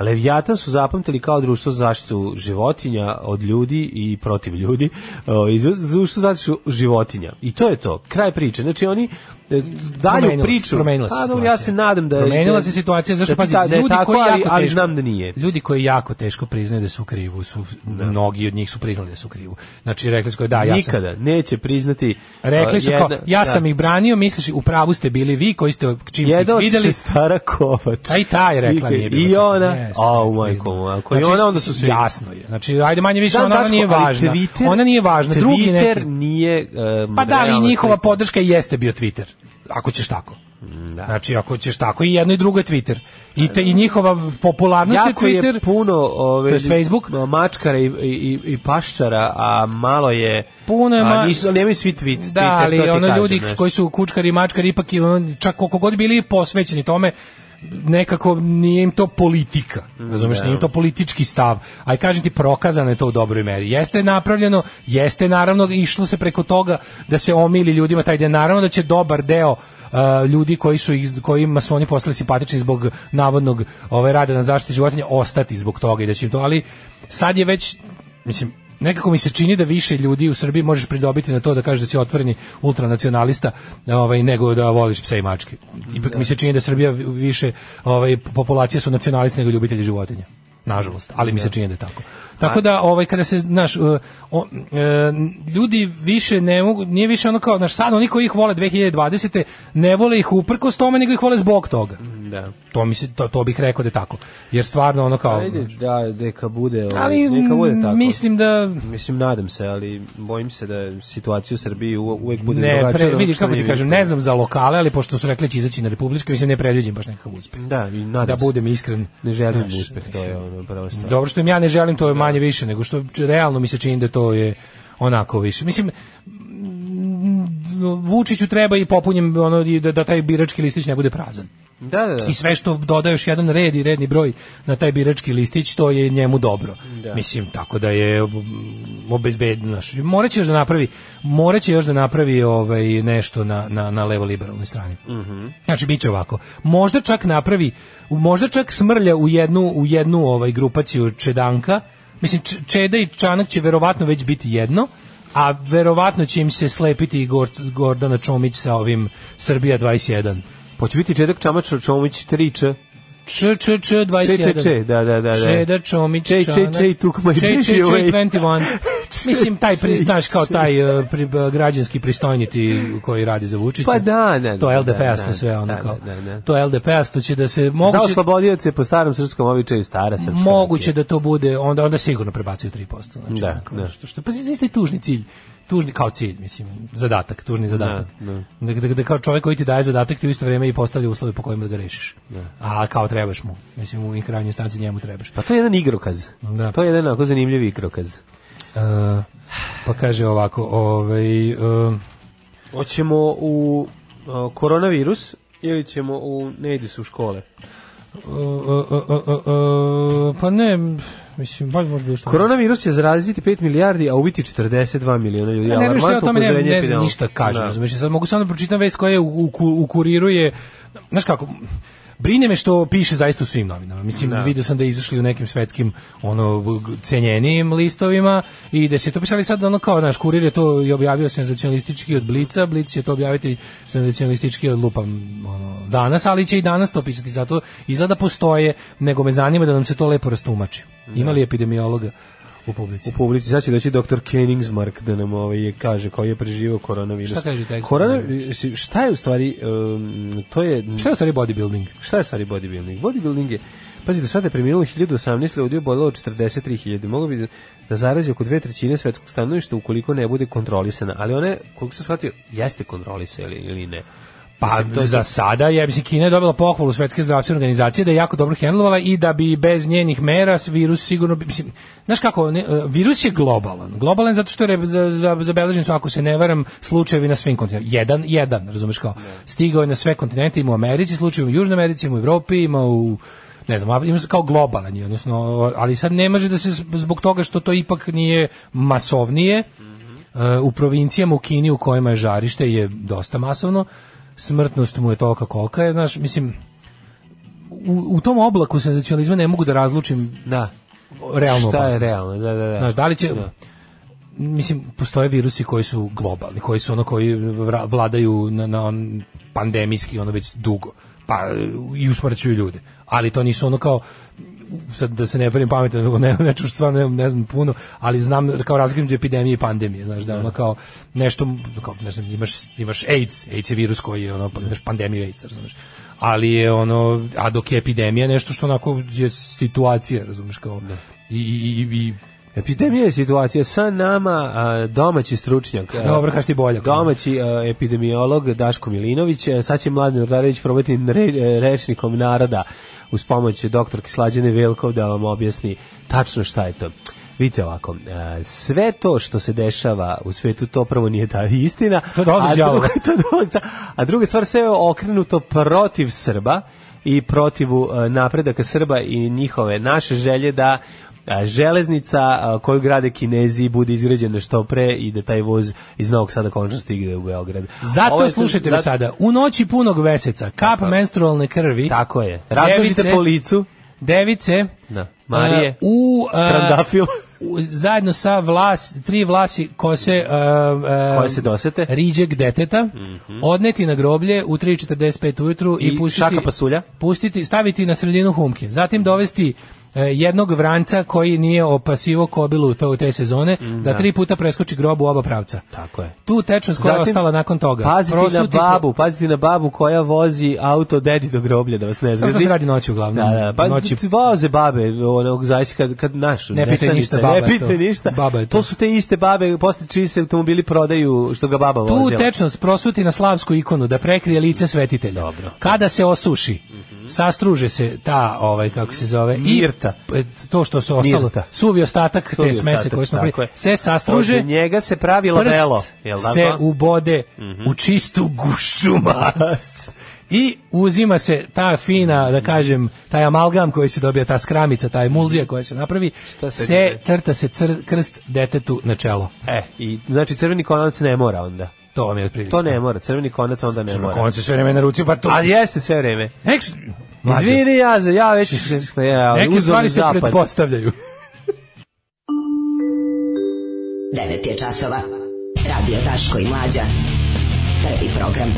Leviatan su zapamtili kao društvo za zaštitu životinja od ljudi i protiv ljudi, o, i za- društvo za zaštitu životinja. I to je to, kraj priče. Znači oni e, dalju
Promenila se,
priču.
promenila se
A, dobro,
situacija.
ja se nadam da
promenila
da-
se situacija zašto
da ti
pazi
ta- da je
ljudi
tako,
koji jako
ali, ali
teško-
znam da nije. Da.
Ljudi koji jako teško priznaju da su u krivu, su mnogi od njih su priznali da su u krivu. Znači rekli su kao, da, ja sam
Nikada neće priznati.
Rekli su
e,
kao,
jedna-
ja
da.
sam ih branio, misliš, u pravu ste bili vi koji ste, čim ste
Jedan
ih
od
videli,
sestara Kovač.
a i ta je rekla nije bilo.
I
tako.
ona,
Jeste,
a u
priznam.
majkom, ako i ona onda su svi.
Znači, Jasno je. Znači, ajde manje više,
Da,
ona, ona
Dačko,
nije
ali
važna.
Twitter-
ona nije važna. Drugi
Twitter
neki.
nije... e, em,
Pa da, ali
realna
njihova
slika.
podrška jeste bio Twitter. Ako ćeš tako.
Da.
Znači, ako ćeš tako i jedno i drugo je Twitter. I, te, i njihova popularnost
Jako
je Twitter.
je puno ove,
To jest Facebook?
mačkara i, i, i paščara, a malo je...
Puno je ma-
A nisu, ali nemaju svi tweet. Twitter,
da, ali
to ti
ono
kažem,
ljudi
znaš.
koji su kučkari i mačkari ipak i ono, čak koliko god bili posvećeni tome nekako nije im to politika. Razumeš,
da.
nije im to politički stav. Aj kažem ti prokazano je to u dobroj meri. Jeste napravljeno, jeste naravno išlo se preko toga da se omili ljudima taj dan. Naravno da će dobar deo uh, ljudi koji su ih, kojima su oni postali simpatični zbog navodnog ove rada na zaštiti životinja ostati zbog toga i da će im to, ali sad je već mislim nekako mi se čini da više ljudi u Srbiji možeš pridobiti na to da kažeš da si otvoreni ultranacionalista ovaj, nego da voliš pse i mačke. Ipak mi se čini da Srbija vi- više ovaj, populacije su nacionalisti nego ljubitelji životinja. Nažalost, ali mi se čini da je tako. Tako da ovaj kada se znaš e, o, e, ljudi više ne mogu nije više ono kao znaš sad oni koji ih vole 2020 ne vole ih uprkos tome nego ih vole zbog toga.
Da.
To mi se to, to bih rekao da je tako. Jer stvarno ono kao
Ajde, da, neka bude, ovaj,
ali
neka bude tako.
mislim da
Mislim, nadam se, ali bojim se da situacija u Srbiji u- uvek bude
ne,
drugačija.
pre,
od onog
vidiš
što
kako
mi
ti kažem,
mislimo.
ne znam za lokale, ali pošto su rekli da će izaći na republičke, mislim ne predviđam baš nekakav uspeh.
Da, i nadam
Da
se.
budem iskren.
Ne želim
Znaš,
uspeh, to je Da. ono prava stvar.
Dobro što im ja ne želim, to je manje više, nego što realno mi se čini da to je onako više. Mislim, m, Vučiću treba i popunjem ono, i da, da taj birački listić ne bude prazan.
Da, da, da.
I sve što doda još jedan red i redni broj na taj birački listić, to je njemu dobro.
Da.
Mislim, tako da je obezbedno. Morat će još da napravi, morat će još da napravi ovaj, nešto na, na, na levo-liberalnoj strani.
Mhm.
Znači, bit će ovako. Možda čak napravi, možda čak smrlja u jednu, u jednu ovaj, grupaciju Čedanka. Mislim, Č- Čeda i Čanak će verovatno već biti jedno, a verovatno će im se slepiti i Gor- Gordana Čomić sa ovim Srbija 21.
Hoće biti Čedak Čamač Čomić 3Č.
Č, Č, Č, 21.
Če, če, če, da, da, da. da.
Čeda, Čomić,
Če, če,
Čanak.
če, i ovaj. took my
Če,
baby
Če, Če,
away.
21.
Če,
Mislim, taj, pri,
če,
znaš, kao
če.
taj uh, pri, uh, građanski pristojniti koji radi za Vučića.
Pa da, da, da,
To je
da,
LDP-asto
da,
sve, ono
da,
kao.
da, da, da.
To je LDP-asto će da se... Moguće,
Za oslobodioce po starom srpskom običaju stara srpska.
moguće da to bude, onda, onda sigurno prebacuju 3%. Znači,
Da,
onako,
da.
Što, što, pa znači tužni cilj tužni kao cilj mislim zadatak tužni zadatak
da.
da, da, da kao čovjek koji ti daje zadatak ti u isto vrijeme i postavlja uslove po kojima da ga rešiš a kao trebaš mu mislim u krajnjoj instanci njemu trebaš
Pa to je jedan igrokaz.
Da.
To je jedan onako zanimljiv igrokaz.
E, pa kaže ovako, ovaj, e,
Hoćemo u o, koronavirus ili ćemo u ne ide se u škole.
e, e, e, e, e, pa ne, mislim, baš možda još...
Koronavirus će zaraziti 5 milijardi, a ubiti 42 miliona ljudi.
Ne, ne, ja o
Alarmantno
tome ne,
upozorenje
ne znam
epidemiologa.
ništa kažem,
Da.
razumeš? Sad mogu samo da pročitam vest koja je u, u, ku- u kuriru je, znaš kako, brine me što piše zaista u svim novinama. Mislim,
Da.
vidio sam da je izašli u nekim svetskim ono, g- cenjenijim listovima i da se to pisali sad ono kao, naš kurir je to i objavio senzacionalistički od Blica, Blic će to objaviti senzacionalistički od Lupa ono, danas, ali će i danas to pisati, zato izgleda da postoje, nego me zanima da nam se to lepo rastumači. Ima li epidemiologa u publici?
Da. U publici sad će doći doktor Kenningsmark da nam ovaj je kaže koji je preživio koronavirus.
Šta kaže tekst?
Korona, šta je u stvari, um, to je...
Šta je u stvari bodybuilding?
Šta je stari bodybuilding? Bodybuilding je Pazi, do sada je preminulo 1018 ljudi, obolelo 43.000. Mogu bi da- da zarazi oko dve trećine svetskog stanovništa ukoliko ne bude kontrolisana. Ali ona, je, koliko sam shvatio, jeste kontrolisana ili, ili ne.
Pa
Mislim, to je
za sada je mislim Kina je dobila pohvalu Svetske zdravstvene organizacije da je jako dobro hendlovala i da bi bez njenih mera s- virus sigurno bi mislim znaš kako ne, e, virus je globalan. Globalan zato što je re- za, za, zabeleženi su ako se ne varam slučajevi na svim kontinentima. Jedan jedan, razumeš kao. Stigao je na sve kontinente, ima u Americi slučaj, ima u Južnoj Americi, ima u Evropi, ima u ne znam, Af- ima se kao globalan je, odnosno, ali sad ne može da se s- zbog toga što to ipak nije masovnije,
Mhm.
E, u provincijama u Kini u kojima je žarište je dosta masovno, smrtnost mu je tolika kolika je, znaš, mislim, u, u tom oblaku senzacionalizma ne mogu da razlučim
Da.
realnu
Šta je
opasnost.
realno? Da, da, da.
Znaš, da li će...
Da.
Mislim, postoje virusi koji su globalni, koji su ono koji vra- vladaju na, na on pandemijski, ono već dugo, pa e, i usmrćuju ljude. Ali to nisu ono kao sad da se ne pravim pametan, nego ne, nečem što stvarno ne, ne znam puno, ali znam kao razliku između epidemije i pandemije, znaš, da ono kao nešto, kao, ne znam, imaš, imaš AIDS, AIDS je virus koji je ono,
Da.
pa imaš pandemiju AIDS, razumeš, ali je ono,
Da.
a dok je epidemija nešto što onako je situacija, razumeš, kao, i, i, i, i
Epidemija je situacija sa nama a, domaći stručnjak. a,
Dobro, kaži ti boljak.
Domaći a, epidemiolog Daško Milinović. a, Sad će Mladen Urdarević probati re, e, rečnikom naroda uz pomoć doktorke Slađane Velkov da vam objasni tačno šta je to. Vidite ovako, a, sve to što se dešava u svetu, to prvo nije ta istina.
To dolazi
a
od đavola.
drugo- to dolazi- a druga stvar, sve je okrenuto protiv Srba i protivu e, napredaka Srba i njihove naše želje da e, železnica a, koju grade Kinezi bude izgrađena što pre i da taj voz iz Novog Sada končno stigne u Beograd. Ovo
Zato
je-
slušajte me
zato-
sada. U noći punog veseca, kap menstrualne krvi.
Tako je. Različite
Device-
po licu.
Device.
Da. Marije.
e, u, e,
Trandafil.
u- zajedno sa vlas, tri vlasi kose, e, e,
Koje se dosete.
riđeg deteta, odneti na groblje u 3.45 ujutru i,
I
pustiti...
šaka pasulja.
Pustiti, staviti na sredinu humke. Zatim dovesti e, jednog vranca koji nije opasivo kobilu u to u te sezone, da tri puta preskoči grob u oba pravca.
Tako je.
Tu tečnost koja je
Zatim,
ostala nakon toga.
Pazite
Prosuti-
na babu, pazite na babu koja vozi auto dedi do groblja da vas ne
Samo
zgodi.
to se radi noći uglavnom.
Da, da, pa
noći.
voze babe, onog zaista kad kad naš
Ne pitaj
nesanice,
ništa, baba
ne
je
pitaj
to.
ništa.
Baba je
to.
to.
su te iste babe posle čiji se automobili prodaju što ga baba
Tu
vozila.
tečnost prosuti na slavsku ikonu da prekrije lice svetitelja. Dobro. Kada se osuši, sastruže se ta, ovaj, kako se zove,
Mirta.
i p- to što su ostalo,
Mirta.
suvi ostatak
Suvi
te smese
ostatak,
koje smo
tako
prije,
je.
se sastruže,
Od njega se pravi
prst
labelo, jel tako? Mhm.
se ubode u čistu gušću mast. I uzima se ta fina, da kažem, taj amalgam koji se dobija, ta skramica, ta emulzija koja se napravi,
Šta se
se
dede?
crta se cr- krst detetu na čelo.
E, i znači crveni konac ne mora onda.
To vam je otprilike.
To ne mora, crveni konac onda ne
Na
mora.
koncu sve vreme na ruci, pa to...
Ali jeste sve vreme.
Nek, mlađe,
Izvini ja, za- ja već ja,
neke
uzeo mi
stvari se
zapad.
pretpostavljaju.
9 je časova. Radio Daško i Mlađa. Prvi program.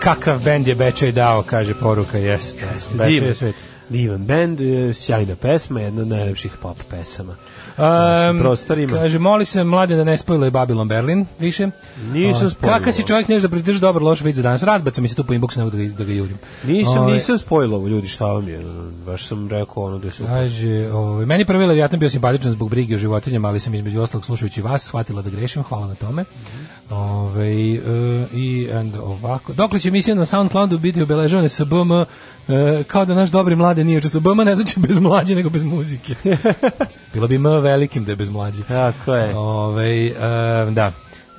Kakav bend je Bečej dao, kaže poruka, jest.
Jeste,
Bečej
divan.
znači, je svet.
Divan bend, e, sjajna pesma, jedna od najlepših pop pesama.
Um,
prostorima.
Kaže, moli se mlade da ne spojilo je Babylon Berlin više.
Nisam
O,
spojilo.
Kakav si čovjek nešto da pridrži dobar loš vic za danas? Razbaca mi se tu po inboxu, ne mogu da ga, da ga jurim.
Nisam,
Ovaj,
nisam spojilo ovo, ljudi, šta vam je? Baš sam rekao ono da su...
Kaže, ovaj, meni prvi Leviatan bio simpatičan zbog brige o životinjama, ali sam između ostalog slušajući vas shvatila da grešim, hvala na tome. Ovaj, e, i and ovako. Dokle će misija na SoundCloudu biti obeležavane sa BM, e, kao da naš dobri mlade nije učestvo. BM ne znači bez mlađe, nego bez muzike. Bilo bi M velikim da je bez mlađe.
Tako je.
Ovaj, e, da.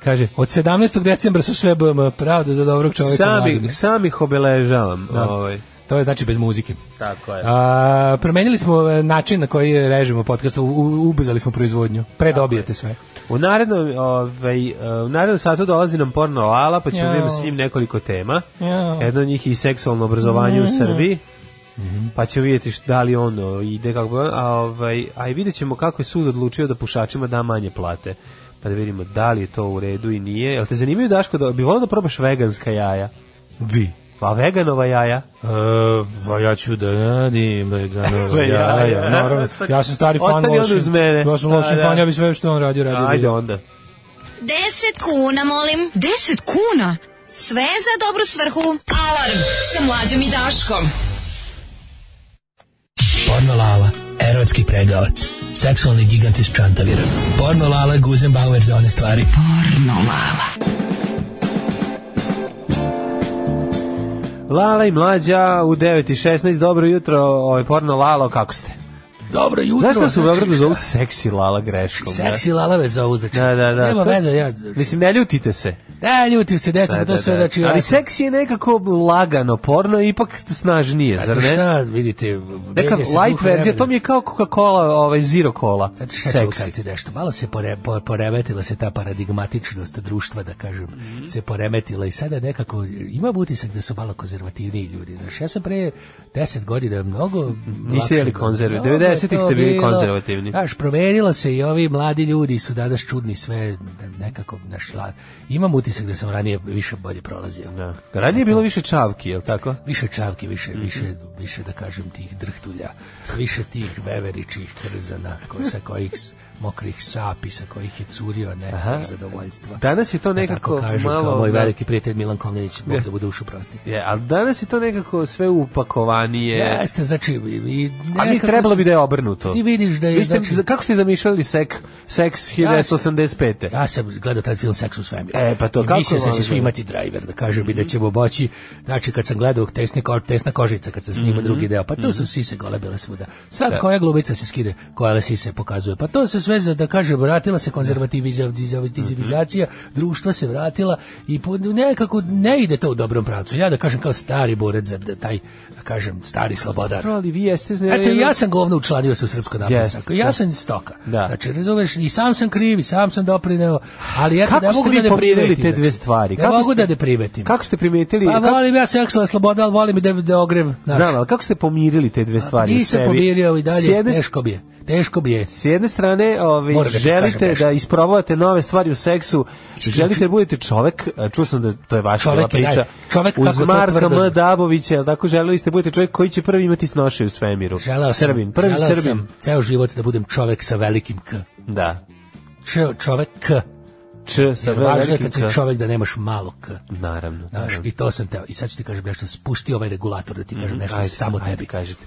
Kaže, od 17. decembra su sve BM, pravda za dobrog čovjeka
Sami,
mladine.
sam ih obeležavam. Ovaj.
To je znači bez muzike.
Tako je.
A, promenili smo e, način na koji režimo podcast, u- u- ubrzali smo proizvodnju. Pre dobijete sve.
U narednom, ovaj, e, u narednom satu dolazi nam porno lala, pa ćemo
Jao.
vidjeti s njim nekoliko tema.
Jao.
Jedna od njih je i seksualno obrazovanje u
Mhm.
Srbiji. Pa ćemo vidjeti šta- da li ono ide kako a, ovaj, a i vidjet ćemo kako je sud odlučio da pušačima da manje plate. Pa da vidimo da li je to u redu i nije. Jel te zanimaju, Daško, da bi volao da probaš veganska jaja?
Vi.
Pa veganova jaja?
pa ja ću da radim veganova
jaja.
jaja. Naravno, ja sam stari fan
Ostavi onda
lošin.
uz mene.
Ja sam
A,
lošin
da.
fan, ja bi sve što on radio, radio. bi
Ajde
ja.
onda.
10 kuna, molim. 10 kuna? Sve za dobru svrhu. Alarm sa Mlađom i Daškom.
Pornolala, erotski pregavac, seksualni gigant iz Čantavira. Pornolala je Guzenbauer za one stvari.
Lala i mlađa u 9.16, dobro jutro, ovaj porno Lalo, kako ste?
Dobro jutro.
Znaš što su u Beogradu
znači,
zovu seksi Lala greškom? da?
Seksi lalave za uzak.
Da, da, da.
Nema
To-
veze, ja...
Mislim, ne ljutite se.
Da, ljutim se, deca,
Da,
pa
da,
to sve,
da.
znači... ja
Ali
sam-
seksi je nekako lagano, porno je ipak snažnije, zar
Znate
ne?
Šta, vidite...
Neka
menja se duh
light verzija,
vremena.
to mi je kao Coca-Cola, ovaj Zero Cola.
Znači, sad ću
Seksi.
ukazati nešto. Malo se pore, po- poremetila se ta paradigmatičnost društva, da kažem,
Mhm.
se poremetila i sada nekako ima utisak da su malo konzervativniji ljudi. Znaš, ja sam pre 10 godina mnogo... lakše
jeli
bio.
konzervi.
Mnogo
90-ih
je to
ste bili
bilo.
konzervativni.
Znaš, promenilo se i ovi mladi ljudi su danas čudni sve nekako naš la- Imam utisak da sam ranije više bolje prolazio.
Da. Ranije je bilo više čavki, je li tako?
Više čavki, više,
Mhm.
više, više da kažem tih drhtulja, više tih veveričih krzana ko, sa kojih s- mokrih sapi, sa kojih je curio nekog zadovoljstva.
Danas je to
Da
nekako
tako kažem,
malo-
Kao moj
da.
veliki prijatelj Milan Komnenić, Bog da bude dušu prosti.
Je, ali danas je to nekako sve upakovanije.
Jeste, znači, i, i
A mi
nekako
trebalo bi da je obrnuto.
Ti vidiš da je,
Vi ste,
znači-
Kako ste zamišljali sek, seks 1985.
Ja sam gledao taj film Seks u svemiru.
E, pa to
I
kako Mhm.
Mislio sam da će
voliš?
svi imati driver, da kažu bi da ćemo boći. Znači, kad sam gledao tesne, ko, tesna kožica, kad sam snimao
Mhm.
drugi deo, pa tu su sise gole bile svuda. Sad
Da.
koja glubica se skide, koja sise pokazuje. Pa to se sve, za, da kaže, vratila se
Da. Mhm.
konzervativizacija, društva se vratila i po- nekako ne ide to u dobrom pravcu. Ja da kažem kao stari borec za d- taj, da kažem, stari slobodar.
Dobro, ali vi jeste znali-
Eto, ja sam govno učlanio se u Srpsko napredno
Jeste,
stranku. Ja
da.
sam stoka.
Da.
Znači, razumeš, i sam sam kriv, i sam sam doprineo, ali eto,
Kako
ne mogu
ste vi
da ne
pomirili
primetim,
te
znači.
dve stvari?
Ne
Kako
mogu
ste-
da ne primetim.
Kako ste primetili?
Pa
kako,
volim ja seksualna sloboda, ali volim i da, da ogrev. Znači,
znam, ali kako ste pomirili te dve stvari? u
nisam
sebi?
pomirio i dalje,
S jedne-
teško bi je. Teško bi je.
S jedne strane, ovaj,
Moram da ti kažem
želite
nešto.
da isprobavate nove stvari u seksu, želite da budete čovek, a čuo sam da to je vaša
Čovek
bila
je naj-
priča,
čovek kako
uz
to
Marka
tvrdo-
M. Dabovića, jel tako želeli ste da budete čovjek koji će prvi imati snoše u svemiru.
Želeo sam,
Srbin, prvi
želeo
Srbin.
sam ceo život da budem čovek sa velikim K.
Da.
Č, čovek K.
Č sa
Jer važno je
velikim
kad si
Da, K.
čovek da nemaš malo K.
Naravno.
Znaš,
naravno.
i to sam teo. I sad ću ti kažem nešto, spusti ovaj regulator da ti kažem
Mhm,
nešto
ajde,
samo
ajde,
tebi.
Kažete.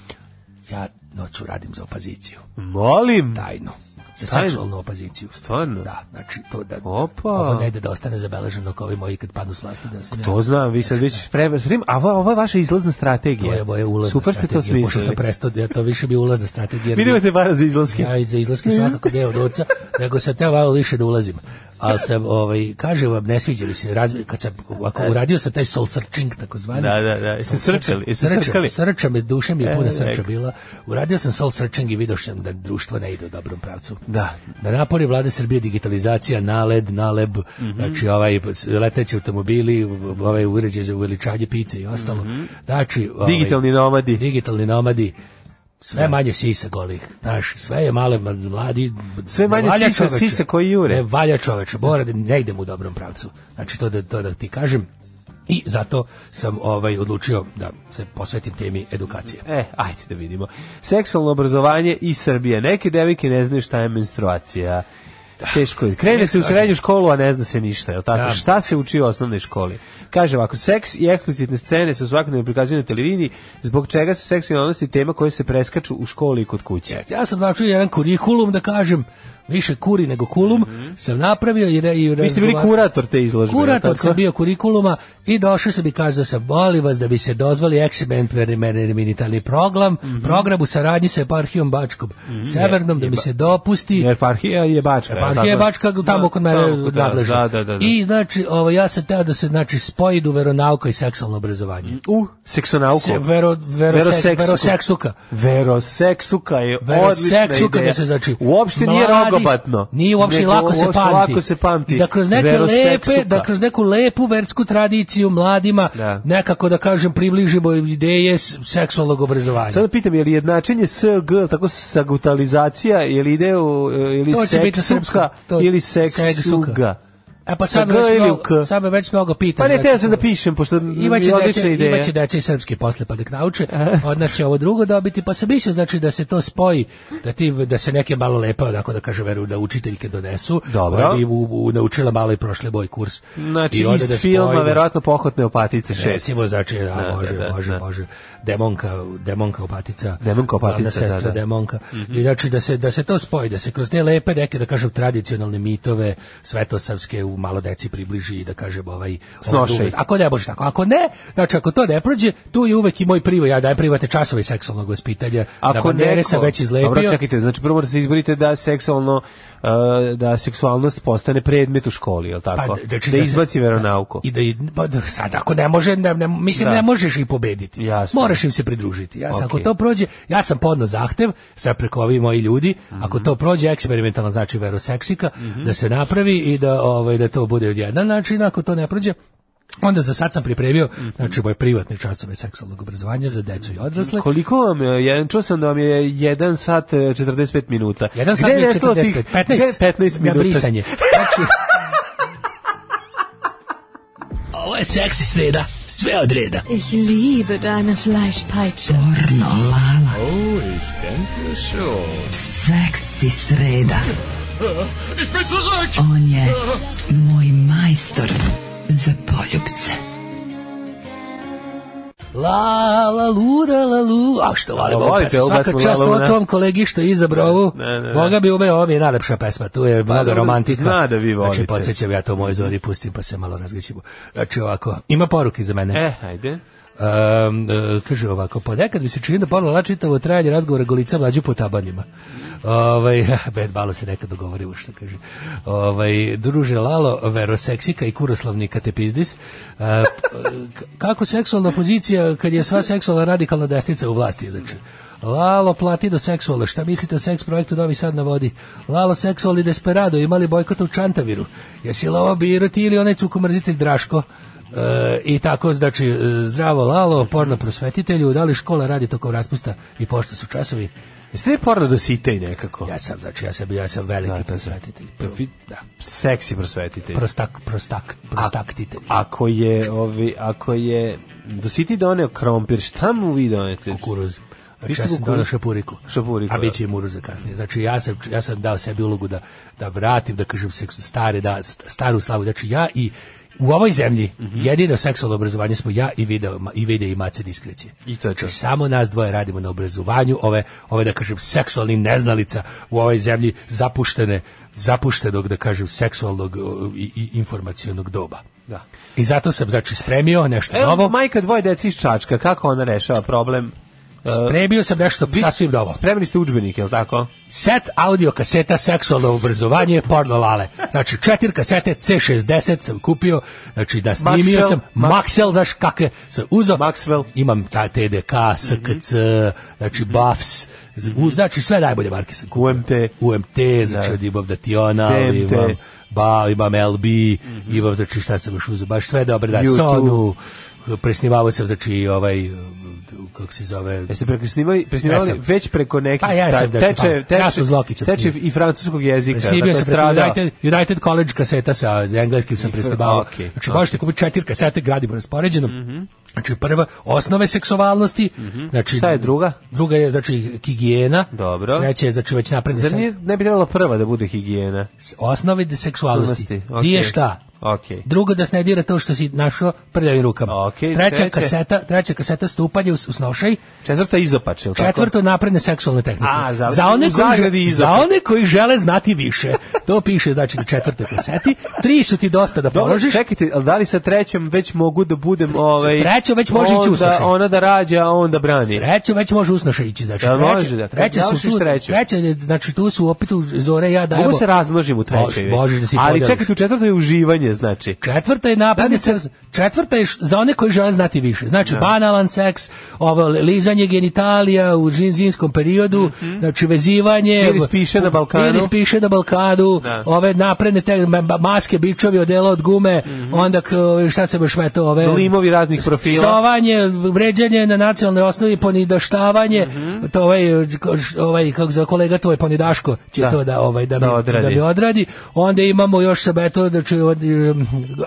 Ja noću radim za opoziciju.
Molim.
Tajno. Za
Tajno?
seksualnu opoziciju.
Mhm. Stvarno?
Da, znači to da...
Opa.
Ovo ne ide da ostane zabeleženo kao ovi moji kad padnu s vlasti da se ne...
To znam, vi sad već pre... prim- A ovo, ovo je vaša izlazna strategija.
To je moja ulazna
Super ste to
strategija, Pošto sam
smislili.
prestao, ja to više bi ulazna strategija. jer
Vi
bi-
nemate para za izlaske. Mhm.
Ja i za izlaske svakako deo ruca, nego sam teo malo više da ulazim. Ali sam, ovaj, kaže vam, ne sviđa mi se, razmi, kad sam, ako uradio sam taj soul searching, takozvani.
Da, da, da. Jeste
soul
srčali? Jeste
search-
srčali?
Srča me, duša mi je
E,
puna srča
rekao.
bila. Uradio sam soul searching i vidio sam da društvo ne ide u dobrom pravcu.
Da.
Da napori vlade Srbije digitalizacija, naled, naleb,
Mhm.
znači ovaj leteći automobili, ovaj uređaj za uveličanje pice i ostalo.
Mhm.
Znači, ovaj,
Digitalni nomadi.
Digitalni nomadi.
Da.
Sve manje sisa golih, znaš, sve je male ma- mladi...
Sve
ne
manje
valja
sisa,
čoveče.
sisa koji jure.
Ne valja čoveče, mora da ne idem u dobrom pravcu. Znači, to da, to da ti kažem. I zato sam ovaj odlučio da se posvetim temi edukacije.
E, ajde da vidimo. Seksualno obrazovanje i Srbije. Neke devike ne znaju šta je menstruacija. Teško je. Krene se u srednju školu, a ne zna se ništa, je li tako?
Da.
Šta se uči u osnovnoj školi? Kaže ovako, seks i eksplicitne scene su svakodnevno prikazuju na televiziji, zbog čega su seksualne odnosi tema koje se preskaču u školi i kod kuće.
Jeste, Ja sam napravio jedan kurikulum, da kažem, više kuri nego kulum, sam napravio i... re- i
Mhm. Vi ste bili
razgovarao-
kurator te izložbe. je li
Kurator
tako?
sam bio kurikuluma i došao sam i kažu da sam, molim vas da bi se dozvali eksperimentalni program,
Mhm.
program u saradnji sa eparhijom Bačkom, severnom, da mi se dopusti E,
Jer parhija je bačka. je li
Eparhija je
tako?
Bačka tamo kod mene
tamo kod- da,
nadležna.
Da, da, da. da.
I znači, ovo, ja sam teo da se znači, spoji do veronauka i seksualno obrazovanje.
U seksonauku.
Se- vero- vero- sek- veroseksuka.
Veroseksuka je odlična
Veroseksuka
ideja.
da se znači
Uopšte nije
mladi-
rogobatno.
Nije uopšte i
Nego
lako se
uopšte
pamti.
lako se pamti.
I da kroz neke
Veroseksuka.
lepe, da kroz neku lepu versku tradiciju mladima
Da.
nekako da kažem približimo im ideje s- seksualnog obrazovanja.
Sada da pitam, je li jednačenje SG, tako sagutalizacija, je li ide u, je li
To će biti
seksuka,
srpsko, to-
ili
seksuka.
seksuga?
E pa
Sa
sad
G
me već
ili u
mnogo,
K?
sad me već mnogo pita.
Pa ne, teo sam da pišem, pošto mi je
Imaće
odlična
deca,
ideja.
imaće deca i srpski posle pa da ih nauče, od nas će ovo drugo dobiti, pa se mislio znači da se to spoji, da ti da se neke malo lepe, onako da kaže veru da učiteljke donesu,
Dobro.
koja bi u, u- naučila malo i prošle boj kurs.
Znači,
onda
iz
da
filma,
spojimo.
verovatno, pohotne opatice šest.
Recimo, znači, a,
Da, da,
bože,
da,
bože,
da.
bože, demonka, demonka opatica.
Demonka Opatica,
glavna sestra
da, da.
demonka. I znači, da se, da se to spoji, da se kroz te lepe neke, da kažem, tradicionalne mitove svetosavske u malo deci približi i da kažem ovaj...
Snošaj.
ovaj duvet. ako ne može tako, ako ne, znači, ako to ne prođe, tu je uvek i moj privo, ja dajem private časove seksualnog vaspitanja, da bandere sam već izlepio.
Dobro, čekajte, znači prvo morate se izborite da seksualno e, da seksualnost postane predmet u školi, je li tako?
Pa, znači
da,
da se-
izbaci veronauku.
I da, i- pa da sad ako ne može, ne, ne- mislim
Da.
ne možeš i pobediti.
Jasno.
Moraš im se pridružiti. Ja sam, ako
Okej.
to prođe, ja sam podno zahtev, sad preko ovi moji ljudi, ako to prođe eksperimentalno znači veroseksika,
Mhm.
da se napravi i da ovaj da to bude jedan način, ako to ne prođe, Onda za sad sam pripremio,
Mhm.
znači, moje privatne časove seksualnog obrazovanja za decu i odrasle.
Koliko vam je, jedan, čuo sam da vam je 1 sat e, 45 minuta.
Jedan sat
Gde
je
nestalo
45,
tih-
15,
gde je 15
na
minuta.
brisanje. Znači,
Ovo je seksi sreda, sve od reda.
E,
Ich liebe deine Fleischpeitsche.
Lala.
Oh, ich denke schon.
Seksi sreda.
Ich bin zurück!
On je moj majstor za poljubce.
La, la, lura, la, lu. A što
A,
volim ovu
volite
pesmu.
ovu
Svaka
pesmu,
čast
La, la,
o
la.
tvom kolegi što je izabrao ovu.
Ne, ne, ne.
Boga bi ume, ovo mi je najlepša pesma. Tu je mnogo
dobro,
romantika.
zna da vi volite.
Znači, podsjećam ja to moje zori, pustim pa se malo razgaćimo. Znači, ovako, ima poruke za mene.
E, hajde.
Um, e, kaže ovako, ponekad mi se čini da Pavla čitavo trajanje razgovora golica mlađu po tabanima. Ovaj, bed malo se nekad dogovorimo što kaže. Ovaj, druže Lalo, veroseksika i kuroslavnika te pizdis. E, k- kako seksualna opozicija kad je sva seksualna radikalna desnica u vlasti, znači. Lalo plati do seksuala. Šta mislite o seks projektu Novi Sad na vodi? Lalo seksual i desperado imali bojkota u Čantaviru. Jesi Lalo biro ti ili onaj cukomrzitelj Draško? E, I tako, znači, e, zdravo Lalo, porno prosvetitelju, da li škola radi tokom raspusta i pošto su časovi?
Jeste vi porno dositej nekako?
Ja sam, znači, ja sam, ja sam veliki prosvetitelj.
Profi-
Da.
Seksi prosvetitelj.
Prostak, prostak, prostaktitelj.
Ako je, ovi, ako je dositi doneo krompir, šta mu vi donete?
Kukuruz. Znači,
Isto
ja sam
kukuruz.
donao šapuriku.
Šapuriku,
A
da.
bit će i muruza kasnije. Znači, ja sam, ja sam dao sebi ulogu da, da vratim, da kažem, seksu, stare, da, st- staru slavu. Znači, ja i u ovoj zemlji
Mhm.
jedino seksualno obrazovanje smo ja i video, i video i mace diskrecije.
I to je to.
Znači, samo nas dvoje radimo na obrazovanju ove, ove da kažem, seksualni neznalica u ovoj zemlji zapuštene, zapuštenog, da kažem, seksualnog o, i, i informacionog doba.
Da.
I zato sam, znači, spremio nešto
Evo,
novo.
majka dvoje deci iz Čačka, kako ona rešava problem? E,
Spremio sam nešto
vi-
sasvim novo.
Spremili ste udžbenik, je li tako?
Set audio kaseta seksualno obrazovanje porno lale. Znači četiri kasete C60 sam kupio, znači da snimio
Maxell,
sam
Max-
Maxell, znaš kakve sam uzao.
Maxwell. Mhm.
Imam ta TDK, SKC, znači Buffs, uz- znači sve najbolje marke sam kupio.
UMT.
UMT, znači
Da.
od imam Dational,
TMT.
imam Ba, imam LB,
Mhm.
imam znači šta sam još uzeo, baš sve dobre, da,
YouTube.
Sonu, presnimavao sam znači ovaj, kako se zove,
Jeste preko snimali, presnimali
Jesam.
već preko nekih
Pa ja sam,
ta-
da ću,
teče,
pa.
teče,
Ja sam Zlokićem
teče
snimio.
i francuskog jezika.
Snimio
dakle,
sam preko
strada.
United, United College kaseta sa engleskim sam prestebao.
okej,
Znači, možete kupiti četiri kasete, gradimo raspoređeno.
Mhm.
Znači, prva, osnove seksualnosti. znači,
Šta je druga?
Druga je, znači, higijena.
Dobro.
Treća je, znači, već napredne
Zar
se-
nije, ne bi trebala prva da bude higijena?
osnove de- seksualnosti.
Seksualnosti,
Gdje
okej.
je šta?
Okej.
Drugo, da se ne dira to što si našao prljavim rukama.
Okej,
treća,
treće.
kaseta, treća kaseta stupanje u, s- u snošaj.
Četvrta izopač, je li tako?
Četvrto napredne seksualne tehnike.
A, za-
one
u
koji,
zagradi
žele-
iza.
za one koji žele znati više. To piše znači na četvrte kaseti. Tri su ti dosta da
Dobro,
položiš.
čekajte, ali da li sa trećom već mogu da budem ovaj...
trećom već može ići
onda-
usnošaj.
Ona da rađa, a on da brani.
Treće već može usnoša ići, znači
Da,
treće,
može, da,
treće su
završiš
tu,
treću.
treće, je, znači tu su opet u zore i ja dajemo.
Mogu se razmnožim u trećoj.
Može-
već.
možeš da si
Ali
podeliš.
čekajte, u četvrtoj je uživanje, znači.
Četvrta je napredna seks- četvrta je š- za one koji žele znati više.
Da.
Znači banalan seks, ovo lizanje genitalija u žin- zimskom periodu, znači vezivanje,
Miris Mhm. piše na Balkanu.
Miris piše na Balkanu,
Da.
ove napredne te ma- ma- maske, bičovi, odela od gume,
Mhm.
onda k- šta se baš meto ove
Limovi raznih profila.
Psovanje, vređanje na nacionalnoj osnovi, ponidaštavanje,
Mhm.
to ovaj, ovaj kako za kolega to je ponidaško, će
Da.
to da ovaj da, mi-
Da odradi.
da mi odradi. Onda imamo još sa eto znači od, um,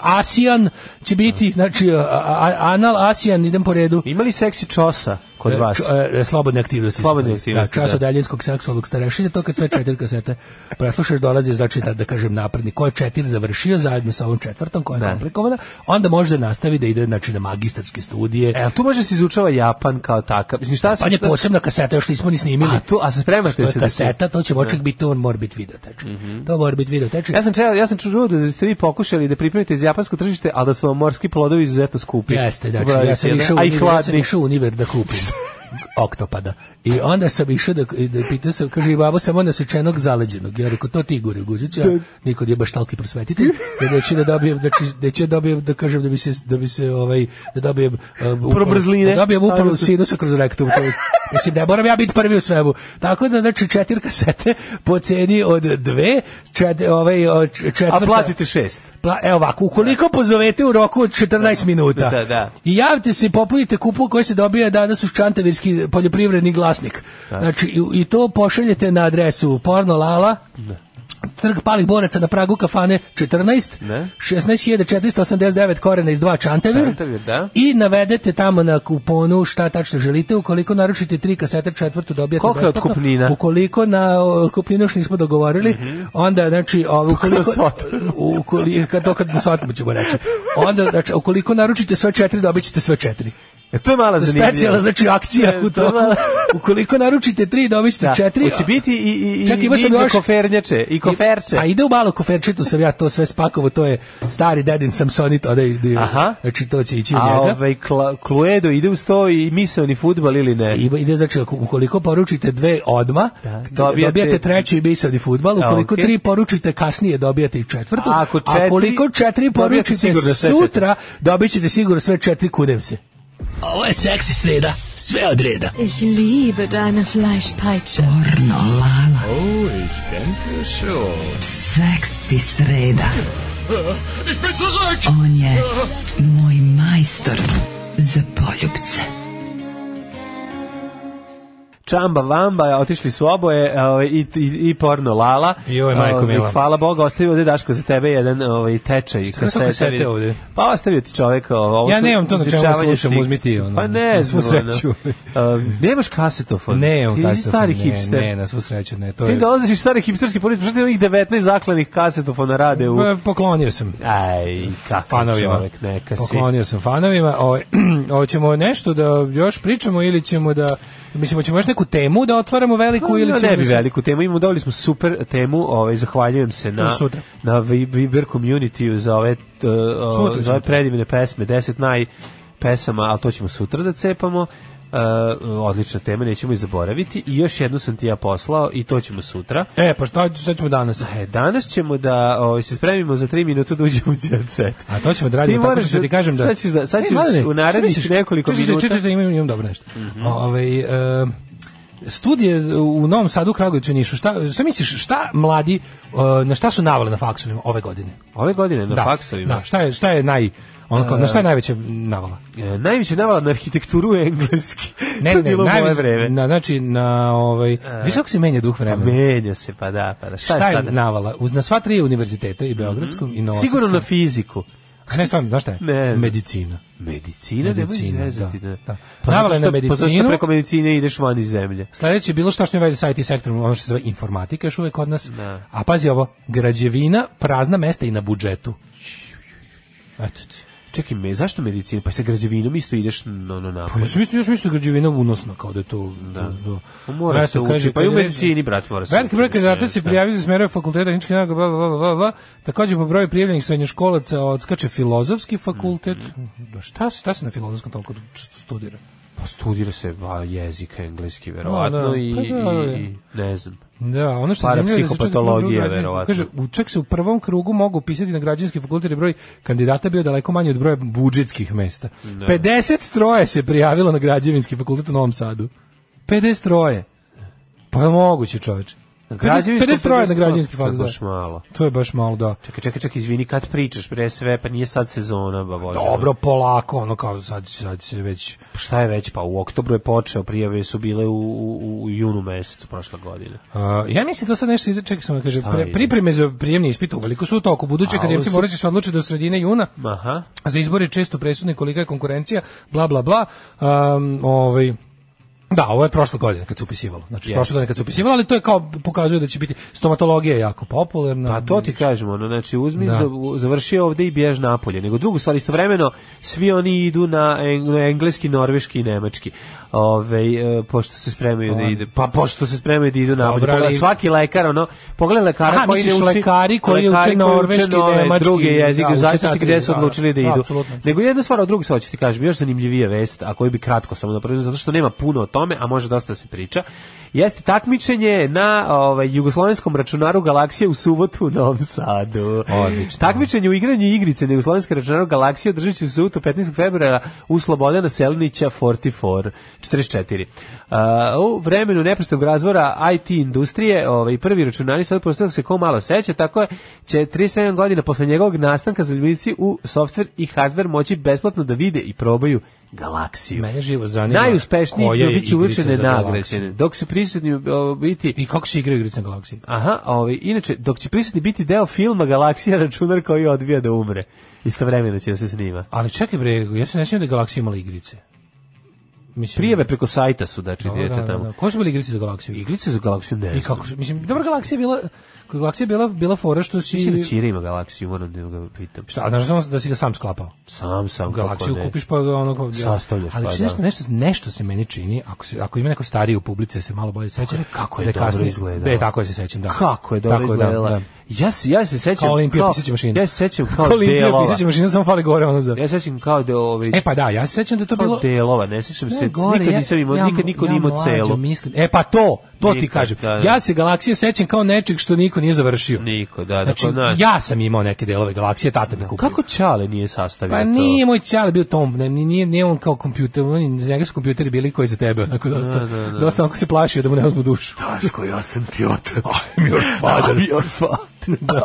Asian će biti,
Da.
znači a- a- anal Asian idem po redu.
Imali seksi čosa kod
E,
vas?
č- e, e, slobodne aktivnosti.
Slobodne
Da,
aktivnosti,
čas
da.
od daljinskog seksualnog starešenja, to kad sve četiri kasete preslušaš, dolazi, znači da, da kažem napredni. Ko je četiri završio zajedno sa ovom četvrtom, koja je
Da.
komplikovana, onda može da nastavi da ide znači, na magistarske studije.
E, ali tu može se izučava Japan kao takav. Mislim, šta su...
Pa je
šta-
posebna kaseta, još nismo ni snimili.
A, tu, a se spremate
to je
se da se...
kaseta, to će močak biti, on mora biti video teče. To mora biti video teče.
Ja sam, čeo, ja sam čuo da ste vi pokušali da pripremite iz japansko tržište, ali da su vam morski plodovi izuzetno skupi.
Jeste, znači,
Ubrali
ja
ste,
sam
ne?
išao u
A i
univer, ja sam
hladni.
išao u univer da kupim oktopada. I onda sam išao da, da pitao sam, kaže, i babo samo nasečenog zaleđenog. Ja rekao, to ti Igor u guzicu,
Da.
ja niko nije baš talki prosvetitelj, da neću da dobijem, znači, neću da dobijem, da kažem, da bi se, da bi se, ovaj, da dobijem, uh,
Probrzline.
da dobijem upalu
Ajde se-
sinusa kroz rektum, to jest, mislim, ne moram ja biti prvi u svemu. Tako da, znači, četiri kasete po ceni od dve, čet, ovaj, o, č- četvrta...
A platite šest.
Pla, Pa, evo ovako, ukoliko pozovete u roku od 14 minuta
Da, da.
i javite se i popunite kupu koji se dobija danas u Čantavirski poljoprivredni glasnik.
Da.
Znači, i, i to pošaljete na adresu Pornolala,
Da.
trg palih boraca na pragu kafane 14,
Da.
16.489 korena iz dva Čantavir,
Čantavir, da.
i navedete tamo na kuponu šta tačno želite, ukoliko naručite tri kasete četvrtu dobijate
Koliko je
besplatno.
otkupnina?
Ukoliko na o, kupninu još nismo dogovorili,
Mhm.
onda znači ovo, ukoliko
nas otmu.
ukoliko kad to kad nas otmu ćemo reći. Onda znači ukoliko naručite sve četiri dobićete sve četiri.
E, to je mala zanimljiva.
Specijala, znači akcija
E,
u
to je
toku.
mala-
Ukoliko naručite tri, dobit ćete
Da.
četiri.
Hoće biti i, i, i
Čak ima sam
ninja
još-
kofernjače i koferče.
A ide u malo koferčitu, sam ja to sve spakovo, to je stari dedin Samsonit, odaj, ide-
Aha.
znači to će ići u
A
njega.
ovaj Kla- Cluedo ide uz to i misaoni futbal ili ne?
Ima, ide, znači, ako- ukoliko poručite dve odma,
dobijate-
dobijate, treću i misani futbal,
A,
ukoliko
da, okej.
tri poručite kasnije, dobijate i četvrtu,
A ako četiri-
koliko četiri
dobijate
poručite
sigurno sve
sutra, dobit ćete sigurno sve četiri, kudem se. Ovo je seksi sreda, sve od reda.
E,
Ich liebe deine Fleischpeitsche.
Pornolala.
Oh, ich denke schon.
Seksi sreda.
Ich bin zurück!
On je moj majstor za poljubce.
Čamba Vamba, otišli su oboje ovaj, i, i, i porno Lala.
Joj, majko
Ovaj,
mila.
Hvala Boga, ostavio ovde Daško za tebe jedan ovaj, tečaj.
ima sad kasete ovde?
Pa ostavio ti čovek. Ovo,
Ja
tu
nemam to na čemu da
izučavanje
slušam,
svih-
uzmi ti, ono,
Pa ne,
na svu
znam, ono.
sreću.
Um, nemaš kasetofon.
Pa Ne, on
Ti nisi stari hipster.
Ne, na svu sreću, ne, to
Ti
je...
dolaziš iz stare hipsterske porodice, što ti onih 19 zaklenih kasetofona rade u...
Pa, Poklonio sam.
Aj, kakav
fanovima.
čovek, neka si.
Poklonio sam fanovima. Ovaj, Hoćemo nešto da još pričamo ili ćemo da... Mislim, hoćemo još neku temu da otvaramo veliku ili
Pa,
ćemo...
ne bi
da se-
veliku temu, imamo dobili smo super temu, ovaj zahvaljujem se na
To sutra.
na Vi- Viber communityu za ove t- o,
Sutra
za ove
ćemo.
predivne pesme, 10 naj pesama, ali to ćemo sutra da cepamo. E, odlična tema, nećemo i zaboraviti. I još jednu sam ti ja poslao i to ćemo sutra.
E, pa šta, sad ćemo danas.
E, danas ćemo da ovaj, se spremimo za 3 minuta da uđemo u jet set.
A to ćemo da radimo
Ti
tako
moraš
što ti
da-
kažem da...
sad ćeš da- sad ćeš
Mladene,
u narednih
šta misliš?
nekoliko
Čekaj,
minuta- Mhm.
Čekaj, čekaj, imam, imam dobro nešto. Ovaj, e, studije u Novom Sadu, Kragovicu i Nišu, šta, šta misliš, šta mladi, e, na šta su navale na faksovima ove godine?
Ove godine na
da,
faksovima.
Da, šta je, šta je naj... Ono, kao, na šta je najveća navala?
E, najviše navala na arhitekturu engleski.
Ne,
to
ne,
je
ne,
bilo moje
najviše-
vreme.
Na, znači, na ovaj... Viš kako se menja duh vremena?
Menja se, pa da, pa da. Šta,
šta
je
je
sada? Mhm.
navala? Uz, na sva tri univerziteta, i Beogradskom, i Novosadskom.
Sigurno na fiziku.
A Ne, stvarno, znaš šta je?
Ne znam.
Medicina.
Medicina,
Medicina,
nemoj izrezati,
da.
da.
Da.
Pa zato
Navala je
što-
na
Pa zašto
medicinu.
preko medicine ideš van iz zemlje?
Sledeće je bilo što što je veze sa IT sektorom, ono što se zove informatika još uvek kod nas.
Da.
A pazi ovo, građevina, prazna mesta i na budžetu. Eto ti.
Čekaj, me, zašto medicina? Pa sa građevinom isto ideš no, no,
Pa ja
napolje.
sam mislio, još mislio da je građevina unosna, kao da je to... Da.
Pa mora se uči, pa i u medicini, brat, mora se uči,
Veliki broj
mislim,
kandidata se
da.
prijavio za smerove fakulteta, nički naga, bla, bla, bla, bla, bla. Takođe po broju prijavljenih srednjoškolaca odskače filozofski fakultet.
Mhm.
Da, šta, se- šta se na filozofskom toliko studira?
Pa studira se ba, jezik engleski, verovatno,
Pa da,
i,
pa da,
i, i, ne znam.
Da, ono što je zanimljivo je da se čak
Parapsihopatologija,
u drugom razredu-
verovatno.
Kaže, u čak se u prvom krugu mogu pisati na građanski fakultet jer broj kandidata bio daleko manji od broja budžetskih mesta.
Da.
50 troje se prijavilo na građevinski fakultet u Novom Sadu. 50 troje. Pa je moguće, čoveče. 50
Građevinsko- da.
50 troje na građevinski
To je
fakultet.
baš malo.
To je baš malo, da.
Čekaj, čekaj, čekaj, izvini, kad pričaš, pre sve, pa nije sad sezona, ba bože.
Dobro, polako, ono kao sad, sad se već... uh,
Pa Šta je već, pa u oktobru je počeo, prijave su bile u, u, u junu mesecu prošle godine.
Uh, ja mislim to sad nešto ide, čekaj sam da kaže,
Šta
pre,
ide?
pripreme za prijemni ispit uveliko su u toku, buduće
A,
kad
ovo
jemci
su-
morat će se odlučiti do sredine juna,
Aha.
A za izbor je često presudni kolika je konkurencija, bla, bla, bla. Um, ovaj, Da, ovo je prošle godine kad se upisivalo. Znači,
Jeste.
prošle godine kad se upisivalo, ali to je kao pokazuje da će biti stomatologija je jako popularna.
Pa to ti kažemo, ono, znači uzmi,
Da.
za, u- završi ovde i bjež napolje. Nego drugu stvar, istovremeno, svi oni idu na eng- engleski, norveški i nemački. Ove, pošto se spremaju da ide, pa pošto se spremaju da idu napolje.
Dobro, ali-
Pogledaj, svaki lekar, ono, lekara, lekara
Aha,
koji ne
misliš
uči,
lekari koji
lekari
uče norveški,
nove,
nemački,
druge jezike,
da,
u
uče
zavisnosti
ta
gde
tri,
su
da,
odlučili da
da,
idu.
apsolutno.
Nego jedna stvar, a druga stvar ću ti kažem, još zanimljivija vest, a koju bi kratko samo napravio, zato što nema puno o tome, a može dosta da se priča, jeste takmičenje na ovaj, jugoslovenskom računaru galaksije u subotu u Novom Sadu.
Odlično.
Takmičenje u igranju igrice na jugoslovenskom računaru galaksije održat će se u subotu 15. februara u Slobodana Selnića 44, 44. A, u vremenu neprestog razvora IT industrije, ovaj, prvi računari sa odprosnog se ko malo seća, tako je, će 37 godina posle njegovog nastanka zaljubljenici u softver i hardver moći besplatno da vide i probaju galaksiju.
Mene živo zanima
Najuspešniji
koja je
bit će
igrica
učene
za galaksiju.
nagrađene, dok se prisutni o, biti
I kako se igraju igrice na galaksiji?
Aha, ovaj, inače, dok će prisutni biti deo filma Galaksija računar koji odvija da umre. Istovremeno će da se snima.
Ali čekaj bre, ja se ne sjećam da je galaksija imala igrice.
Mislim, Prijave preko sajta su, znači,
Dobro,
idete
da, da,
tamo.
da. Ko su bili iglice za galaksiju?
Iglice za galaksiju ne.
I kako su, mislim, dobra galaksija je bila, galaksija je bila, bila fora što si...
Mislim da Ćira ima galaksiju, moram da ga pitam.
Šta, a znaš da sam- da si ga sam sklapao?
Sam, sam, kako
Galaksiju
ne.
kupiš pa ga ono kao-
Sastavljaš,
ali
pa
čini
da.
nešto, nešto, nešto se meni čini, ako, se, ako ima neko stariji u publici, da se malo bolje seća.
Kako je
da
dobro
kasnije-
izgledala.
Da, je, tako je se sećam, da.
Kako je dobro
Tako da,
izgledala.
da.
Ja, se, ja se sećam...
Kao Olimpija
kao-
pisaća mašina.
Ja se sećam kao,
Kao Olimpija
delova.
pisaća mašina, samo fali gore ono za-
Ja se sećam kao da ovaj...
E pa da, ja se sećam da je to
kao
bilo-
delova, ne sećam
Ne,
se.
gore,
nikad
ja-
nisam imao,
ja-
nikad niko
ja
nije imao
mlađo
celo.
mislim. E pa to, to ti
Nikad,
kažem.
da, da.
Ja se galaksije sećam kao nečeg što niko nije završio.
Niko, da, da,
Znači,
kod nas.
ja sam imao neke delove galaksije, tata mi kupio.
Kako Čale nije sastavio
Pa
to?
nije moj čale bio tom, ne, ni- nije, nije on kao kompjuter, on, je- za njega su kompjuteri bili koji za tebe, onako dosta,
Da, da, da.
dosta onako se plašio da mu ne uzmu dušu.
Daško, ja sam ti otac.
I'm your father.
I'm your father.
Da.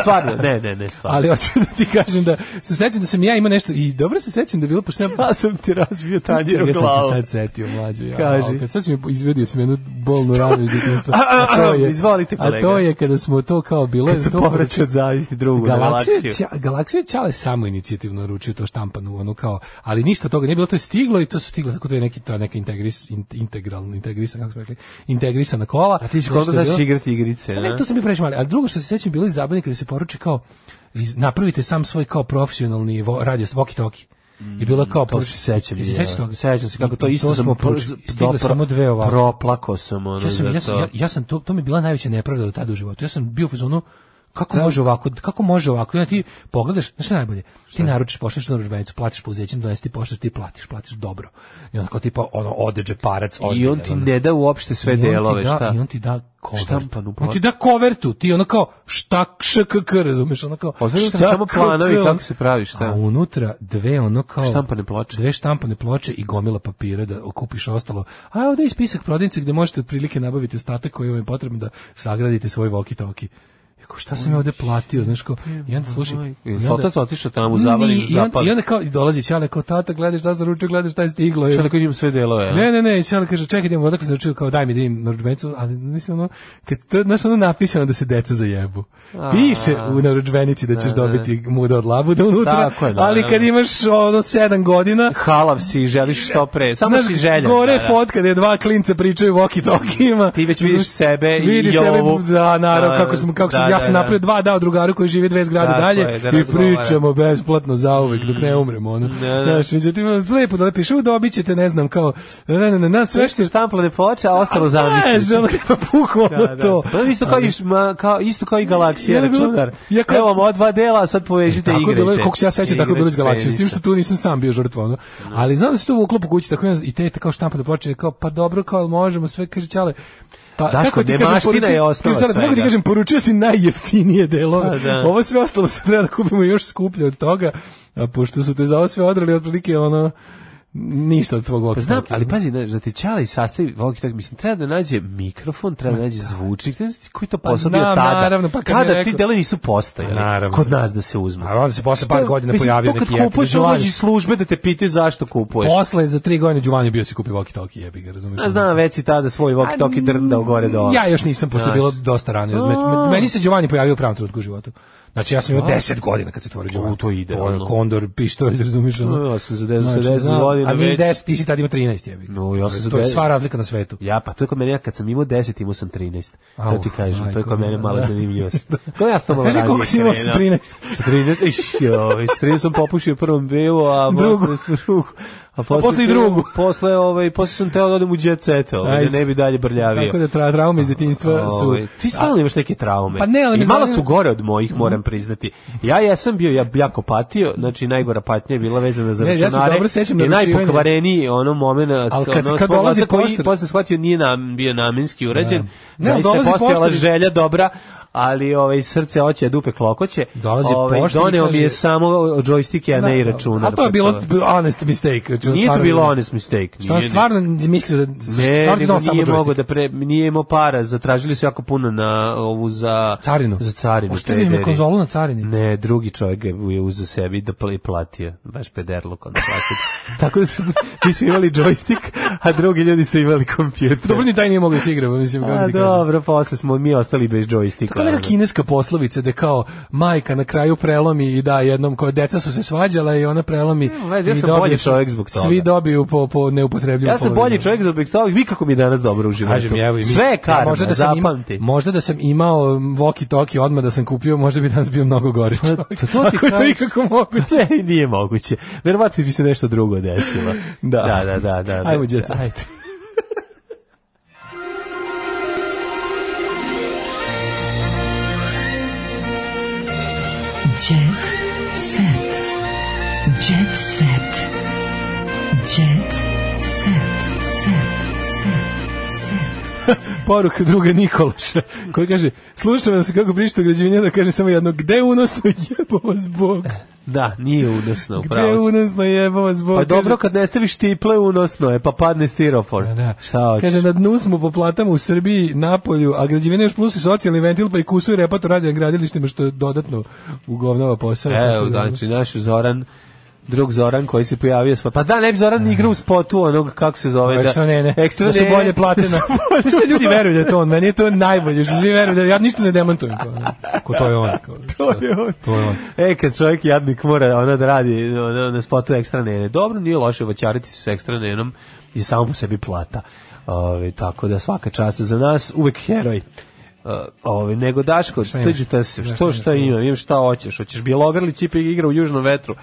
Stvarno, ne, ne, ne, stvarno.
Ali hoću da ti kažem da se sećam da sam ja imao nešto i dobro se sećam da je bilo pošto
ja sam ti razbio tanjir u
Ja
glavu.
sam se sad setio mlađu. Ja,
Kaži.
Al, Kad sad sam izvedio sam jednu bolnu ranu iz djetinjstva.
A, a,
A to je-
izvolite,
A
kolega.
to je kada smo to kao bilo...
Kad se
to- da-
povraća od zavisti drugu na
Galaksija,
galaksiju.
Ća- Galaksija je Čale samo inicijativno naručio to štampanu, ono kao, ali ništa od toga nije bilo, to je stiglo i to su stiglo, tako to je neki, ta neka integris, in- integralno, integrisana, kako smo rekli, integrisana kola.
A ti si
Nešto
koliko
je
znaš
bilo-
igrati igrice,
Pa Ne, to sam bio previše mali. A drugo što se sećam bilo iz zabavnika kada se poruči kao, iz- napravite sam svoj kao profesionalni vo, radio, walkie-talkie. I bilo je kao
Mm, To
poruči-
se sećam.
Jel se
ja.
sećaš toga?
Sećam se kako to
I- i
isto
to
sam
smo
pro-
poručili. Stigle
dopro-
samo dve ovako.
Proplako sam ono
Ja sam, ja
za
sam,
da to.
ja, ja sam to, to mi je bila najveća nepravda do tada u životu. Ja sam bio u fazonu
Da.
kako može ovako, kako može ovako. I onda ti pogledaš, znaš šta je najbolje? Ti naručiš, pošleš na ručbenicu, platiš po uzećem, donesi ti pošleš, ti platiš, platiš dobro. I onda kao tipa, ono, ode džeparac,
I
ozbiljan,
on ti
ono.
ne da uopšte
I
sve
on ti
delove,
da-
šta? pa
I on ti da kovertu.
Štampanu pla-
On ti da kovertu, ti ono kao šta ŠKK, razumeš, ono kao
Ostavljaju ti
šta
samo
KK,
planovi
ono-
kako se pravi, šta?
A unutra dve ono kao
Da. Štampane ploče.
Dve štampane ploče i gomila papira da okupiš ostalo. A ovde je spisak prodavnice gde možete otprilike nabaviti ostatak koji vam je potrebno da sagradite svoj walkie-talkie. Jako, šta sam ja ovde platio, znaš ko, i onda slušaj.
I
i
s
onda-
otac otišao tamo u zabavu,
Ni, i, onda,
zapali.
I onda kao, i dolazi Ćale kao, tata, gledaš šta sam ručio, gledaš šta je stiglo.
Šta da kažem sve delove, a?
Ne, ne, ne, Ćale kaže, čekaj, idemo odakle sam čuo, kao daj mi da im naručbenicu, ali mislim ono, kad to, znaš ono napisano da se deca zajebu.
A.
Piše u naručbenici da ćeš
Da, da.
dobiti muda od labuda unutra,
Tako je, da,
ali
da,
kad
da.
imaš ono sedam godina,
Halav si i želiš što pre. Samo
znaš,
si željan.
gore
da,
je
da.
fotka da je dva klinca pričaju walkie-talkijima.
Ti već vidiš sebe i
Vidiš
Jovu.
sebe, da, naravno,
Da,
kako sam, kako sam,
da,
ja
da,
sam
da.
napravio dva dao drugaru koji živi dve zgrade
Tako
dalje
je, da
i
razgovara.
pričamo besplatno zauvek dok ne umremo, ono.
da.
Znaš, međutim, lepo da lepiš, u, dobit ćete, ne znam, kao, ne, ne, ne, ne, sve
Sve
što
što je štamplane ploče, a ostalo zamisli.
Znaš, ono kada puku, ono
Da, da.
to.
Pa isto kao, i, ma, kao, isto kao i galaksija,
Ja bi bilo-
računar.
ja kao-
Evo vam ova dva dela, a sad povežite i
Tako je
igrajte.
bilo, kako se ja sećam, tako je bilo iz
Igraću
galaksije, s tim
penisa.
što tu nisam sam bio žrtva, ono. Ali znam da se to vuklo po kući, tako ja- i te kao štampane ploče, kao, pa dobro, kao, jel možemo sve, kaže Ćale, Pa,
Daško,
kako ti kažem,
nemaština
poručio-
je ostala
kaže, Ćale, pa kako ti
svega.
kažem, poručio si najjeftinije delove.
Pa, da.
Ovo sve ostalo se treba da kupimo još skuplje od toga, a pošto su te za ovo sve odrali, otprilike ono, ništa od tvog
Pa znam,
walkie-talkie.
ali pazi, znaš, da ti Čale i sastavi Vogi tako, mislim, treba da nađe mikrofon, treba da nađe zvučnik, ne znam ti koji to
Pa
posao
znam,
bio tada.
naravno, pa kad mi je
kada ti
rekao-
delovi nisu postojali,
Pa naravno.
kod nas da se uzmu.
A onda se posle par
Šta,
godina
mislim,
pojavio
to
neki
kad
jeftin
kupuješ,
Giovanni.
uđi službe da te pitaju zašto kupuješ.
Posle za tri godine Đuvani bio se kupi walkie-talkie, jebi ga, razumiješ?
Ja znam, već si tada svoj Vogi Toki drndao gore dole.
Ja još nisam, pošto je
Znaš.
bilo dosta rano. Me- me- Meni se Giovanni pojavio u pravom trenutku u životu. Znači, ja sam imao
Stvarno?
10 godina kad se tvorio Giovanni.
U, to je idealno.
je kondor, pištolj, razumiješ? ono.
No, ja sam za 10
Znači,
za 10
znam,
godina
A mi
već-
10, ti si tad imao 13, jebi. ga.
No, ja sam za
to je
10.
sva razlika na svetu.
Ja, pa to je kod mene, ja kad sam imao 10, imao sam 13. to
Au,
ti kažem, to je kod
majko
mene mala
moja. Da.
zanimljivost. To ja sam to malo
Kaži,
ranije
koliko si imao sa
krenuo.
13?
Sa 13, iš, joj, s 13 sam popušio prvom bevu, a
Drugu.
posle drugu. A posle,
posle i drugu.
Posle, ovaj, posle sam teo da odem u jet set, ovaj, da
Ajde.
ne bi dalje brljavio.
Tako da tra, traume iz djetinjstva Pa su...
Ovaj, ti stalno imaš neke traume.
Pa ne, ali
I
me
malo
zanima-
su gore od mojih, moram priznati. Ja jesam bio ja jako patio, znači najgora patnja je bila vezana za
Ne, ja se
računare.
dobro sećam
I
naručivanja.
najpokvareniji ono momenat,
Ali kad-
ono,
kad
svog
dolazi
oca koji
poštar-
posle shvatio nije nam, bio namenski urađen.
Da. Ne, ali
Zaista je
dolazi
postojala
poštar i-
želja dobra, ali ovaj srce oće dupe klokoće.
Dolazi
ovaj,
poštar i
doneo mi je
kaže- Da,
samo džojstike, a ne i računar.
A to je
pa
bilo honest mistake. znači,
Nije to
stvarno-
bilo honest mistake.
Što on
nije-
stvarno mislio da...
ne,
stvarno
nego
dao samo
nije
joystick.
mogao da pre, nije imao para, zatražili su jako puno na ovu za
Carinu.
Za carinu.
Ostavio im je
pederi.
konzolu da na carini.
Ne, drugi čovjek ga je uzeo sebi da pla- i platio, baš pederluk on platio. Tako da su, mi su imali džojstik, a drugi ljudi su imali kompjuter.
Dobro, ni taj nije mogao da se igra, mislim. kako
A
ti kažem.
dobro, posle smo mi ostali bez džojstika.
Tako da neka kineska poslovica da kao majka na kraju prelomi i da jednom koja deca su se svađala i ona prelomi
vezi, ja
i
sam
dobiju
bolji
svi-
čovjek zbog toga.
Svi dobiju po po neupotrebljivom.
Ja sam
povredu.
bolji čovjek za bih toga, vi kako mi je danas dobro u životu.
Kažem, evo, i mi-
Sve je karma,
Ja, možda da sam ima,
zapamti.
možda da sam imao walkie talkie odmah da sam kupio, možda bi danas bio mnogo gori. čovjek.
Pa, to ti
Ako je to
kažem.
ikako moguće.
Ne, nije moguće. Verovatno bi se nešto drugo desilo.
Da.
da, da, da. da, da.
Ajmo, djeca.
Ajde.
Jet set. Jet set. Jet set. Set.
Poruka druga Nikološa, koji kaže, slušam vas kako pričate o građevinjenju, da kažem samo jedno, gde je unosno jebo vas Bog?
Da, nije unosno,
Gde je
pravo.
unosno jebo vas Bog?
Pa
Kaže-
dobro kad ne staviš tiple unosno je, pa padne stirofor.
Da.
Šta hoćeš?
Kaže, na dnu smo po platama u Srbiji, Napolju, a građevine još plus i socijalni ventil, pa i kusu i repato radi na gradilištima, što je dodatno ugovnava posao.
Evo,
Tako da,
znači, naš Zoran, drug Zoran koji se pojavio, sva- pa da, ne bi Zoran ni igrao u spotu onog, kako se zove,
Ekstra
da,
ne, ne.
Ekstra
da su
ne,
bolje plate
da
na...
su bolje
Znaš šta ljudi veruju da je to on? Meni je to najbolje, što svi veruju da ja ništa ne demantujem. Kao, ne. Ko to je on? Kao,
To je on. E, kad čovjek jadnik mora ono da radi ono, na spotu ekstra nene. Dobro, nije loše voćariti se s ekstra nenom i samo po sebi plata. Ove, tako da svaka čast za nas, uvek heroj. E, Ove, nego Daško, tuđi te se, što šta ima, imam šta hoćeš, hoćeš Bjelogrlić ipak igra u južnom vetru.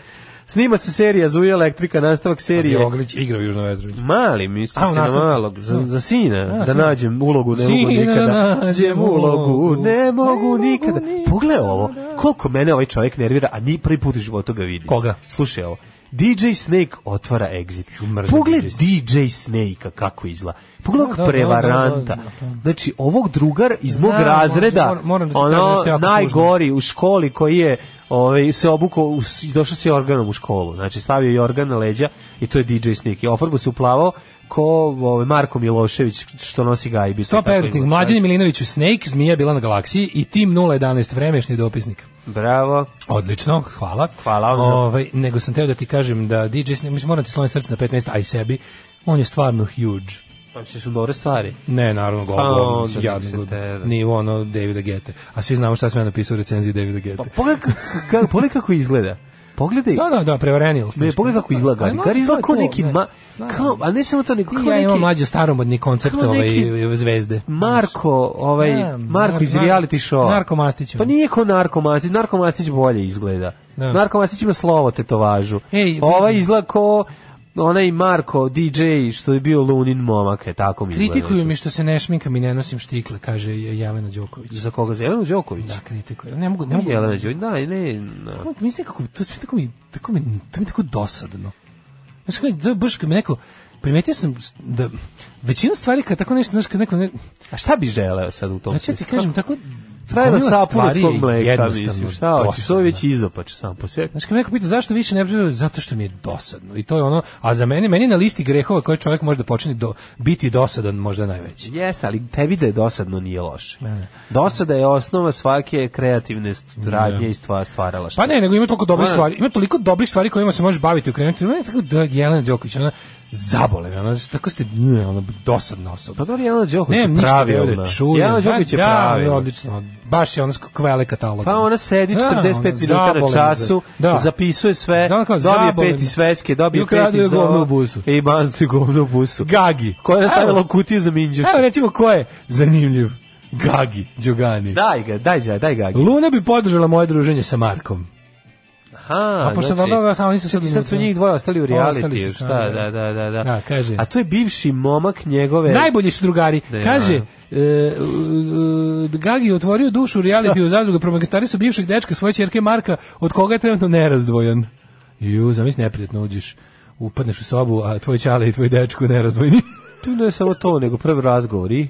Snima se serija Zuja elektrika, nastavak serije.
Bjelogrlić igra u Južnom vetru.
Mali, mislim
A, u
se na
nastavku.
malog, za, za sina,
A,
da
sina.
nađem ulogu, ne mogu
Sina,
nikada.
nađem
ulogu,
ulogu,
ne mogu nikada. Pogledaj ovo, koliko mene ovaj čovjek nervira, a ni prvi put u životu ga vidim.
Koga?
Slušaj ovo. DJ Snake otvara exit. Pogled DJ Snake-a kako izgleda. Pogledaj
Da,
ovog
da,
prevaranta.
da, da,
Znači, ovog drugar iz mog
Znam,
razreda,
moram- moram da ti kažem da
ono,
ste jako
najgori u školi koji je ovaj, se obukao, u, s- došao se organom u školu. Znači, stavio je organ na leđa i to je DJ Snake. I ofarbu se uplavao ko ovaj, Marko Milošević što nosi gajbi.
Top editing, Mlađani Milinoviću Snake, Zmija bila na galaksiji i Tim 011, vremešni dopisnik.
Bravo.
Odlično, hvala.
Hvala vam za-
Ovaj, nego sam teo da ti kažem da DJ Snake, mislim, moram ti sloniti srce na 15, a i sebi, on je stvarno huge.
Pa su dobre stvari.
Ne, naravno,
Pa,
gol, gol,
onda
mislim,
bi
jadno,
se
gol.
tebe.
nivo ono Davida Gete. A svi znamo šta sam ja napisao u recenziji Davida Gete.
Pogledaj kako- kako, pogledaj kako izgleda. Pogledaj.
Da, da, da, prevarenil.
Ne, pogledaj kako izgleda Gari. Gari izgleda kao neki, ma, kao, a ne samo to, nego kao
Ja imam
neki
mlađe staromodni koncept
kao
ovaj,
neki-
zvezde.
Marko, ovaj,
Da,
Marko
Mar-
iz
Mar-
reality show.
Narko Mastić.
Pa nije ko Narko Mastić, Narko Mastić bolje izgleda.
Da.
Narko Mastić ima slovo tetovažu.
Ej,
ovaj izgleda ko onaj Marko, DJ, što je bio Lunin momak, je tako mi izgleda.
Kritikuju mi što se ne šminkam i ne nosim štikle, kaže Jelena Đoković.
Za koga? Za Jelenu Đoković?
Da, kritikuju. Ne mogu, ne mogu.
Jelena Đoković, da, i ne, da.
Kako- Mislim kako to sve tako mi tako mi to mi je tako dosadno. Znaš kako je, da baš kad me neko primetio sam s- da većina stvari kad tako nešto znaš kad neko ne,
A šta bi želeo sad u tom
znači ja ti
smislu?
kažem tako
Trajla
gomila
sapu od
stvari
da svog
je
mleka,
jednostavno
mislim, šta hoćeš, to je
dosadno.
već izopač sam po sebi.
Znaš, kad me neko pita zašto više ne pričam, zato što mi je dosadno. I to je ono, a za mene, meni je na listi grehova koje čovjek može da počne do, biti dosadan možda najveći.
Jeste, ali tebi da je dosadno nije loše.
Ne.
Dosada je osnova svake kreativne st- radnje i stva, stvarala
Da. Pa ne, nego ima toliko dobrih
Ona-
stvari, ima toliko dobrih stvari kojima se možeš baviti i okrenuti. Meni je tako da Jelena Đoković, ona zabole me, ona tako ste, ne, ona dosadna osoba.
Pa dobro, Jelena Đoković
Nemam
je
ništa da
pravilna.
ovdje čujem.
Jelena Đoković je
Da,
pravilna.
odlično. Baš je ono sk- kvele katalog.
Pa ona sedi
Da,
45 minuta na
ona zabole
času,
me za- da.
zapisuje sve,
Da, ona kao
dobije
zabole
pet
me.
iz sveske,
I
dobije pet
ukradu joj
iz ovo.
govno u busu.
I mazdu je govno u busu.
Gagi.
Koja je stavila
Evo.
u kutiju za minđuš.
Evo recimo ko je zanimljiv. Gagi, Đogani.
Daj ga, daj, daj, daj Gagi.
Luna bi podržala moje druženje sa Markom.
Aha,
A pošto
znači-
valjda samo nisu
I
sigurni.
sad su njih dvoje ostali u
Ostali
reality,
su sami,
šta, da,
da.
da, da, da.
Da, kaže.
A to je bivši momak njegove...
Najbolji su drugari.
Ne,
Kaže,
naravno.
e, e, Gagi je otvorio dušu u realitiju zadruga promekatari su bivšeg dečka svoje čerke Marka, od koga je trenutno nerazdvojan. Ju, zamisli neprijatno uđeš, upadneš u sobu, a tvoj čale i tvoj dečko nerazdvojni.
Tu ne samo to, nego prvi razgovor i...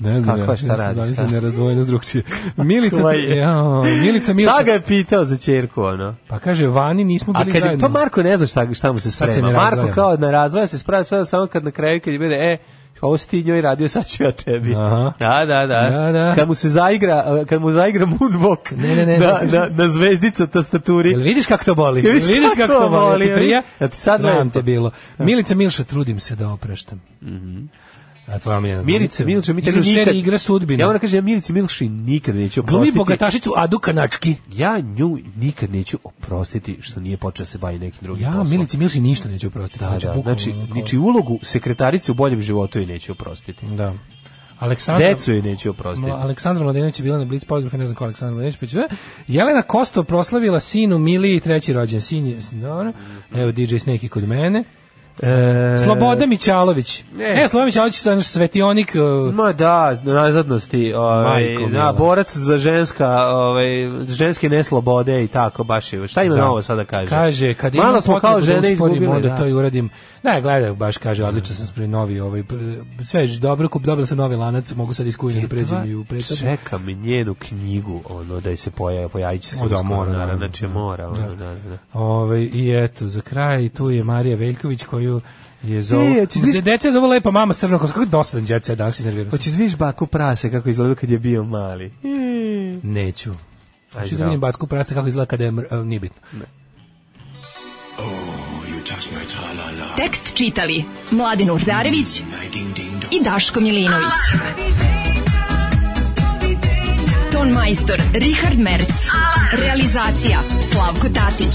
Ne znam,
Kakva,
ja,
šta
ja sam
radiš,
zamislio
šta?
nerazdvojenost drugčije. Milica,
Koja je?
jao, Milica
Šta
Milša.
ga je pitao za čerku, ono?
Pa kaže, vani nismo
A
bili
kad, je-
zajedno.
pa Marko ne zna šta, šta mu se
Sad se
sprema.
ne
Marko
razdvaja.
kao na razvoja se sprema sve da samo kad na kraju kad je bude, e, ovo si ti njoj radio, sad ću ja tebi.
Aha.
Da, da, da.
Da, da.
Kad mu se zaigra, kad mu zaigra Moonwalk
Ne, ne, ne,
na,
ne,
na, na zvezdica tastaturi.
Jel vidiš kako to boli?
Jel
Jel
vidiš
vidiš,
kako
kako, to boli?
boli,
Jel ti prija?
jel? Jel ti sad
Sram
lepo?
te bilo. Milica Milša, trudim se da opraštam. da A tvoja omiljena.
Mirica Mhm. Milša, mi
Igra u seriji Igra sudbina.
Ja moram da kažem, ja Mirici Milši nikad neću oprostiti.
Glumi bogatašicu Adu Kanački.
Ja nju nikad neću oprostiti što nije počela se bavi nekim drugim
Ja
poslom.
Milici Milši ništa neću oprostiti.
Da,
znači,
da,
bukvalno
znači,
ono kao-
znači ulogu sekretarice u boljem životu je neću oprostiti.
Da. Aleksandra
Decu je neću oprostiti.
Mla- Aleksandra Mladenović je bila na Blitz poligrafu, ne znam ko je Aleksandra Mladenović. Pa ću- Jelena Kostov proslavila sinu Mili i treći rođen. Sin je, dobro. Evo DJ Snake je kod mene.
E,
Sloboda Mićalović.
Ne.
Ne, Sloboda Mićalović je naš svetionik. uh,
Ma da, nazadnosti, ovaj,
Majko
da,
mila.
borac za ženska, ovaj, ženske neslobode i tako, baš je. Šta ima
Da.
novo sada kaže?
Kaže, kad
Malo
imam
smo
potrebu
kao
da
žene
usporim,
izgubili.
onda
da.
to i uradim. Ne, gledaj, baš kaže, odlično sam spremio novi, ovaj, pr- sve je dobro, kup, dobila sam novi lanac, mogu sad iskujem da pređem i u pretabu.
Čekam njenu knjigu, ono, da je se pojavi, pojavit će se.
O da,
uskoro,
mora,
naravno,
naravno.
znači mora. Ono, da, da.
Ove, Ovaj, I eto, za kraj tu je Marija Veljković koju je zovu...
E, hoćeš vidiš-
Deca je zovu lepa mama Srvnog, kako je dosadan djeca danas iznervirao sam.
Hoćeš vidiš baku prase kako izgleda kad je bio mali?
Neću. Hoću da
zdravo.
vidim Batku prasta kako izgleda kada je... mr- a, Nije bitno.
Tekst čitali Mladin Urdarević i Daško Milinović. Ton majstor Richard Merc. Realizacija Slavko Tatić.